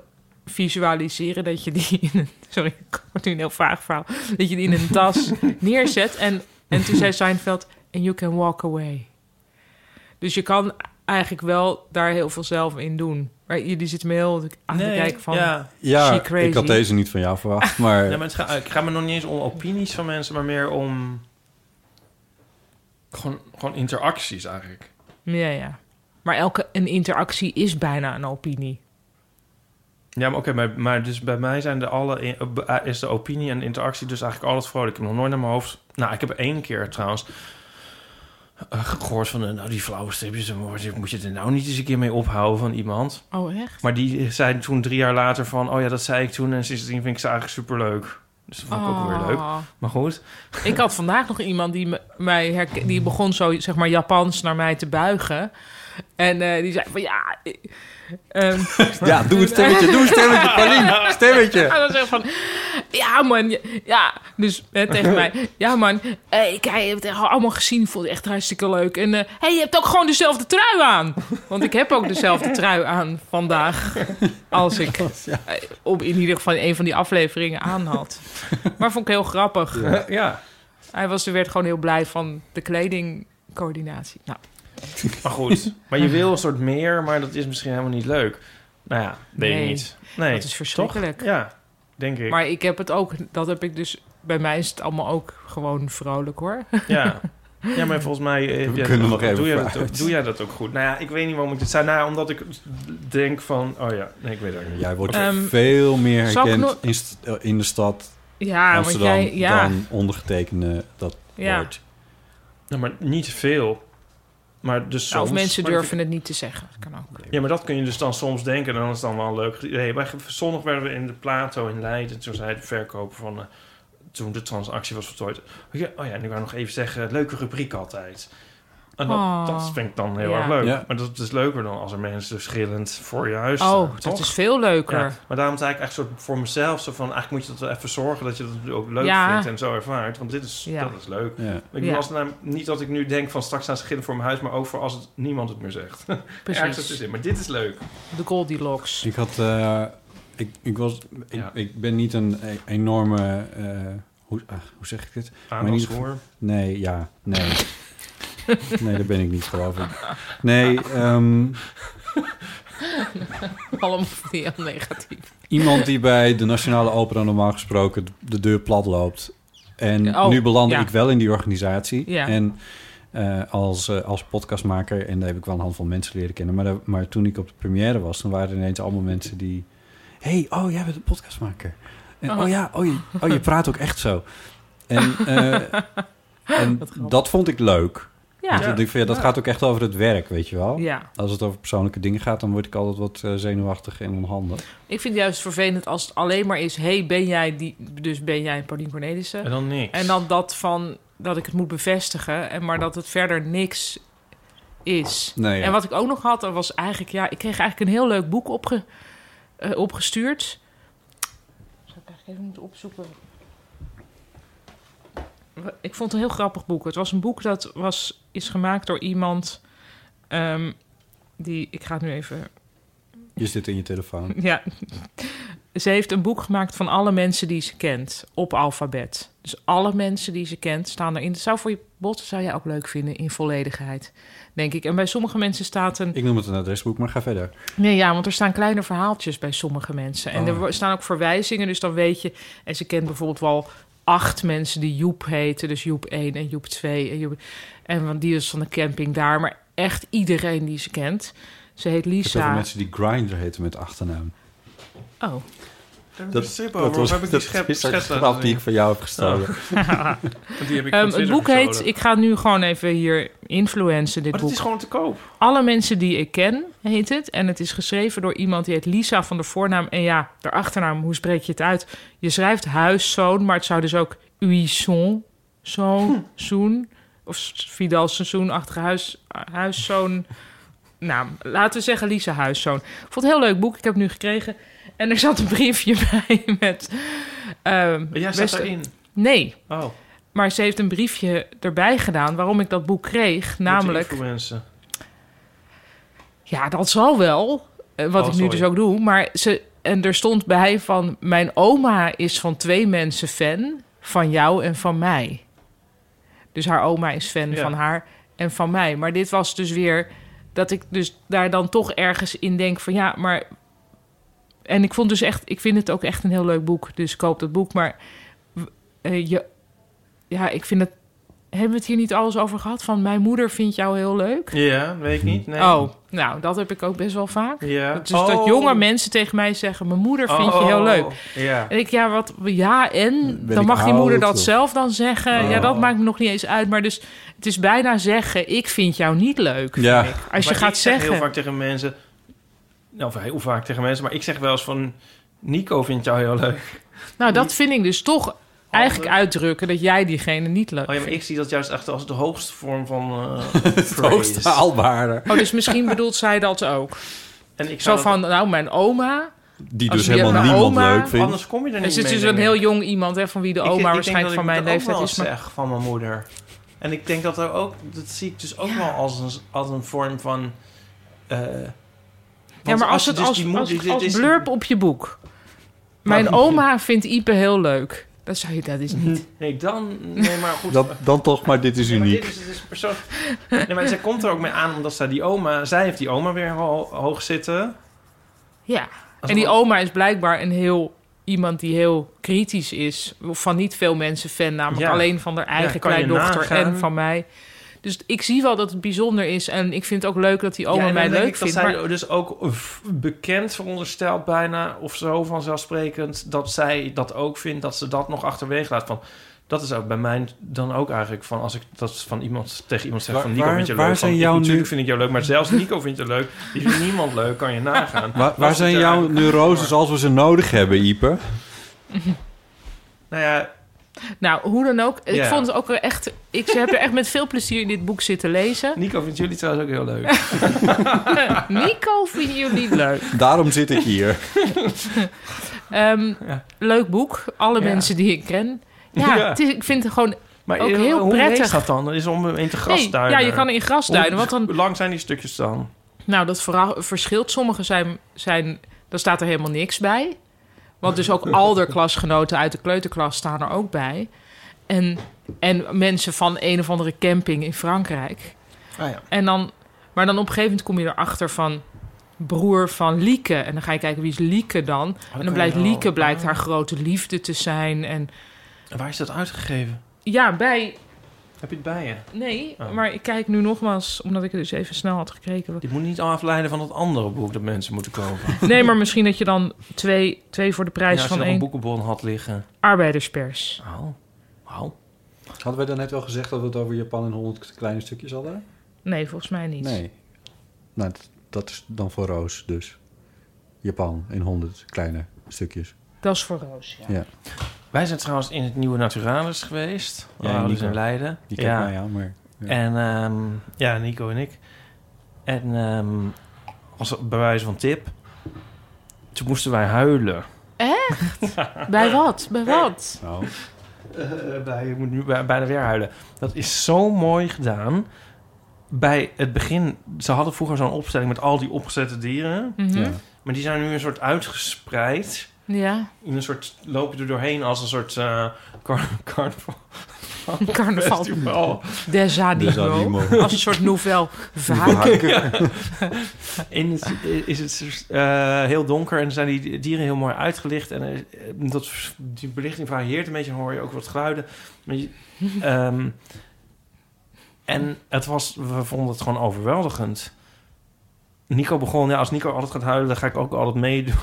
visualiseren dat je die in een... Sorry, ik word nu een heel vaag verhaal. Dat je die in een tas neerzet. En, en toen zei Seinfeld, and you can walk away. Dus je kan eigenlijk wel daar heel veel zelf in doen. Maar jullie zitten me heel aan te kijken van... ja. She Ja, crazy. ik had deze niet van jou verwacht, maar... Ja, maar het gaat, ik ga me nog niet eens om opinies van mensen, maar meer om... Gewoon, gewoon interacties eigenlijk. Ja, ja. Maar elke een interactie is bijna een opinie. Ja, maar oké, maar, maar dus bij mij zijn de alle, eh, is de opinie en de interactie dus eigenlijk alles vrolijk. Ik heb nog nooit naar mijn hoofd... Nou, ik heb één keer trouwens eh, gehoord van... eh, nou, die flauwe stripjes, daar moet je- moet je er nou niet eens een keer mee ophouden van iemand. Oh, echt? Maar die zei toen drie jaar later van... oh ja, dat zei ik toen en sindsdien vind ik ze eigenlijk superleuk. Dus dat vond ik ook Oh. weer leuk. Maar goed, Ik had vandaag nog iemand die me- mij herke- die begon zo zeg maar Japans naar mij te buigen. En eh, die zei van ja. eh, ehm, Ja, doe een stemmetje, doe een stemmetje, Paulien, stemmetje. en dan zeg ik van ja man, ja, ja. dus hè, tegen mij. Ja man, eh, ik heb het echt allemaal gezien, vond het echt hartstikke leuk. En eh hey, je hebt ook gewoon dezelfde trui aan. Want ik heb ook dezelfde trui aan vandaag als ik eh, op in ieder geval een van die afleveringen aan had. Maar vond ik heel grappig. ja. Hij was, er werd gewoon heel blij van de kledingcoördinatie. Nou, Maar goed, maar je wil een soort meer, maar dat is misschien helemaal niet leuk. Nou ja, weet Nee, je niet. Nee, dat is verschrikkelijk. toch? Ja, denk ik. Maar ik heb het ook, dat heb ik dus, bij mij is het allemaal ook gewoon vrolijk hoor. Ja. ja, maar volgens mij... eh, We ja, kunnen nog doe even jij dat vooruit. ook- Doe jij dat ook goed? Nou ja, ik weet niet waarom ik dit zei. Nou, omdat ik denk van... Oh ja, nee, ik weet het ook niet. Jij wordt Ehm, veel meer zal ik herkend nog- in, st- eh, in de stad Ja, Amsterdam want jij, ja, dan ondergetekende dat ja. woord. Nou, maar niet veel. Maar dus Nou, soms... of mensen Maar dat durven het niet te zeggen. Dat kan ook. Ja, maar dat kun je dus dan soms denken. En dan is het dan wel leuk. Nee, wij, zondag werden we in de Plato in Leiden. Toen zei de verkoper van... eh, toen de transactie was voltooid. Oh ja, oh ja, en ik wou nog even zeggen... Leuke rubriek altijd. En dat, Oh. dat vind ik dan heel Ja. erg leuk. Ja. Maar dat is leuker dan als er mensen schillend voor je huis staan. Oh, dat toch? is veel leuker. Ja, maar daarom zei ik echt soort voor mezelf... Zo van, eigenlijk moet je dat wel even zorgen... dat je dat ook leuk Ja. vindt en zo ervaart. Want dit is, Ja. dat is leuk. Ja. Ik Ja. bedoel, als het nou, niet dat ik nu denk van straks staan schillen voor mijn huis... maar ook voor als het, niemand het meer zegt. Ergens Precies. tussenin. Maar dit is leuk. De Goldilocks. Ik had, eh, ik, ik was, ik, Ja. ik ben niet een e- enorme, eh, hoe, ah, hoe zeg ik dit? Maar in ieder geval- Aandachtshoor. Nee, ja, nee. Nee, dat ben ik niet, geloof ik. Nee, ehm, Allemaal heel negatief. iemand die bij de Nationale Opera normaal gesproken de deur plat loopt. En Oh, nu belandde ja. ik wel in die organisatie. Ja. En eh, als, eh, als podcastmaker, en daar heb ik wel een handvol mensen leren kennen. Maar, daar- maar toen ik op de première was, dan waren er ineens allemaal mensen die... hey, oh, jij bent een podcastmaker. En, oh. Oh. ja, oh je, oh, je praat ook echt zo. En, eh, en dat vond ik leuk. Ja, Want ja. ik dacht van, ja, dat gaat ook echt over het werk, weet je wel. ja. Als het over persoonlijke dingen gaat, dan word ik altijd wat eh, zenuwachtig en onhandig. Ik vind het juist vervelend als het alleen maar is... hey, ben jij die... Dus ben jij Paulien Cornelissen? En dan niks. En dan dat van dat ik het moet bevestigen, en maar dat het verder niks is. Nee, ja. En wat ik ook nog had, dat was eigenlijk, ja, ik kreeg eigenlijk een heel leuk boek opge, eh, opgestuurd. Zou ik eigenlijk even moeten opzoeken. Ik vond het een heel grappig boek. Het was een boek dat was, is gemaakt door iemand ehm, die, ik ga het nu even Je zit in je telefoon. ja. Ze heeft een boek gemaakt van alle mensen die ze kent op alfabet. Dus alle mensen die ze kent staan erin. Dat zou voor je bot zou jij ook leuk vinden in volledigheid, denk ik. En bij sommige mensen staat een. Ik noem het een adresboek, maar ga verder. Nee, ja, want er staan kleine verhaaltjes bij sommige mensen. En er Oh. wo- staan ook verwijzingen, dus dan weet je. En ze kent bijvoorbeeld wel acht mensen die Joep heten. Dus Joep 1 en Joep 2. En, Joep... en want die is van de camping daar. Maar echt iedereen die ze kent. Ze heet Ik heb heel veel Lisa. mensen die Grindr heten met achternaam. Oh. dat was, heb ik die schep, is een schets laten grap die ik zien? van jou heb gestolen. Want die heb ik Ehm, van het Twitter boek gestolen. heet, ik ga nu gewoon even hier influencen, dit Maar het boek. is gewoon te koop. Alle mensen die ik ken, heet het. En het is geschreven door iemand die heet Lisa van de voornaam. En ja, de achternaam, hoe spreek je het uit? Je schrijft huiszoon, maar het zou dus ook uison, Hm. zoon, zoen. Of Vidal Sassoon-achtige huis, huiszoon. Naam. Laten we zeggen Lisa Huiszoon. Ik vond het een heel leuk boek. Ik heb het nu gekregen. En er zat een briefje bij met... ehm, Maar jij staat beste- erin. Nee, Oh, met maar ze heeft een briefje erbij gedaan waarom ik dat boek kreeg. de Namelijk, influencer. ja, dat zal wel. eh, Wat Oh, ik nu sorry. dus ook doe. Maar ze, en er stond bij van: Mijn oma is van twee mensen fan. Van jou en van mij. Dus haar oma is fan Ja. van haar en van mij. Maar dit was dus weer Dat ik dus daar dan toch ergens in denk van ja, maar. En ik vond dus echt, ik vind het ook echt een heel leuk boek. Dus koop dat boek. Maar w- eh, je, ja, ik vind het. Hebben we het hier niet alles over gehad? Van mijn moeder vindt jou heel leuk. Ja, weet ik niet. Nee. Oh, nou, dat heb ik ook best wel vaak. Ja. Oh. Dat- Dus dat jonge mensen tegen mij zeggen: Mijn moeder vindt je heel leuk. Ja. En ik, ja, wat, ja, en? Ben dan ik mag die oud, moeder dat of? zelf dan zeggen. Ja, Oh. dat maakt me nog niet eens uit. Maar dus, het is bijna zeggen, ik vind jou niet leuk. vind Ja. ik. Als je Maar gaat ik zeg zeggen... heel vaak tegen mensen... Nou, of heel vaak tegen mensen, maar ik zeg wel eens van... Nico vindt jou heel leuk. Nou, "Hm." dat vind ik dus toch eigenlijk uitdrukken... dat jij diegene niet leuk Oh ja, maar vindt. ik zie dat juist echt als de hoogste vorm van eh Het hoogst praise. haalbare. Oh, dus misschien bedoelt zij dat ook. En ik Zo zou van, nou, mijn oma... Die Als dus je helemaal hebt een niemand oma, leuk dat, vindt. anders kom je er niet Het is mee, dus een denk heel ik. jong iemand, hè, van wie de Ik- ik oma denk dat waarschijnlijk ik van mijn dat ook leeftijd wel is. Maar zeg van mijn moeder. En ik denk dat er ook, dat zie ik dus ook wel als een, als een vorm van. eh, Ja, want maar als je het dus als, die moeder- als, dit als is- blurb op je boek. Mijn oma vindt Ipe heel leuk. Dat zou je, dat is niet. Nee, dan. Nee, maar goed. Dat, dan toch, maar dit is Nee, maar uniek. dit is, dit is persoon... nee, maar zij komt er ook mee aan omdat zij die oma. Zij heeft die oma weer ho- hoog zitten. Ja. Als en die wel- oma is blijkbaar een heel iemand die heel kritisch is. Van niet veel mensen fan, namelijk Ja. alleen van haar eigen kan je kleindochter nagaan. en van mij. Dus ik zie wel dat het bijzonder is. En ik vind het ook leuk dat die Ja, oma en dan mij denk leuk ik dat vindt. zij maar- dus ook f- bekend veronderstelt bijna of zo vanzelfsprekend dat zij dat ook vindt dat ze dat nog achterwege laat van dat is ook bij mij dan ook eigenlijk van als ik dat van iemand tegen iemand zeg Waar- van Nico waar- vind je waar leuk zijn van, jouw natuurlijk nu- vind ik jou leuk maar zelfs Nico vindt je leuk die vindt niemand leuk kan je nagaan Waar, Was waar het zijn er jouw eigenlijk neuroses voor? als we ze nodig hebben, Ieper? nou ja Nou, hoe dan ook. Ik Ja. vond het ook echt. Ik heb er echt met veel plezier in dit boek zitten lezen. Nico vindt jullie trouwens ook heel leuk Nico vinden jullie leuk. Daarom zit ik hier. Ehm, Ja. Leuk boek. Alle Ja. mensen die ik ken. Ja, Ja. het is- ik vind het gewoon. maar Ook eh, heel hoe prettig. lees dat dan dat is om in te Nee, grasduinen ja, je kan in gras duinen. Hoe- Want dan hoe lang zijn die stukjes dan Nou, dat vera- verschilt. Sommige zijn, zijn, daar staat er helemaal niks bij. Want dus ook al der klasgenoten uit de kleuterklas staan er ook bij. En, en mensen van een of andere camping in Frankrijk. ah ja En dan, maar dan op een gegeven moment kom je erachter van broer van Lieke. En dan ga je kijken wie is Lieke Oh, dan. En dan blijkt Lieke blijkt haar grote liefde te zijn. En En waar is dat uitgegeven ja, bij. heb je het bij je Nee, Oh. maar ik kijk nu nogmaals, omdat ik het dus even snel had gekeken. Dit moet niet afleiden van dat andere boek dat mensen moeten kopen. Nee, maar misschien dat je dan twee, twee voor de prijs Ja, als je van nog één. een boekenbon had liggen. arbeiderspers. Oh. Oh. Hadden wij dan net wel gezegd dat we het over Japan in 100 kleine stukjes hadden? Nee, volgens mij niet. Nee. Nou, dat- dat is dan voor Roos dus. Japan in 100 kleine stukjes. Dat is voor Roos, ja. Ja, Wij zijn trouwens in het nieuwe Naturalis geweest. Ja, Ja, dus Nico. in Leiden. die kijkt ja. mij aan, maar... Ja. En ehm, ja, Nico en ik. En ehm, als bewijs van tip. Toen moesten wij huilen. Bij wat? Bij wat? Nou, Eh, bij, ik moet nu bij- bijna weer huilen. Dat is zo mooi gedaan. Bij het begin, ze hadden vroeger zo'n opstelling met al die opgezette dieren. Mhm. ja. Maar die zijn nu een soort uitgespreid. Ja, in een soort loop je er doorheen als een soort eh car carnaval carnaval. festival. Des Dus animo. animo. Als een soort novel. Vaak. Haken. In het, is het eh, heel donker en zijn die dieren heel mooi uitgelicht en eh, dat, die belichting varieert een beetje. Dan hoor je ook wat geluiden. Maar je- ehm, en het was, we vonden het gewoon overweldigend. Nico begon, ja, als Nico altijd gaat huilen, dan ga ik ook altijd meedoen.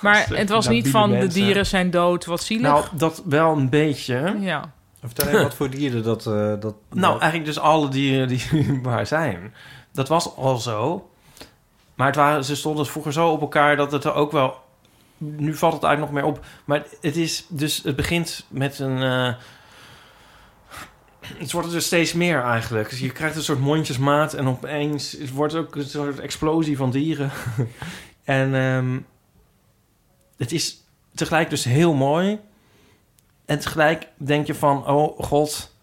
Maar het was niet van de dieren zijn dood, wat Nou, zielig. dat wel een beetje. Ja. Vertel even wat voor dieren dat... eh, dat Nou, eigenlijk dus alle dieren die waar zijn. Dat was al zo. Maar het waren, ze stonden vroeger zo op elkaar dat het er ook wel... Nu valt het eigenlijk nog meer op. Maar het is dus... Het begint met een... eh, het wordt er dus steeds meer eigenlijk. Dus je krijgt een soort mondjesmaat en opeens het wordt ook een soort explosie van dieren. en ehm, het is tegelijk dus heel mooi. En tegelijk denk je van, oh god,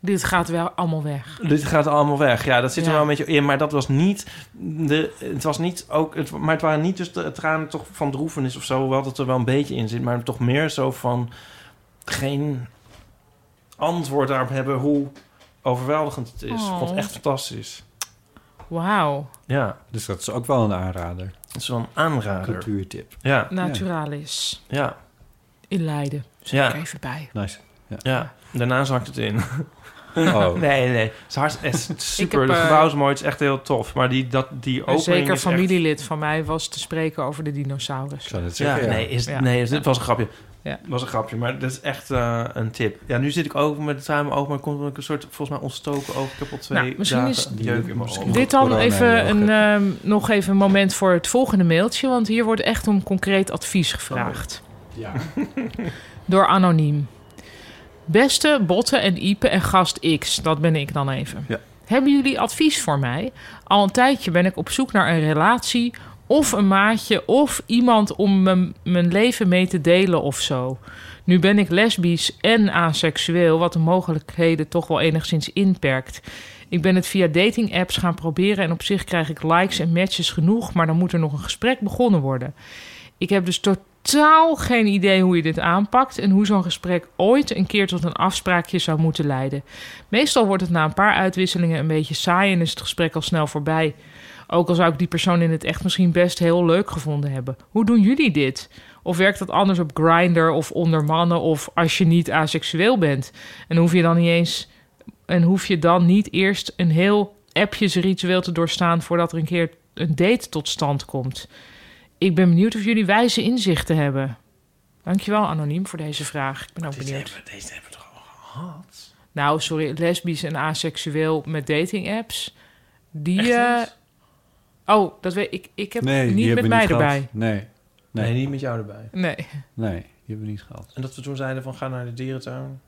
Dit gaat wel allemaal weg. dit gaat allemaal weg. Ja, dat zit er Ja. wel een beetje in. Maar dat was niet. De, het was niet ook. Het, maar het waren niet dus de tranen toch van droevenis of zo. Hoewel dat er wel een beetje in zit. Maar toch meer zo van. Geen antwoord daarop hebben hoe overweldigend het is. Ik vond Oh. het echt fantastisch. Wauw, Ja, Dus dat is ook wel een aanrader. dat is wel een aanrader. Cultuurtip. Ja, naturalis. ja, In Leiden. Zeg Ja. ik even bij. Nice. ja. Daarna zakt het in. Oh, Nee, nee. Het is hartstikke het is super. heb, de eh, gebouw is mooi. Het is echt heel tof. Maar die, dat, die Een opening zeker is familielid van mij was te spreken over de dinosaurus. ik zou het Echt, ja, zeggen. nee, is, Ja. nee, dit was een grapje. Ja. was een grapje, maar dat is echt eh, een tip. Ja, nu zit ik ook met het samen oog, maar er komt ook een soort volgens mij ontstoken oog. Ik heb al twee Nou, misschien dagen is- een jeuk in mijn oog. Dit dan Corona, ja. even een, ehm, nog even een moment voor het volgende mailtje. Want hier wordt echt om concreet advies gevraagd. Ja. Door Anoniem. Beste Botten en Ipe en gast X, dat ben ik dan even. Ja. Hebben jullie advies voor mij? Al een tijdje ben ik op zoek naar een relatie of een maatje of iemand om me- mijn leven mee te delen of zo. Nu ben ik lesbisch en aseksueel, wat de mogelijkheden toch wel enigszins inperkt. Ik ben het via dating apps gaan proberen en op zich krijg ik likes en matches genoeg, maar dan moet er nog een gesprek begonnen worden. Ik heb dus totaal geen idee hoe je dit aanpakt en hoe zo'n gesprek ooit een keer tot een afspraakje zou moeten leiden. Meestal wordt het na een paar uitwisselingen een beetje saai en is het gesprek al snel voorbij. Ook al zou ik die persoon in het echt misschien best heel leuk gevonden hebben. Hoe doen jullie dit? Of werkt dat anders op Grindr of onder mannen of als je niet aseksueel bent? En hoef je dan niet eens en hoef je dan niet eerst een heel appjesritueel te doorstaan voordat er een keer een date tot stand komt? Ik ben benieuwd of jullie wijze inzichten hebben. Dankjewel anoniem voor deze vraag. Ik ben ook Deze benieuwd. hebben, deze hebben we toch al gehad? Nou, sorry, lesbisch en aseksueel met dating apps. Die. Echt eh, eens? oh, dat weet ik. Ik heb Nee, die niet met hebben we mij niet gehad. erbij. Nee, Nee. Nee. niet met jou erbij. Nee. nee, die hebben we niet gehad. En dat we toen zeiden van ga naar de dierentuin.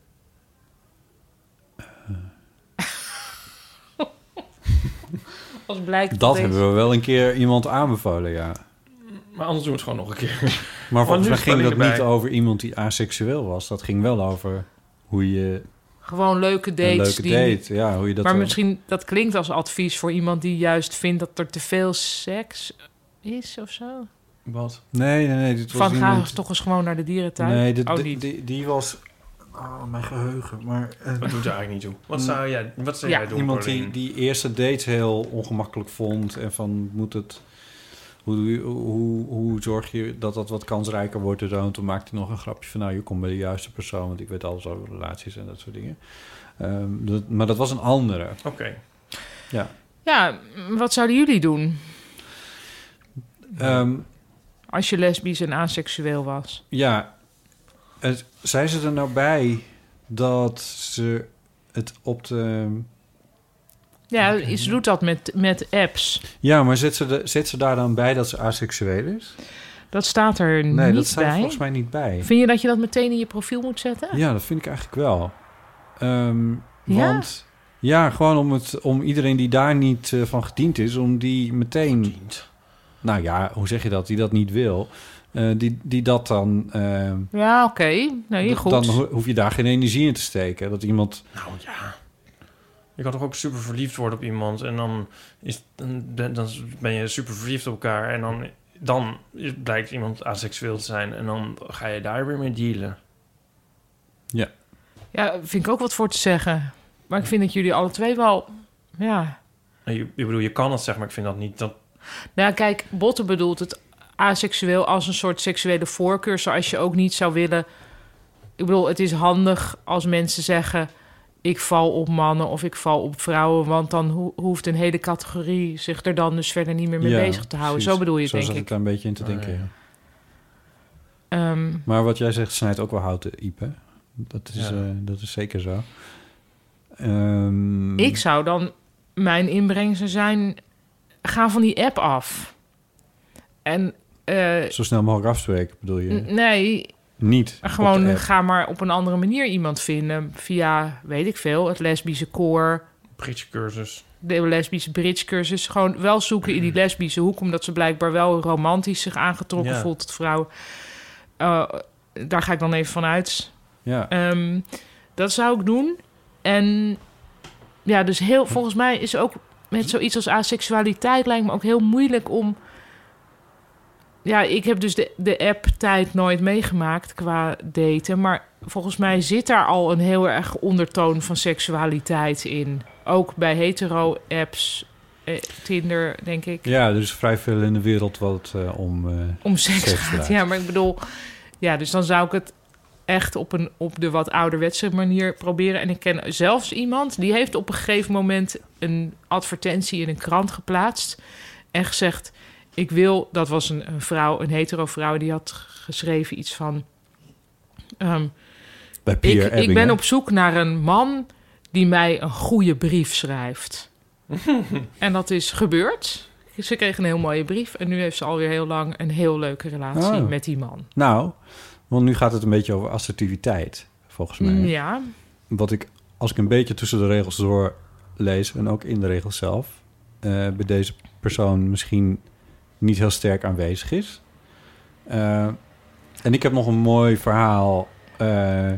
Als blijkt Dat hebben we wel een keer iemand aanbevolen, ja. Maar anders doen we het gewoon nog een keer. Maar nu is volgens mij het ging dat alleen niet erbij. over iemand die aseksueel was. Dat ging wel over hoe je Gewoon leuke dates. een leuke die, date... Ja, hoe je dat maar dan- misschien dat klinkt als advies voor iemand die juist vindt dat er te veel seks is of zo. Wat? Nee, nee, nee. Dit was Van ga iemand... eens toch eens gewoon naar de dierentuin. Nee, dit, oh, di- niet. die, die was... Oh, mijn geheugen. Maar eh, Dat doet er eigenlijk niet toe. Wat zou jij, wat zou Ja, jij doen? iemand die Corleen? die eerste date heel ongemakkelijk vond... en van moet het... Hoe, doe je- hoe, hoe zorg je dat dat wat kansrijker wordt? En zo? En toen maakte hij nog een grapje van... nou, je komt bij de juiste persoon... want ik weet alles over relaties en dat soort dingen. Ehm, dat- maar dat was een andere. Oké. Ja. Ja, wat zouden jullie doen Ehm, als je lesbisch en aseksueel was? Ja, het, zijn ze er nou bij dat ze het op de... Ja, ze doet dat met, met apps. Ja, maar zit ze, de, zit ze daar dan bij dat ze aseksueel is? Dat staat er Nee, Mm, niet dat staat er bij. volgens mij niet bij. Vind je dat je dat meteen in je profiel moet zetten? Ja, dat vind ik eigenlijk wel. Ehm, Ja? Want ja, gewoon om, het, om iedereen die daar niet eh, van gediend is, om die meteen... Dient. Nou ja, hoe zeg je dat? Die dat niet wil. eh, die, die dat dan... ehm, Ja, oké. Nee, dat- goed. Dan ho- hoef je daar geen energie in te steken. Dat iemand... Nou ja. Je kan toch ook super verliefd worden op iemand en dan, is, dan, dan ben je super verliefd op elkaar en dan, dan blijkt iemand aseksueel te zijn en dan ga je daar weer mee dealen. Ja, vind ik ook wat voor te zeggen. Maar ik vind dat jullie alle twee wel... Ja. Nou, Je, ik bedoel, je kan het zeg maar ik vind dat niet. Dat, Nou, ja, kijk, Botten bedoelt het aseksueel als een soort seksuele voorkeur... zoals je ook niet zou willen... Ik bedoel, het is handig als mensen zeggen... ik val op mannen of ik val op vrouwen... want dan ho- hoeft een hele categorie zich er dan dus verder niet meer mee Ja, bezig te houden. precies. Zo bedoel je het, Zo denk zat ik ik. daar een beetje in te denken, Ah, ja. ja. Ehm, Maar wat jij zegt snijdt ook wel houten, Iep, hè? Dat is, Ja. eh, dat is zeker zo. Ehm, Ik zou dan mijn inbreng zou zijn: ga van die app af. En eh, Zo snel mogelijk afspreken, bedoel je? n- nee, Niet. op de gewoon app. ga maar op een andere manier iemand vinden via, weet ik veel, het lesbische koor, Britse cursus. de lesbische bridge cursus. Gewoon wel zoeken in die lesbische hoek, omdat ze blijkbaar wel romantisch zich aangetrokken Ja. voelt tot vrouwen. Eh, daar ga ik dan even van uit. Ja. Ehm, dat zou ik doen. En ja, dus heel, volgens mij is ook met zoiets als aseksualiteit lijkt me ook heel moeilijk om. Ja, ik heb dus de, de app-tijd nooit meegemaakt qua daten. Maar volgens mij zit daar al een heel erg ondertoon van seksualiteit in. Ook bij hetero-apps eh, Tinder, denk ik. Ja, er is vrij veel in de wereld wat eh, om... eh, om seks Seks gaat. draait. Ja, maar ik bedoel, ja, dus dan zou ik het echt op, een, op de wat ouderwetse manier proberen. En ik ken zelfs iemand die heeft op een gegeven moment een advertentie in een krant geplaatst en gezegd: Ik wil, dat was een, een vrouw, een hetero vrouw, die had geschreven iets van. ehm, bij Pier ik, ik Ebbing, ben hè? op zoek naar een man die mij een goede brief schrijft. en dat is gebeurd. Ze kreeg een heel mooie brief en nu heeft ze alweer heel lang een heel leuke relatie Oh. met die man. Nou, want nu gaat het een beetje over assertiviteit, volgens Mm, mij. Ja, Wat ik, als ik een beetje tussen de regels door lees... en ook in de regels zelf... eh, bij deze persoon misschien niet heel sterk aanwezig is. Eh, en ik heb nog een mooi verhaal... eh,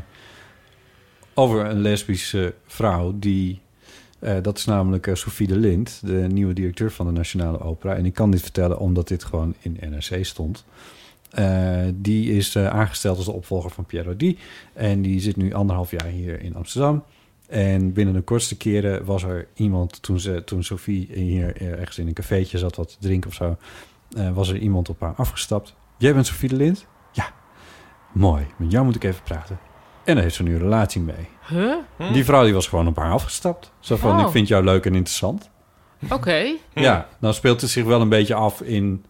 over een lesbische vrouw die... eh, dat is namelijk eh, Sophie de Lind, de nieuwe directeur van de Nationale Opera. En ik kan dit vertellen omdat dit gewoon in NRC stond. Eh, die is eh, aangesteld als de opvolger van Pierre Di. En die zit nu anderhalf jaar hier in Amsterdam. En binnen de kortste keren was er iemand, toen, ze, toen Sophie hier eh, ergens in een cafeetje zat wat te drinken of zo, eh, was er iemand op haar afgestapt. Jij bent Sophie de Lind? Ja. Mooi, met jou moet ik even praten. En daar heeft ze nu een relatie mee. huh? Die vrouw die was gewoon op haar afgestapt. Zo van, Oh. ik vind jou leuk en interessant. Oké. Ja, dan speelt het zich wel een beetje af in,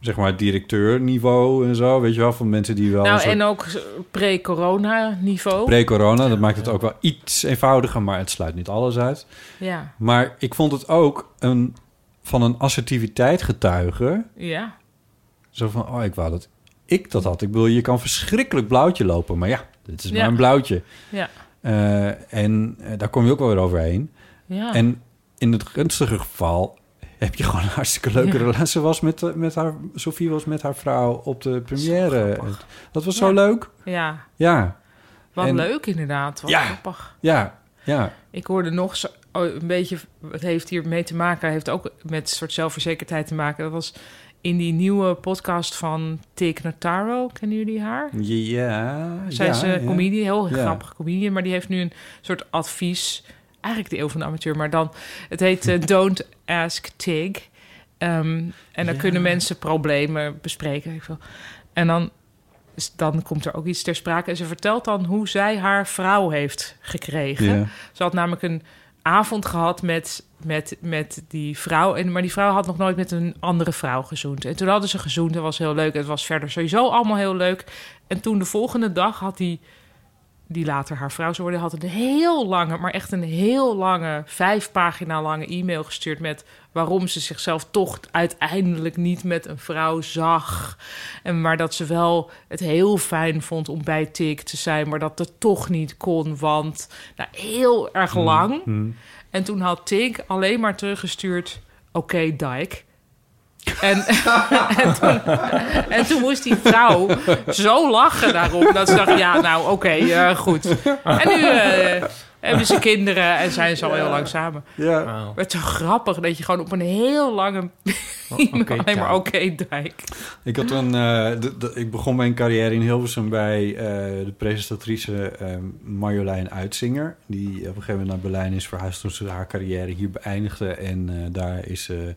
zeg maar, directeurniveau en zo. Weet je wel, van mensen die wel... een Nou, soort- en ook pre-corona niveau. Pre-corona, dat maakt het ook wel iets eenvoudiger, maar het sluit niet alles uit. ja, Maar ik vond het ook een, van een assertiviteit getuigen. ja. Zo van, oh, ik wou dat ik dat had. Ik bedoel, je kan verschrikkelijk blauwtje lopen, maar ja, dit is Ja. maar een blauwtje. Ja. Eh, en eh, daar kom je ook wel weer overheen. ja. En in het gunstige geval heb je gewoon een hartstikke leuke Ja. relatie. Ze Was met, eh, met haar, Sophie was met haar vrouw op de première. Dat was zo Ja. leuk. ja. Ja, Wat en- leuk inderdaad. Wat Ja. grappig. ja, ja. Ik hoorde nog zo, oh, een beetje, het heeft hier mee te maken, heeft ook met een soort zelfverzekerdheid te maken. Dat was in die nieuwe podcast van Tik Notaro, kennen jullie haar? Ja, Zij is een ja. comedian, heel Ja. grappige comedian, maar die heeft nu een soort advies. Eigenlijk de eeuw van de amateur, maar dan... Het heet eh, Don't Ask Tig. Ehm, en dan kunnen mensen problemen bespreken. weet ik veel. En dan, is- dan komt er ook iets ter sprake. En ze vertelt dan hoe zij haar vrouw heeft gekregen. Ja. Ze had namelijk een avond gehad met, met, met die vrouw. En, maar die vrouw had nog nooit met een andere vrouw gezoend. En toen hadden ze gezoend. Dat was heel leuk. Het was verder sowieso allemaal heel leuk. En toen de volgende dag had die, die later haar vrouw zou worden... had een heel lange, maar echt een heel lange... vijf pagina lange e-mail gestuurd met... waarom ze zichzelf toch uiteindelijk niet met een vrouw zag. En maar dat ze wel het heel fijn vond om bij Tik te zijn... maar dat dat toch niet kon, want... Nou, heel erg lang. En toen had Tink alleen maar teruggestuurd... Oké, Dike. En, en, toen, en toen moest die vrouw zo lachen daarom... dat ze dacht, ja, nou, oké, eh, goed. En nu eh, hebben ze kinderen en zijn ze al heel lang samen. Ja. Wauw. Het is zo grappig dat je gewoon op een heel lange... oké, alleen maar Dijk. oké, Dijk. Ik, had een, eh, d- d- ik begon mijn carrière in Hilversum bij eh, de presentatrice eh, Marjolein Uitzinger. Die op een gegeven moment naar Berlijn is verhuisd toen ze haar carrière hier beëindigde. En eh, daar is ze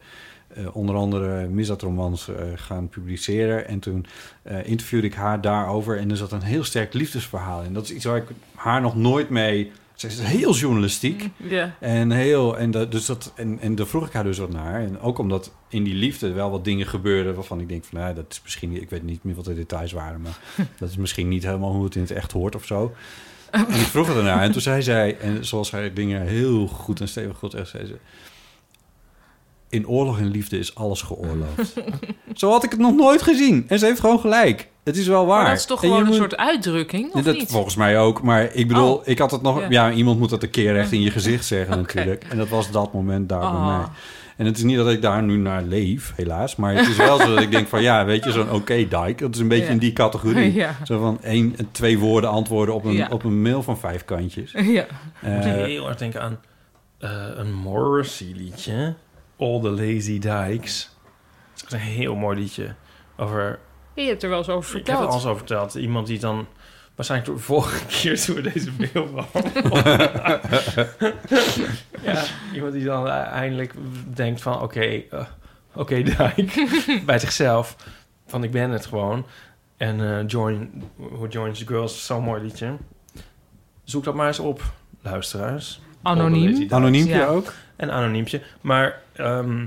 eh, onder andere misdaadromans eh, gaan publiceren. En toen eh, interviewde ik haar daarover. En er zat een heel sterk liefdesverhaal in. Dat is iets waar ik haar nog nooit mee... Ze is heel journalistiek. Ja, En heel, en, dat dus dat, en, en daar vroeg ik haar dus wat naar. En ook omdat in die liefde wel wat dingen gebeurden waarvan ik denk van, nou, dat is misschien, niet- ik weet niet meer wat de details waren, maar dat is misschien niet helemaal hoe het in het echt hoort of zo. Oh. En ik vroeg het ernaar en toen zei zij, en zoals zij dingen heel goed en stevig goed echt zei ze, in oorlog en liefde is alles geoorloofd. zo had ik het nog nooit gezien. En ze heeft gewoon gelijk. Het is wel waar. maar dat is toch En je gewoon een moet- soort uitdrukking, Nee, of dat niet? volgens mij ook, maar ik bedoel, Oh. ik had het nog... Ja. Ja. iemand moet dat een keer echt in je gezicht zeggen Oké. natuurlijk. En dat was dat moment daar bij Ah. mij. En het is niet dat ik daar nu naar leef, helaas. Maar het is wel zo dat ik denk van, ja, weet je, zo'n oké dijk. Dat is een beetje Ja. in die categorie. Ja. Zo van één, twee woorden antwoorden op een, Ja. op een mail van vijf kantjes. Ja. Ik moet Eh, even heel erg denken aan eh, een Morrissey-liedje. All the Lazy Dykes. Dat is echt een heel mooi liedje. Over, Je hebt er wel eens over ik heb er verteld. alles over verteld. Iemand die dan Waarschijnlijk door de vorige keer toen we deze mail behandelden. ja, iemand die dan eindelijk denkt van... Oké, eh, oké Dijk, bij zichzelf. Van ik ben het gewoon. En eh, Join, Who Joins the Girls is zo'n mooi liedje. Zoek dat maar eens op, luisteraars. Onder Lizzie Anoniem. Dykes. Anoniempje Ja. ook? Een anoniempje. Maar ehm,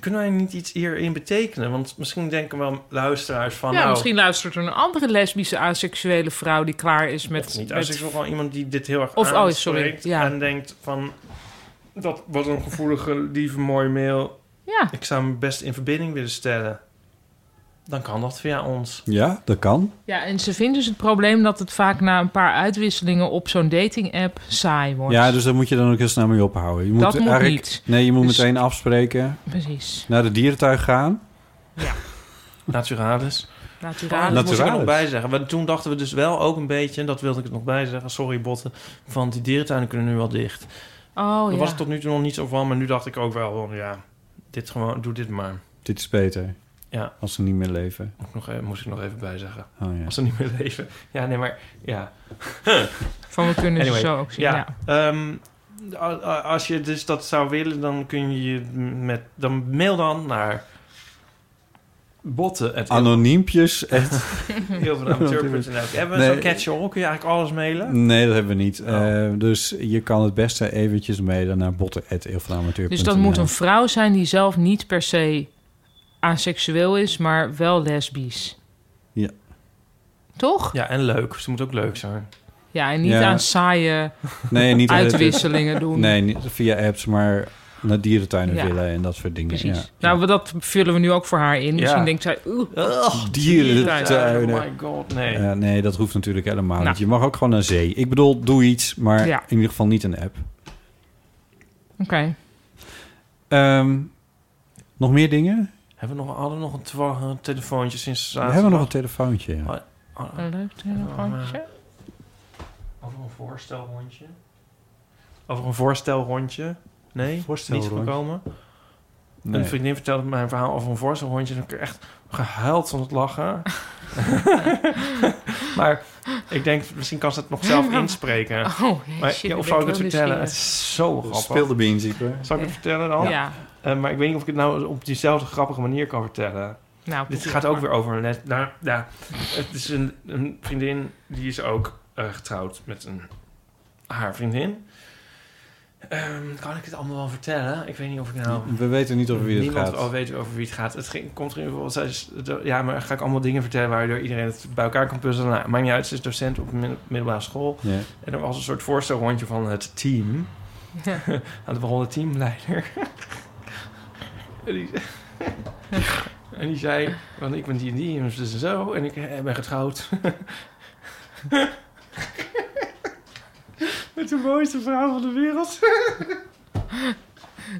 kunnen wij niet iets hierin betekenen? Want misschien denken wel luisteraars van... Ja, nou, misschien luistert er een andere lesbische aseksuele vrouw die klaar is of met... niet. met- Als ik wel gewoon iemand die dit heel erg Of- oh, sorry, aanspreekt ja. en denkt van... Dat was een gevoelige, lieve, mooie mail. Ja, Ik zou me best in verbinding willen stellen. Dan kan dat via ons. Ja, dat kan. ja, en ze vindt dus het probleem dat het vaak na een paar uitwisselingen op zo'n dating-app saai wordt. Ja, dus daar moet je dan ook heel snel mee ophouden. Je moet Dat moet eigenlijk- niet. Nee, je moet Dus- meteen afspreken. Precies. Naar de dierentuig gaan. Naturalis. Naturalis. Oh, dat moet ik er nog Naturalis. bij zeggen. Want toen dachten we dus wel ook een beetje... en dat wilde ik er nog bij zeggen, sorry botten... van die dierentuinen kunnen nu wel dicht. Oh Dat ja. was het tot nu toe nog niet zo van... maar nu dacht ik ook wel van... ja, dit gewoon, doe dit maar. Dit is beter. Ja. Als ze niet meer leven. Moet ik nog, even- moest ik nog even bij zeggen. Oh ja. Als ze niet meer leven. Ja, nee, maar... ja. Van we kunnen Anyway, ze zo ook zien. Ja. Dus Ja. ehm, a- a- als je dus dat zou willen, dan kun je je met dan mail dan naar botten Anoniempjes? Echt? Hebben we Nee. zo'n catch-all? Kun je eigenlijk alles mailen? Nee, dat hebben we niet. Oh. Eh, dus je kan het beste eventjes mailen naar botten.eelvanamateur.nl. Dus dat moet een vrouw zijn die zelf niet per se aseksueel is, maar wel lesbisch. Ja. Toch? Ja, en leuk. Ze moet ook leuk zijn. Ja, en niet Ja. aan saaie Nee, niet uitwisselingen doen. Nee, niet via apps, maar naar dierentuinen Ja. willen en dat soort dingen. Precies. Ja. Nou, dat vullen we nu ook voor haar in. Misschien Ja. denkt zij, oeh, Oh Dierentuinen. my god, nee. Ja, Eh, nee, dat hoeft natuurlijk helemaal Nou. niet. Je mag ook gewoon naar zee. Ik bedoel, doe iets, maar Ja. in ieder geval niet een app. oké. Ehm, nog meer dingen? Hebben we nog, hadden we nog een, twa- een telefoontje sinds we hebben nog een telefoontje. Ja. Oh. Een leuk telefoontje. Ah, Over een voorstelrondje. Over een voorstelrondje. Nee, niet Voorstelrondje. gekomen. Nee. Een vriendin vertelde mij een verhaal over een voorstelhondje. En ik heb echt gehuild van het lachen. maar ik denk, misschien kan ze het nog zelf inspreken. Oh, jeetje, eh, Maar, ja, ik of ben zou ik het heel vertellen? Het nieuwsgierig. is zo grappig. Speel de beans, Ipe. Zal ik het vertellen dan? Ja. Eh, maar ik weet niet of ik het nou op diezelfde grappige manier kan vertellen. nou, Dit probeer gaat ook maar. weer over een les. Nou, ja. Het is een, een vriendin die is ook eh, getrouwd met een, haar vriendin. Ehm, kan ik het allemaal wel vertellen? Ik weet niet of ik nou. We weten niet over wie het Niemand gaat. al weet over wie het gaat. Het ging, komt er in ieder geval- zij is- de- Ja, maar ga ik allemaal dingen vertellen waardoor iedereen het bij elkaar kan puzzelen. Nou, maakt niet uit, ze is docent op een mid- middelbare school. Ja. En er was een soort voorstelrondje van het team. Aan de begonnen teamleider. en, die, en die zei, want ik ben die en die en dus zo. En ik eh, ben getrouwd. Met de mooiste vrouw van de wereld.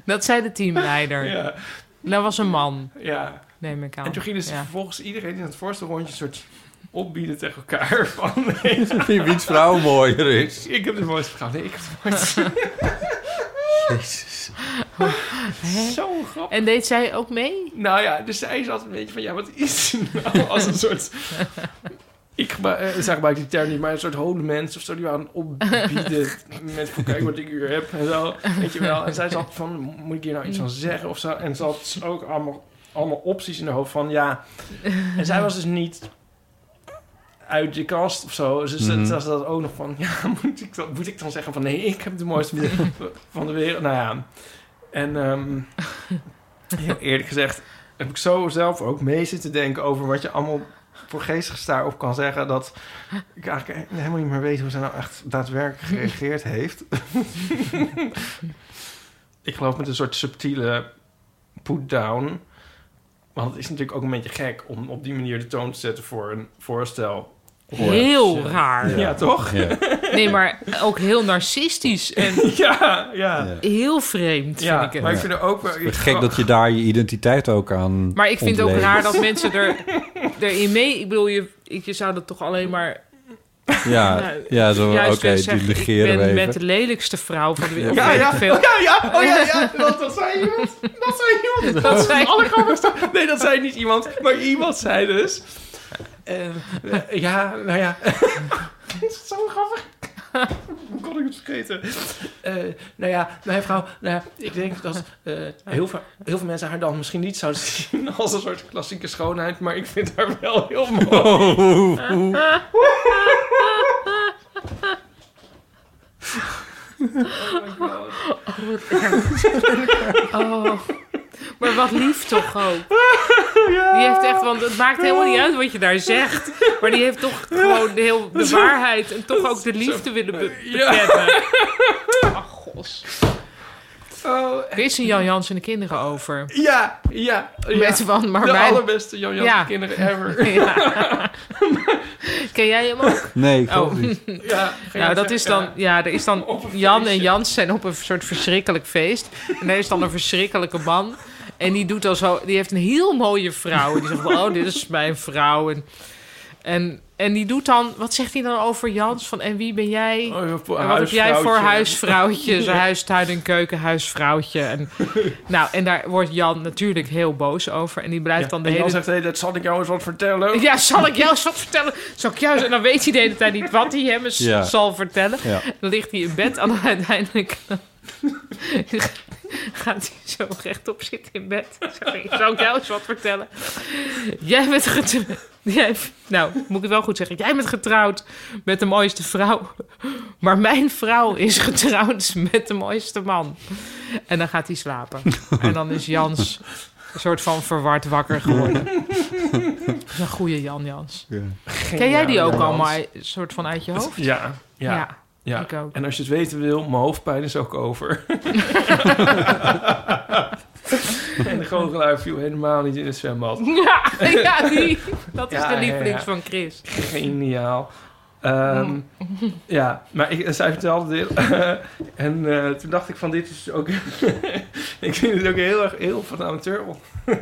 Dat zei de teamleider. ja, Dat was een man, ja. neem ik aan. En toen gingen ze Ja. vervolgens iedereen in het voorste rondje een soort opbieden tegen elkaar. Van, Wie- Wiens vrouw mooier is. ik heb de mooiste vrouw. Nee, ik heb de mooiste. Zo grappig. En deed zij ook mee? Nou ja, dus zij zat een beetje van, ja, wat is het nou? Als een soort... Ik gebru- eh, zeg maar die term niet, maar een soort holy mens of zo. Die waren opbieden met van, kijk wat ik hier heb en zo. Weet je wel. En zij zat van, moet ik hier nou iets van zeggen of zo? En ze had dus ook allemaal, allemaal opties in haar hoofd van, ja. En zij was dus niet uit de kast of zo. Dus ze Mhm. ze was dat ook nog van, ja, moet ik, dat, moet ik dan zeggen van... Nee, ik heb de mooiste van de wereld. Nou ja. En... ehm, Heel eerlijk gezegd heb ik zo zelf ook mee zitten denken over wat je allemaal voor geestigs daarop kan zeggen. Dat ik eigenlijk helemaal niet meer weet hoe ze nou echt daadwerkelijk gereageerd heeft. ik geloof met een soort subtiele put-down. Want het is natuurlijk ook een beetje gek om op die manier de toon te zetten voor een voorstel. Heel raar. Ja, toch? Ja. Nee, maar ook heel narcistisch en Ja, ja. Ja. heel vreemd Ja, vind ik maar het. ik vind er ook wel... Wat Gek dat je daar je identiteit ook aan Maar ik vind ook ontleent. raar dat mensen er, erin mee... Ik bedoel, je, ik- je zou dat toch alleen maar Ja, Nou, ja zo, Oh, oké, juist willen die zeggen... negeren ik we ben even. met de lelijkste vrouw van de wereld. Ja, Weet ja. ik veel. Ja, ja, oh ja, ja, dat, dat zei iemand. Dat zei iemand. Dat zei- allergrappigste. Nee, dat zei niet iemand, maar iemand zei dus. Eh, eh, ja, nou ja. is het zo grappig? Hoe kon ik het vergeten? Eh, nou ja, mijn vrouw, nou ja, ik denk dat eh, heel, veel, heel veel mensen haar dan misschien niet zouden zien als een soort klassieke schoonheid, maar ik vind haar wel heel mooi. Oh, wat erg. Oh. Maar wat lief toch ook. Die heeft echt, want het maakt helemaal niet uit wat je daar zegt. Maar die heeft toch gewoon de, heel, de waarheid en toch ook de liefde willen be bekennen. Ach, gos. Oh, Er is een Jan Jans en de kinderen over. ja, ja, ja. Met van, maar de mijn... allerbeste Jan Jan Ja. kinderen ever. Ja. Ken jij hem ook? Nee, ik Oh. geloof niet. Ja, geen Nou, dat zeggen, is dan, ja. ja, er is dan een Jan en feestje. Jans zijn op een soort verschrikkelijk feest. En er is dan een verschrikkelijke man. En die doet al zo, die heeft een heel mooie vrouw. En die zegt, van, oh, dit is mijn vrouw. En, en, en die doet dan, wat zegt hij dan over Jans? Van, en wie ben jij? Oh, ja, voor En wat heb jij voor huisvrouwtje. huisvrouwtje? Zijn huis, tuin en keuken, huisvrouwtje. En, nou, en daar wordt Jan natuurlijk heel boos over. En die blijft dan de en hele Jan zegt, hé, dat zal ik jou eens wat vertellen. ja, zal ik jou eens wat vertellen? Zal ik jou eens- En dan weet hij de hele tijd niet wat hij hem eens Ja. zal vertellen. Ja. Dan ligt hij in bed en dan uiteindelijk... eh, gaat hij zo rechtop zitten in bed. Sorry, zal ik jou eens wat vertellen? Jij bent getrouwd... Jij, nou, moet ik het wel goed zeggen. Jij bent getrouwd met de mooiste vrouw. Maar mijn vrouw is getrouwd met de mooiste man. En dan gaat hij slapen. En dan is Jans een soort van verward wakker geworden. Dat is een goede Jan Jans. Ken jij die ook allemaal uit- soort van uit je hoofd? Ja, ja, ja. ik ook. En als je het weten wil, mijn hoofdpijn is ook over. en de goochelaar viel helemaal niet in het zwembad. Ja, ja, die. Dat is Ja, de ja, lievelings ja. van Chris. Geniaal. Ehm, Ja, maar ik, zij vertelde dit. en eh, toen dacht ik van dit is ook... ik vind het ook heel erg heel van de amateur... on-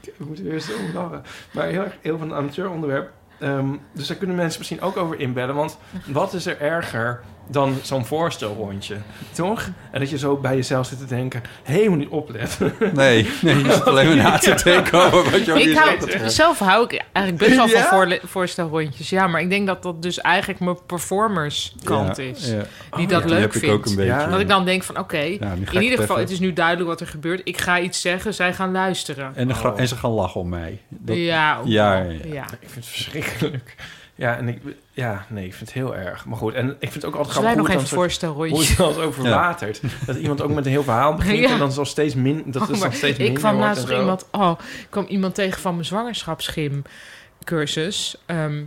ik moet er eerst om lachen. Maar heel erg heel van een amateur onderwerp. Ehm, dus daar kunnen mensen misschien ook over inbellen. Want wat is er erger dan zo'n voorstelrondje? Toch? En dat je zo bij jezelf zit te denken... Helemaal niet opletten. Nee, nee, je zit alleen maar na te denken over wat je ook Ik weer hou, zegt. zelf hou ik eigenlijk best wel van Ja? voorle- voorstelrondjes. Ja, maar ik denk dat dat dus eigenlijk mijn performerskant Ja, is. ja. Die dat Die leuk heb vindt. ik ook een beetje. Ja. Dat ik dan denk van oké, Ja, nu ga ik in ieder geval, treffen. het is nu duidelijk wat er gebeurt. Ik ga iets zeggen, zij gaan luisteren. En, de gra- en ze gaan lachen om mij. Dat, Oh. ja, ook Ja, wel. ja, ja. Ik vind het verschrikkelijk. Ja, en ik, ja, nee, ik vind het heel erg. Maar goed, en ik vind het ook altijd Zullen wij grappig hoe nog even het dan soort- hoe voorstelrondjes? het dan zo verwatert. Dat iemand ook met een heel verhaal begint Ja. en dan zo steeds min, dat is Oh, dan maar steeds ik minder kwam wordt laatst en nog zo. iemand, oh, ik kwam iemand tegen van mijn zwangerschapsgymcursus. Ehm,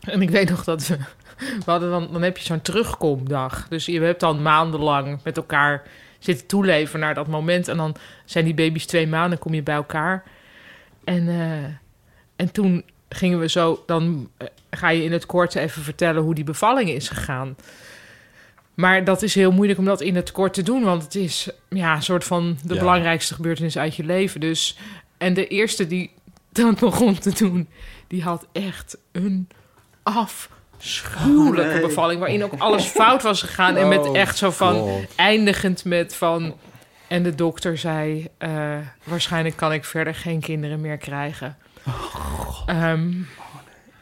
en ik weet nog dat we, we hadden dan, dan heb je zo'n terugkomdag. Dus je hebt dan maandenlang met elkaar zitten toeleven naar dat moment. En dan zijn die baby's twee maanden, kom je bij elkaar. En, eh, en toen gingen we zo, dan eh, ga je in het kort even vertellen hoe die bevalling is gegaan. Maar dat is heel moeilijk om dat in het kort te doen, want het is ja, een soort van de Ja. belangrijkste gebeurtenis uit je leven. Dus, en de eerste die dat begon te doen, die had echt een afschuwelijke bevalling, waarin ook alles fout was gegaan. en met Oh, echt zo van, God. eindigend met van. En de dokter zei: eh, Waarschijnlijk kan ik verder geen kinderen meer krijgen. Ehm,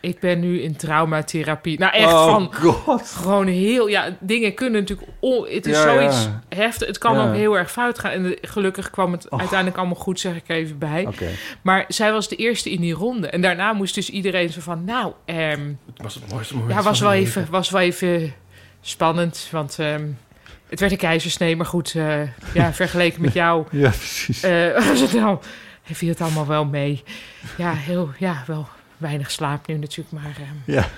Ik ben nu in traumatherapie. Nou, echt oh, van God. gewoon heel. Ja, dingen kunnen natuurlijk. on- het is Ja, zoiets ja. heftig. Het kan Ja. ook heel erg fout gaan. En eh, gelukkig kwam het uiteindelijk allemaal goed, zeg ik er even bij. Oh. Oké. Maar zij was de eerste in die ronde. En daarna moest dus iedereen zo van: Nou, ehm, Het was het mooiste moment. ja, was van wel, mijn even, was wel even spannend, want ehm, het werd een keizersnee, maar goed, eh, ja, vergeleken met jou Ja, precies. eh, was het nou, hij viel het allemaal wel mee. Ja, heel, ja, wel weinig slaap nu natuurlijk, maar... ehm, Ja.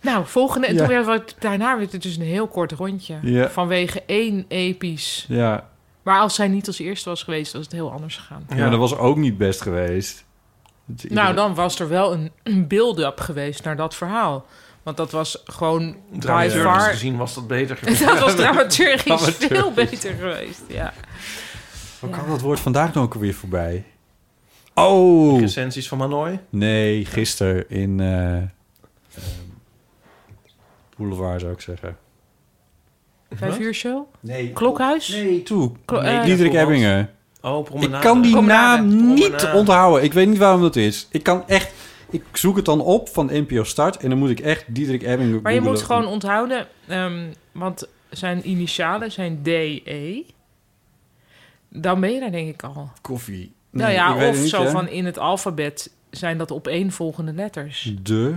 Nou, volgende, en Ja. toen werd het, daarna werd het dus een heel kort rondje, Ja. vanwege één episch. Ja. Maar als zij niet als eerste was geweest, was het heel anders gegaan. ja, maar dat was ook niet best geweest. Dat je Nou, iedereen- dan was er wel een, een build-up geweest naar dat verhaal. Want dat was gewoon leven. by Dramaturgisch far gezien was dat beter geweest. Dat was dramaturgisch Dramaturgisch. veel beter geweest, ja. Hoe Ja. kwam dat woord vandaag nou ook weer voorbij? Oh! Recensies van Manoy. Nee, gisteren in eh, ehm, Boulevard zou ik zeggen. Vijf uur show? Nee. Klokhuis? Nee, toe. Klo- eh, Diederik Koelhans. Ebbingen. Oh, Ik promenade. kan die Promenade. naam niet Promenade. onthouden. Ik weet niet waarom dat is. Ik kan echt ik zoek het dan op van NPO Start en dan moet ik echt Diederik Ebbing Maar je moet googlen. gewoon onthouden, ehm, want zijn initialen zijn DE. Dan ben je daar denk ik al. koffie. nou Nee, ik weet ja, of het niet, zo hè. van in het alfabet zijn dat opeenvolgende letters. De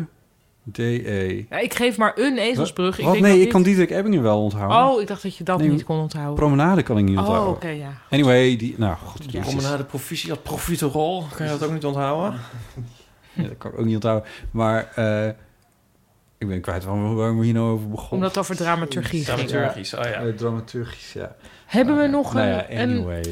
DE. Ja, ik geef maar een ezelsbrug. Hm. Ik Wat? denk Nee, dat ik kan dit- Diederik Ebbingen wel onthouden. Oh, ik dacht dat je dat Nee, niet kon onthouden. Promenade kan ik niet oh, onthouden. oké, ja. Anyway, die... Nou, goed. Jezus. Promenade provisie, dat profiterol. Kan je dat ook niet onthouden? Ja, dat kan ik ook niet onthouden. Maar eh, ik ben kwijt waarom, waarom we hier nou over begonnen. Omdat het over dramaturgie ging. Dramaturgisch, oh ja. Eh, dramaturgisch, ja. Hebben we Maar, nog nou een, ja, anyway.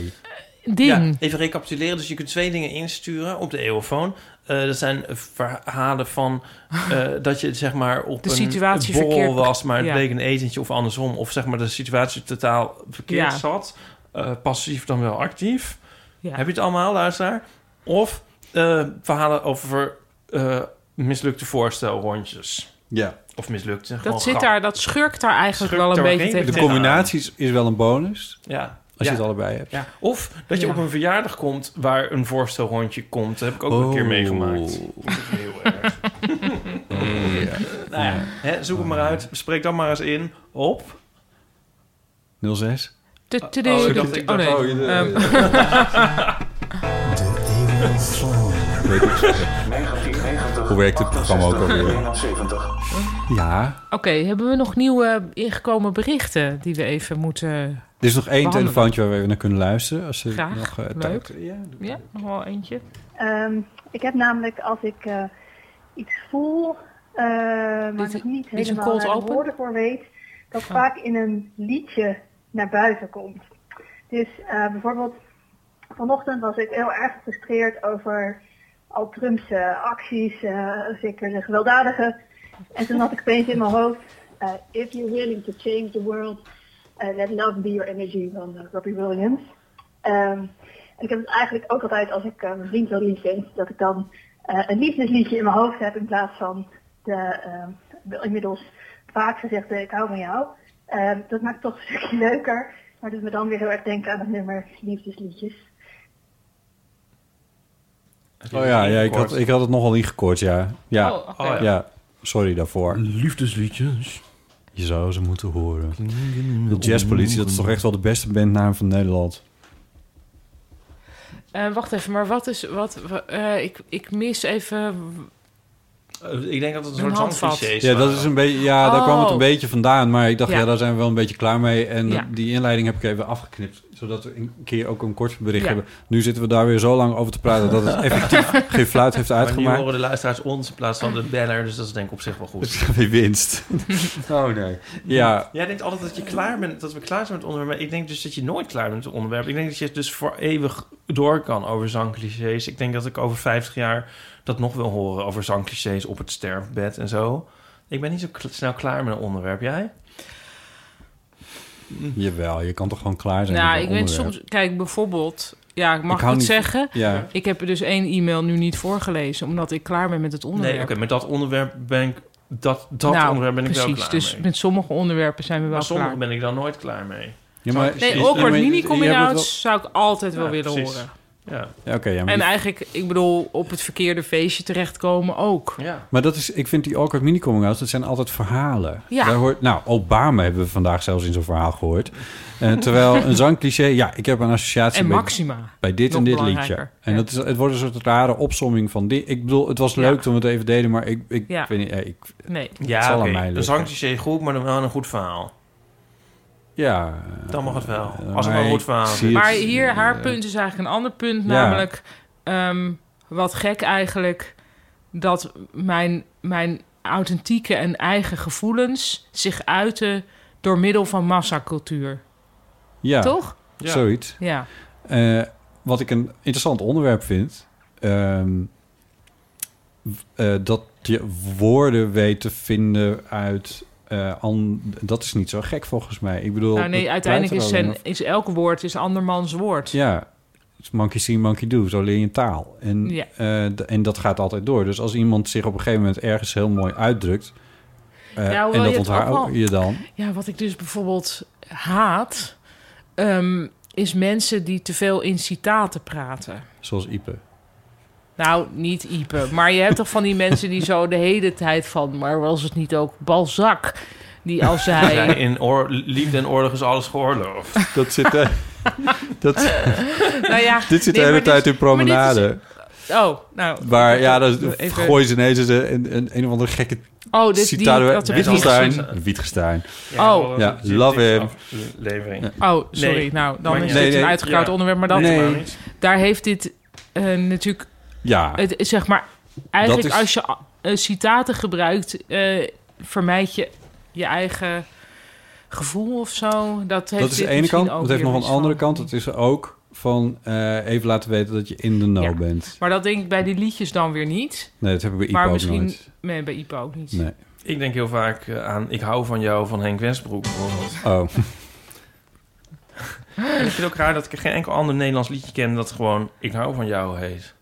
een ding? Ja, even recapituleren. Dus je kunt twee dingen insturen op de eeuwfoon. Eh dat zijn verhalen van eh, dat je zeg maar op De een situatie borrel verkeerd- was, maar het ja. bleek een etentje of andersom. Of zeg maar de situatie totaal verkeerd Ja. zat. Eh, passief dan wel actief. Ja. Heb je het allemaal, luisteraar? Of eh, verhalen over eh, mislukte voorstelrondjes. Ja, Of mislukte gewoon Dat, zit grap- daar, dat schurkt daar eigenlijk Schurkt wel een daar beetje redelijk tegen. de combinaties is wel een bonus. Ja. Als ja. je het allebei hebt. Ja. Of dat je Ja. op een verjaardag komt waar een voorstelrondje komt. Dat heb ik ook een Oh. keer meegemaakt. Dat is heel erg. Oh, ja. nou ja, hè, zoek het maar uit. Spreek dan maar eens in op. 06. Tu- tu- Oh, tu- ik dacht- ik oh, dacht- nee. oh, Ehm, Hoe werkt het programma ook alweer? Ja. Oké, hebben we nog nieuwe ingekomen berichten die we even moeten... Er is nog één Behandelen. telefoontje waar we even naar kunnen luisteren. Als ze Graag. nog, eh, Leuk. tijd- Ja, Ja, nog wel eentje. Ehm, ik heb namelijk als ik eh, iets voel, eh, Dit- waar ik niet dit is een helemaal cold naar de open? woorden voor weet, dat vaak in een liedje naar buiten komt. Dus eh, bijvoorbeeld vanochtend was ik heel erg gefrustreerd over al Trumps eh, acties, eh, zeker de gewelddadige. En toen had ik opeens in mijn hoofd, eh, if you're willing to change the world, eh, let love be your energy van eh, Robbie Williams. Ehm, en ik heb het eigenlijk ook altijd als ik eh, mijn vriend wil liefde, dat ik dan eh, een liefdesliedje in mijn hoofd heb in plaats van de ehm, wel inmiddels vaak gezegde ik hou van jou. Ehm, dat maakt het toch een stukje leuker, maar doet me dan weer heel erg denken aan het nummer liefdesliedjes. Oh ja, ja ik, had, ik had het nogal ingekort, ja. Ja, Oh, oké. ja. sorry daarvoor. Liefdesliedjes. Je zou ze moeten horen. De Jazzpolitie, dat is toch echt wel de beste bandnaam van Nederland. Eh, wacht even, maar wat is... Wat, wa- eh, ik, ik mis even... Eh, Ik denk dat het een, Een soort handvat. zangcliché is. Ja, dat is een beetje, ja daar Oh. kwam het een beetje vandaan. Maar ik dacht, Ja. ja, daar zijn we wel een beetje klaar mee. En Ja. die inleiding heb ik even afgeknipt. Zodat we een keer ook een kort bericht Ja. hebben. Nu zitten we daar weer zo lang over te praten... dat het effectief geen fluit heeft Maar nu uitgemaakt. horen de luisteraars ons in plaats van de banner, dus dat is denk ik op zich wel Dus goed. is weer winst. oh nee. Ja, Jij denkt altijd dat je klaar bent, dat we klaar zijn met het onderwerp. Maar ik denk dus dat je nooit klaar bent met het onderwerp. Ik denk dat je het dus voor eeuwig door kan over zangclichés. Ik denk dat ik over 50 jaar dat nog wil horen over zangclichés op het sterfbed en zo. Ik ben niet zo kl- snel klaar met een onderwerp. Jij? jawel. Je kan toch gewoon klaar zijn nou, met een ik ben onderwerp? soms... Kijk, bijvoorbeeld... Ja, mag hou ik, het niet- zeggen? Ja. Ik heb er dus één e-mail nu niet voorgelezen... omdat ik klaar ben met het Nee, onderwerp. oké, met dat onderwerp ben ik, dat, dat Nou, onderwerp ben ik precies, wel klaar dus mee. met sommige onderwerpen zijn we wel Maar sommige klaar. ben ik dan nooit klaar mee. Ja, maar, Nee, precies. ook awkward mini-coming-outs zou ik altijd wel Ja, willen precies. horen. Ja, Ja, oké, ja, maar, En die- eigenlijk, ik bedoel, op het verkeerde feestje terechtkomen ook. ja. maar dat is, ik vind die awkward mini-coming-outs, dat zijn altijd verhalen. Ja. Daar hoort, nou, Obama hebben we vandaag zelfs in zo'n verhaal gehoord. Eh, terwijl een zangcliché, ja, ik heb een associatie En bij, Maxima. bij dit nog en dit belangrijker. liedje. En Ja. dat is, het wordt een soort rare opsomming van dit. Ik bedoel, het was leuk Ja. toen we het even deden, maar ik, ik Ja. weet niet, eh, ik, Nee. Het Ja, zal aan oké. mij een liggen. zangcliché goed, maar dan wel een goed verhaal. ja. Dan mag het wel. eh, Als het maar wel een goed ik verhaal zie is. Maar het- hier, haar punt is eigenlijk een ander punt. Ja. Namelijk, ehm, wat gek eigenlijk... dat mijn, mijn authentieke en eigen gevoelens... zich uiten door middel van massacultuur. Ja, Toch? Ja. zoiets. Ja. Eh, wat ik een interessant onderwerp vind, ehm, w- eh, dat je woorden weet te vinden uit. eh, an- dat is niet zo gek volgens mij. Ik bedoel, Nou, nee, dat uiteindelijk is, pleit er alleen zijn, is elk woord is andermans woord. maar- Ja, it's monkey see, monkey do. Zo leer je taal. En, Ja. eh, d- en dat gaat altijd door. Dus als iemand zich op een gegeven moment ergens heel mooi uitdrukt. eh, Ja, hoewel en je dat het onthoud ook wel- je dan. Ja, wat ik dus bijvoorbeeld haat... ehm, is mensen die te veel in citaten praten. Zoals Ipe. Nou, niet Ipe. Maar je hebt toch van die mensen die zo de hele tijd van... Maar was het niet ook Balzac? Die als Ja, hij... in oor- liefde en oorlog is alles geoorloofd. Dat zit, eh, dat, nou ja, dit zit nee, de hele maar dit- tijd in maar dit is- promenade. Oh, nou. Waar, ja, dan Even- gooien ze ineens een, een, een, een of andere gekke Oh, dit, die, citaat. dat door- er Nee, niet Wittgenstein. gezien- Wittgenstein. Oh. Ja, love him. Levering. Oh, sorry. Nee. Nou, dan Maar ja. is dit Nee, een nee. uitgekoud Ja. onderwerp. Maar dat, Nee. daar heeft dit eh, natuurlijk... Ja, Het, zeg maar, eigenlijk Dat is- als je a- eh, citaten gebruikt... eh, vermijd je je eigen gevoel of zo. Dat, heeft dat is de dit ene misschien kant. ook Het heeft weer nog een iets andere van. kant. Het is ook van eh, even laten weten dat je in de know Ja. bent. Maar dat denk ik bij die liedjes dan weer niet. Nee, dat hebben we maar bij Ipo ook misschien... nooit. Nee, bij Ipo ook niet. Nee. Ik denk heel vaak eh, aan Ik hou van jou van Henk Westbroek bijvoorbeeld. Oh, En ik vind het ook raar dat ik geen enkel ander Nederlands liedje ken dat gewoon Ik hou van jou heet.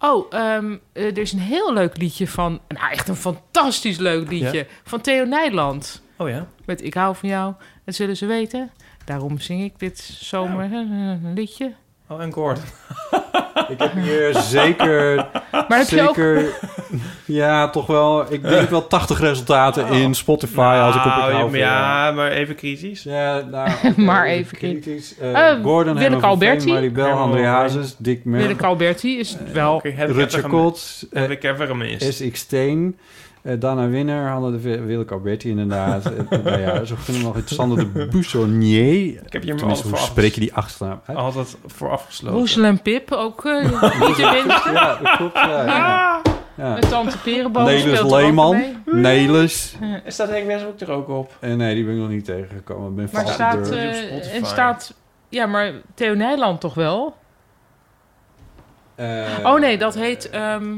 Oh, ehm, eh, er is een heel leuk liedje van... Nou, echt een fantastisch leuk liedje. Van Theo Nijland. Oh ja? Met Ik hou van jou. Dat zullen ze weten. Daarom zing ik dit zomer een liedje. Oh, en Gordon. Ah, ik heb hier zeker, Maar heb je ook... zeker, ja, toch wel, ik denk wel 80 resultaten Oh. in Spotify als ik op Nou, ik hou van jou. ja, maar even kritisch. Ja, nou, oké, Maar even kritisch. Eh, Eh, Gordon, Willeke Willem Alberti. Alberti, Maribel, Herman André van Veen. Hazes, Dick Willeke Merk, Alberti Eh, is wel... Oké, heb ik Rutger even gem- Kots, eh, Heb ik even gemist. SX Steen, eh, Dana Winner, Hanna de Ve- Willeke Alberti inderdaad. Eh, nou ja, zo kunnen we nog het Sander de Buissonnier. Ik heb hier me altijd Tenminste, voor, hoe afges- spreek je die achternaam uit? altijd voor afgesloten. Roesel en Pip ook eh, niet te winnen. Ja, dat klopt. Ja, Ah! ja. ja. Met Tante Perenboom Nelis speelt er ook mee. Leeman. Nelis. Staat Henk Westbroek er ook op? Eh, nee, die ben ik nog niet tegengekomen. Ik ben Maar vast staat... door. Die op eh, Spotify. en staat... Ja, maar Theo Nijland toch wel? Eh, Oh nee, dat heet... ehm,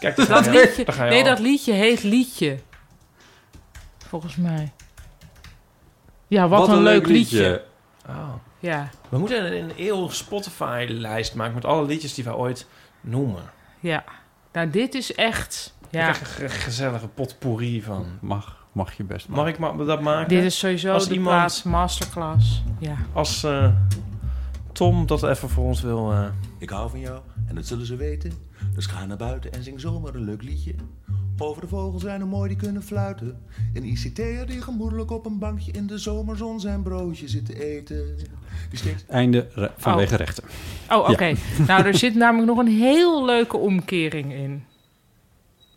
Kijk, daar dat ga je- liedje... daar ga je Nee, al. dat liedje heet Liedje. Volgens mij. Ja, wat, een, leuk liedje. Oh. Ja, We moeten een eeuwig Spotify-lijst maken met alle liedjes die wij ooit noemen. ja. Nou, dit is echt... Ja. Ja, Ik krijg een ge- gezellige potpourri van. Mag, mag je best. Mag ik ma- dat maken? dit is sowieso Als de iemand- plaats masterclass. Ja. Als eh, Tom dat even voor ons wil... eh, Ik hou van jou en dat zullen ze weten. Dus ga naar buiten en zing zomaar een leuk liedje. Over de vogels zijn er mooi die kunnen fluiten. Een ICT'er die gemoedelijk op een bankje in de zomerzon zijn broodje zit te eten. Die steekt... Einde re- vanwege rechten. Oh, oké. Nou, er zit namelijk nog een heel leuke omkering in.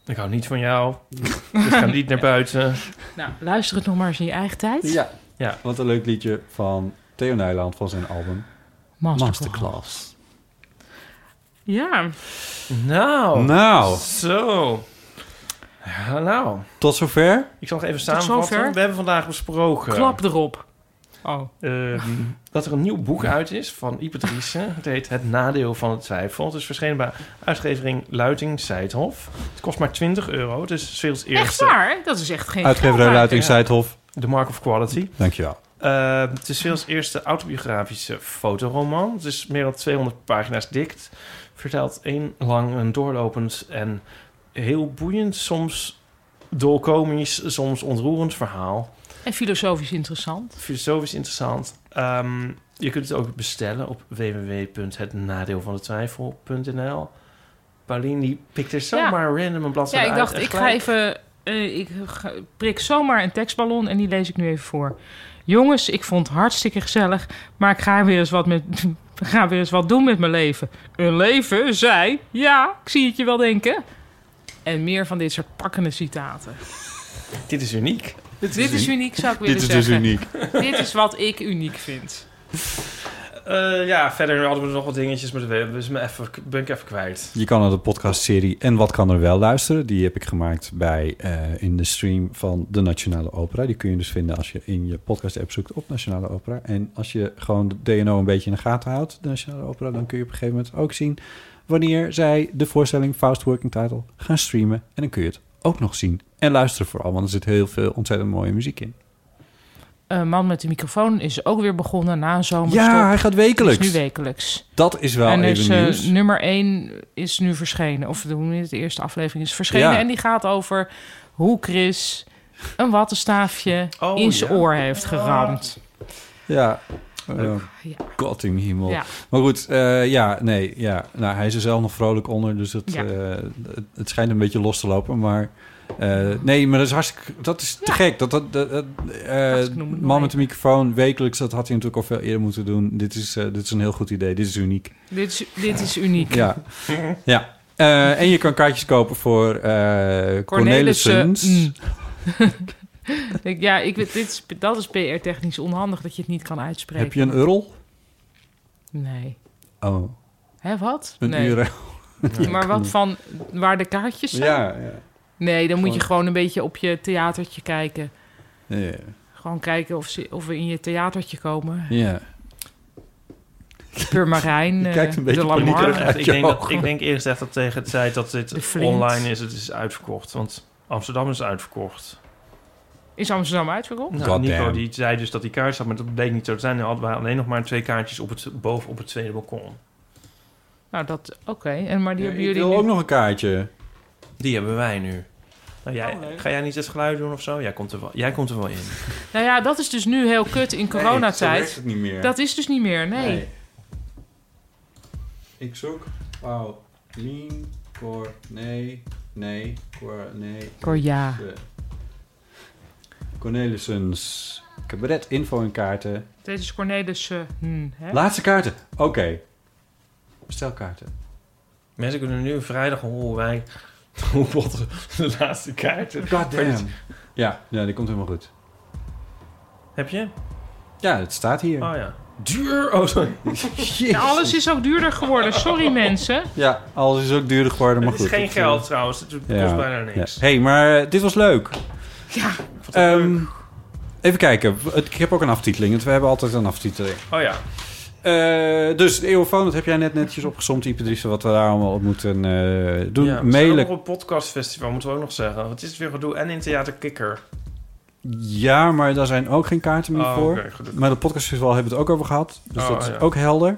ik hou niet van jou. ik ga niet naar buiten. Nou, luister het nog maar eens in je eigen tijd. Ja. Ja. Wat een leuk liedje van Theo Nijland van zijn album Masterclass. Masterclass. Ja. Nou, Nou, zo. Ja, nou, tot zover. ik zal nog even samenvatten. zover. We hebben vandaag besproken... Klap erop. Oh. Ehm, dat er een nieuw boek uit is van Ipe Driessen. Het heet Het Nadeel van de Twijfel. Het is verschenen bij uitgevering Luiting Seidhof. Het kost maar 20 euro. Het is veel eerste. Echt waar? Dat is echt geen Uitgeverij geldwaarde. Luiting Zuidhof. The Mark of Quality. Dankjewel. Eh, het is Veels eerste autobiografische fotoroman. Het is meer dan 200 pagina's dik. Het Vertelt één lang een doorlopend en heel boeiend, soms dolkomisch, soms ontroerend verhaal. En filosofisch interessant. Filosofisch interessant. Ehm, je kunt het ook bestellen op www.hetnadeelvandetwijfel.nl. Paulien, die pikt er zomaar random een Ja, bladzijde ik uit dacht, en ik ga gelijk- even... eh, ik ga- prik zomaar een tekstballon en die lees ik nu even voor. Jongens, ik vond het hartstikke gezellig, maar ik ga weer eens wat, met, ga weer eens wat doen met mijn leven. Een leven, zij, ja, ik zie het je wel denken. En meer van dit soort pakkende citaten. Dit is uniek. Dit is, uniek, zou ik willen Dit is dus zeggen. uniek. Dit is wat ik uniek vind. Eh, ja, verder hadden we nog wat dingetjes, maar dat ben- dus me even, ben ik even kwijt. Je kan naar de podcastserie En Wat Kan Er Wel luisteren. Die heb ik gemaakt bij, eh, in de stream van de Nationale Opera. Die kun je dus vinden als je in je podcast-app zoekt op Nationale Opera. En als je gewoon de DNO een beetje in de gaten houdt, de Nationale Opera... dan kun je op een gegeven moment ook zien wanneer zij de voorstelling Faust Working Title gaan streamen. En dan kun je het ook nog zien en luisteren vooral, want er zit heel veel ontzettend mooie muziek in. Een Eh, man met de microfoon is ook weer begonnen na een zomerstop. Ja, hij gaat Het is nu wekelijks. wekelijks. Dat is wel en dus, even eh, nieuws. nummer 1 is nu verschenen. Of hoe heet het, de eerste aflevering is verschenen. Ja. En die gaat over hoe Chris een wattenstaafje Oh, in zijn ja. oor heeft geramd. Ja, Oh, Ja. Ja. Kottinghimmel. Ja. Maar goed, eh, ja, nee, ja. Nou, hij is er zelf nog vrolijk onder, dus het, Ja. eh, het, het schijnt een beetje los te lopen. Maar eh, nee, maar dat is hartstikke, dat is te gek. Dat, dat, dat, dat, eh, Hartstikke noem het maar man met even. de microfoon wekelijks, dat had hij natuurlijk al veel eerder moeten doen. Dit is, eh, dit is een heel goed idee, dit is uniek. Dit, is, dit is uniek. Ja, ja. Eh, en je kan kaartjes kopen voor eh Cornelissen. Cornelissens. mm. Ik- ja, ik, weet- dit is, dat is PR-technisch onhandig dat je het niet kan uitspreken. Heb je een url? Nee. Oh, Hè, wat? een nee. url. Maar wat van waar de kaartjes zijn? Ja, ja. Nee, dan moet je Gewoon- gewoon een beetje op je theatertje kijken. ja. Gewoon kijken of, ze, of we in je theatertje komen. ja. Pur Marijn, Je kijkt een eh, beetje de Lamar. paniekerig uit. Echt, ik, denk Ja. dat, ik denk eerst echt dat tegen het tijd dat De dit Flint. online is, het is uitverkocht. Want Amsterdam is uitverkocht. Is Amsterdam uitverkocht? Nou, Goddamn. Nico die zei dus dat die kaartjes had, maar dat bleek niet zo te zijn. Dan hadden we alleen nog maar twee kaartjes op het, boven op het tweede balkon. Nou, dat... Oké, en maar die Ik hebben jullie wil nu- ook nog een kaartje. Die hebben wij nu. Nou, jij, ga jij niet het geluid doen of zo? Jij komt er wel, jij komt er wel in. Nou ja, dat is dus nu heel kut in Nee, zo coronatijd. werkt het niet meer. dat is dus niet meer, nee. Ik zoek Paulien Cor... Nee, nee, Cor... Nee. Cor- ja. De- Cornelissens. Cabaret, info en kaarten. Dit is Cornelis... eh, hm, hè? Laatste kaarten. Oké. Bestelkaarten. Mensen kunnen nu vrijdag horen hoe wij... Hoe botten de laatste kaarten. God damn. Ja, ja, die komt helemaal goed. Heb je? Ja, het staat hier. Oh ja. Duur! Oh, sorry. Ja, Nou, alles is ook duurder geworden. Sorry, mensen. Ja, alles is ook duurder geworden, maar Het goed. is geen Ik, geld trouwens. Het kost eh, ja. bijna niks. Ja. hey, maar eh, dit was leuk. Ehm, even kijken. Het- Ik heb ook een aftiteling. want We hebben altijd een aftiteling. Oh ja. Eh, dus de eeuwofoon, dat heb jij net netjes opgezomd, Ipadrisse, wat we daar allemaal op moeten eh, doen. ja. We Mailen. zijn ook op een podcastfestival, moeten we ook nog zeggen. Want het is weer gedoe. En in Theater Kikker. Ja, maar daar zijn ook geen kaarten meer Oh, voor. oké, gelukkig. Maar de podcastfestival hebben we het ook over gehad. Dus Oh, dat is ja. ook helder.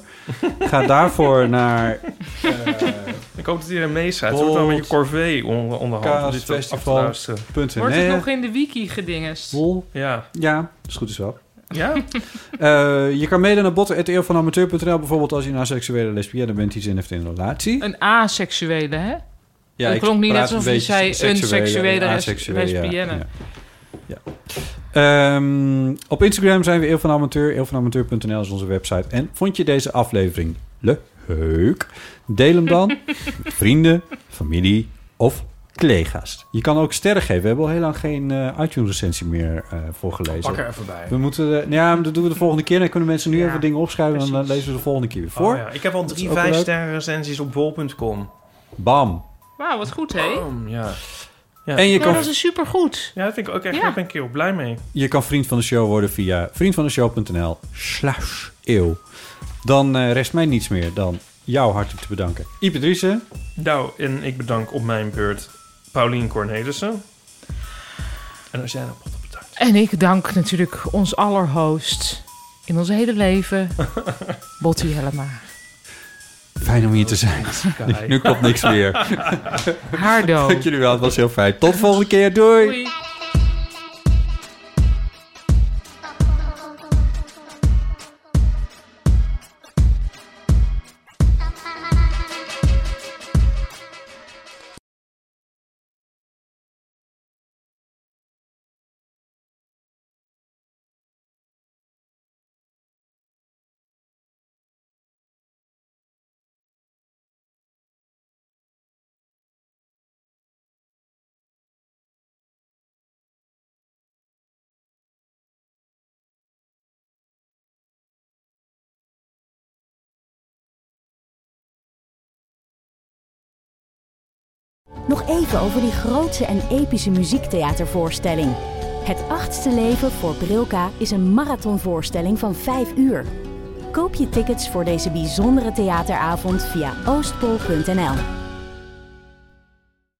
Ga daarvoor naar Ik hoop dat iedereen meeschrijft. Het wordt wel met je corvée onder, onderhand. om dit te- af te Kaasfestival. luisteren. punten. Wordt Nee, het nog in de wiki gedingest? Bol. Ja. E. Ja, is goed is wel. Ja? Eh, je kan mailen naar botten.eeuwvanamateur.nl bijvoorbeeld als je een seksuele lesbienne bent die zin heeft in een relatie. Een aseksuele, hè? Ja, Dat ik klonk niet praat net alsof een je beetje zei een seksuele en seksuele les- aseksuele, ja, lesbienne. ja. Ja. Ehm, op Instagram zijn we Eeuw van Amateur. Eeuwvanamateur.nl is onze website. En vond je deze aflevering leuk? Deel hem dan met vrienden, familie of collega's. Je kan ook sterren geven. We hebben al heel lang geen eh, iTunes-recensie meer eh voorgelezen. Pak er even bij. We moeten... eh, ja, maar dat doen we de volgende keer. Dan kunnen mensen nu Ja, even dingen opschrijven... en dan precies. lezen we de volgende keer weer voor. Oh, ja. Ik heb al is drie ook wel leuk. 5 sterren recensies op bol.com. Bam. Wauw, wat goed, hè? Oh, ja. En je Ja, kan, dat is supergoed. ja, dat vind ik ook echt. Ja. Daar ben ik heel blij mee. je kan vriend van de show worden via vriendvandeshow.nl slash eeuw. Dan eh, rest mij niets meer dan jou hartelijk te bedanken. Ipe Driessen. Nou, en ik bedank op mijn beurt Paulien Cornelissen. En als jij nou botten bedankt. En ik dank natuurlijk ons allerhost in ons hele leven, Botti Helma. Fijn om hier te zijn. Kai. Nu klopt niks meer. Haardo. Dank jullie wel, het was heel fijn. Tot de volgende keer. Doei. Doei. Nog even over die grootse en epische muziektheatervoorstelling. Het achtste leven voor Brilka is een marathonvoorstelling van 5 uur. Koop je tickets voor deze bijzondere theateravond via oostpol.nl.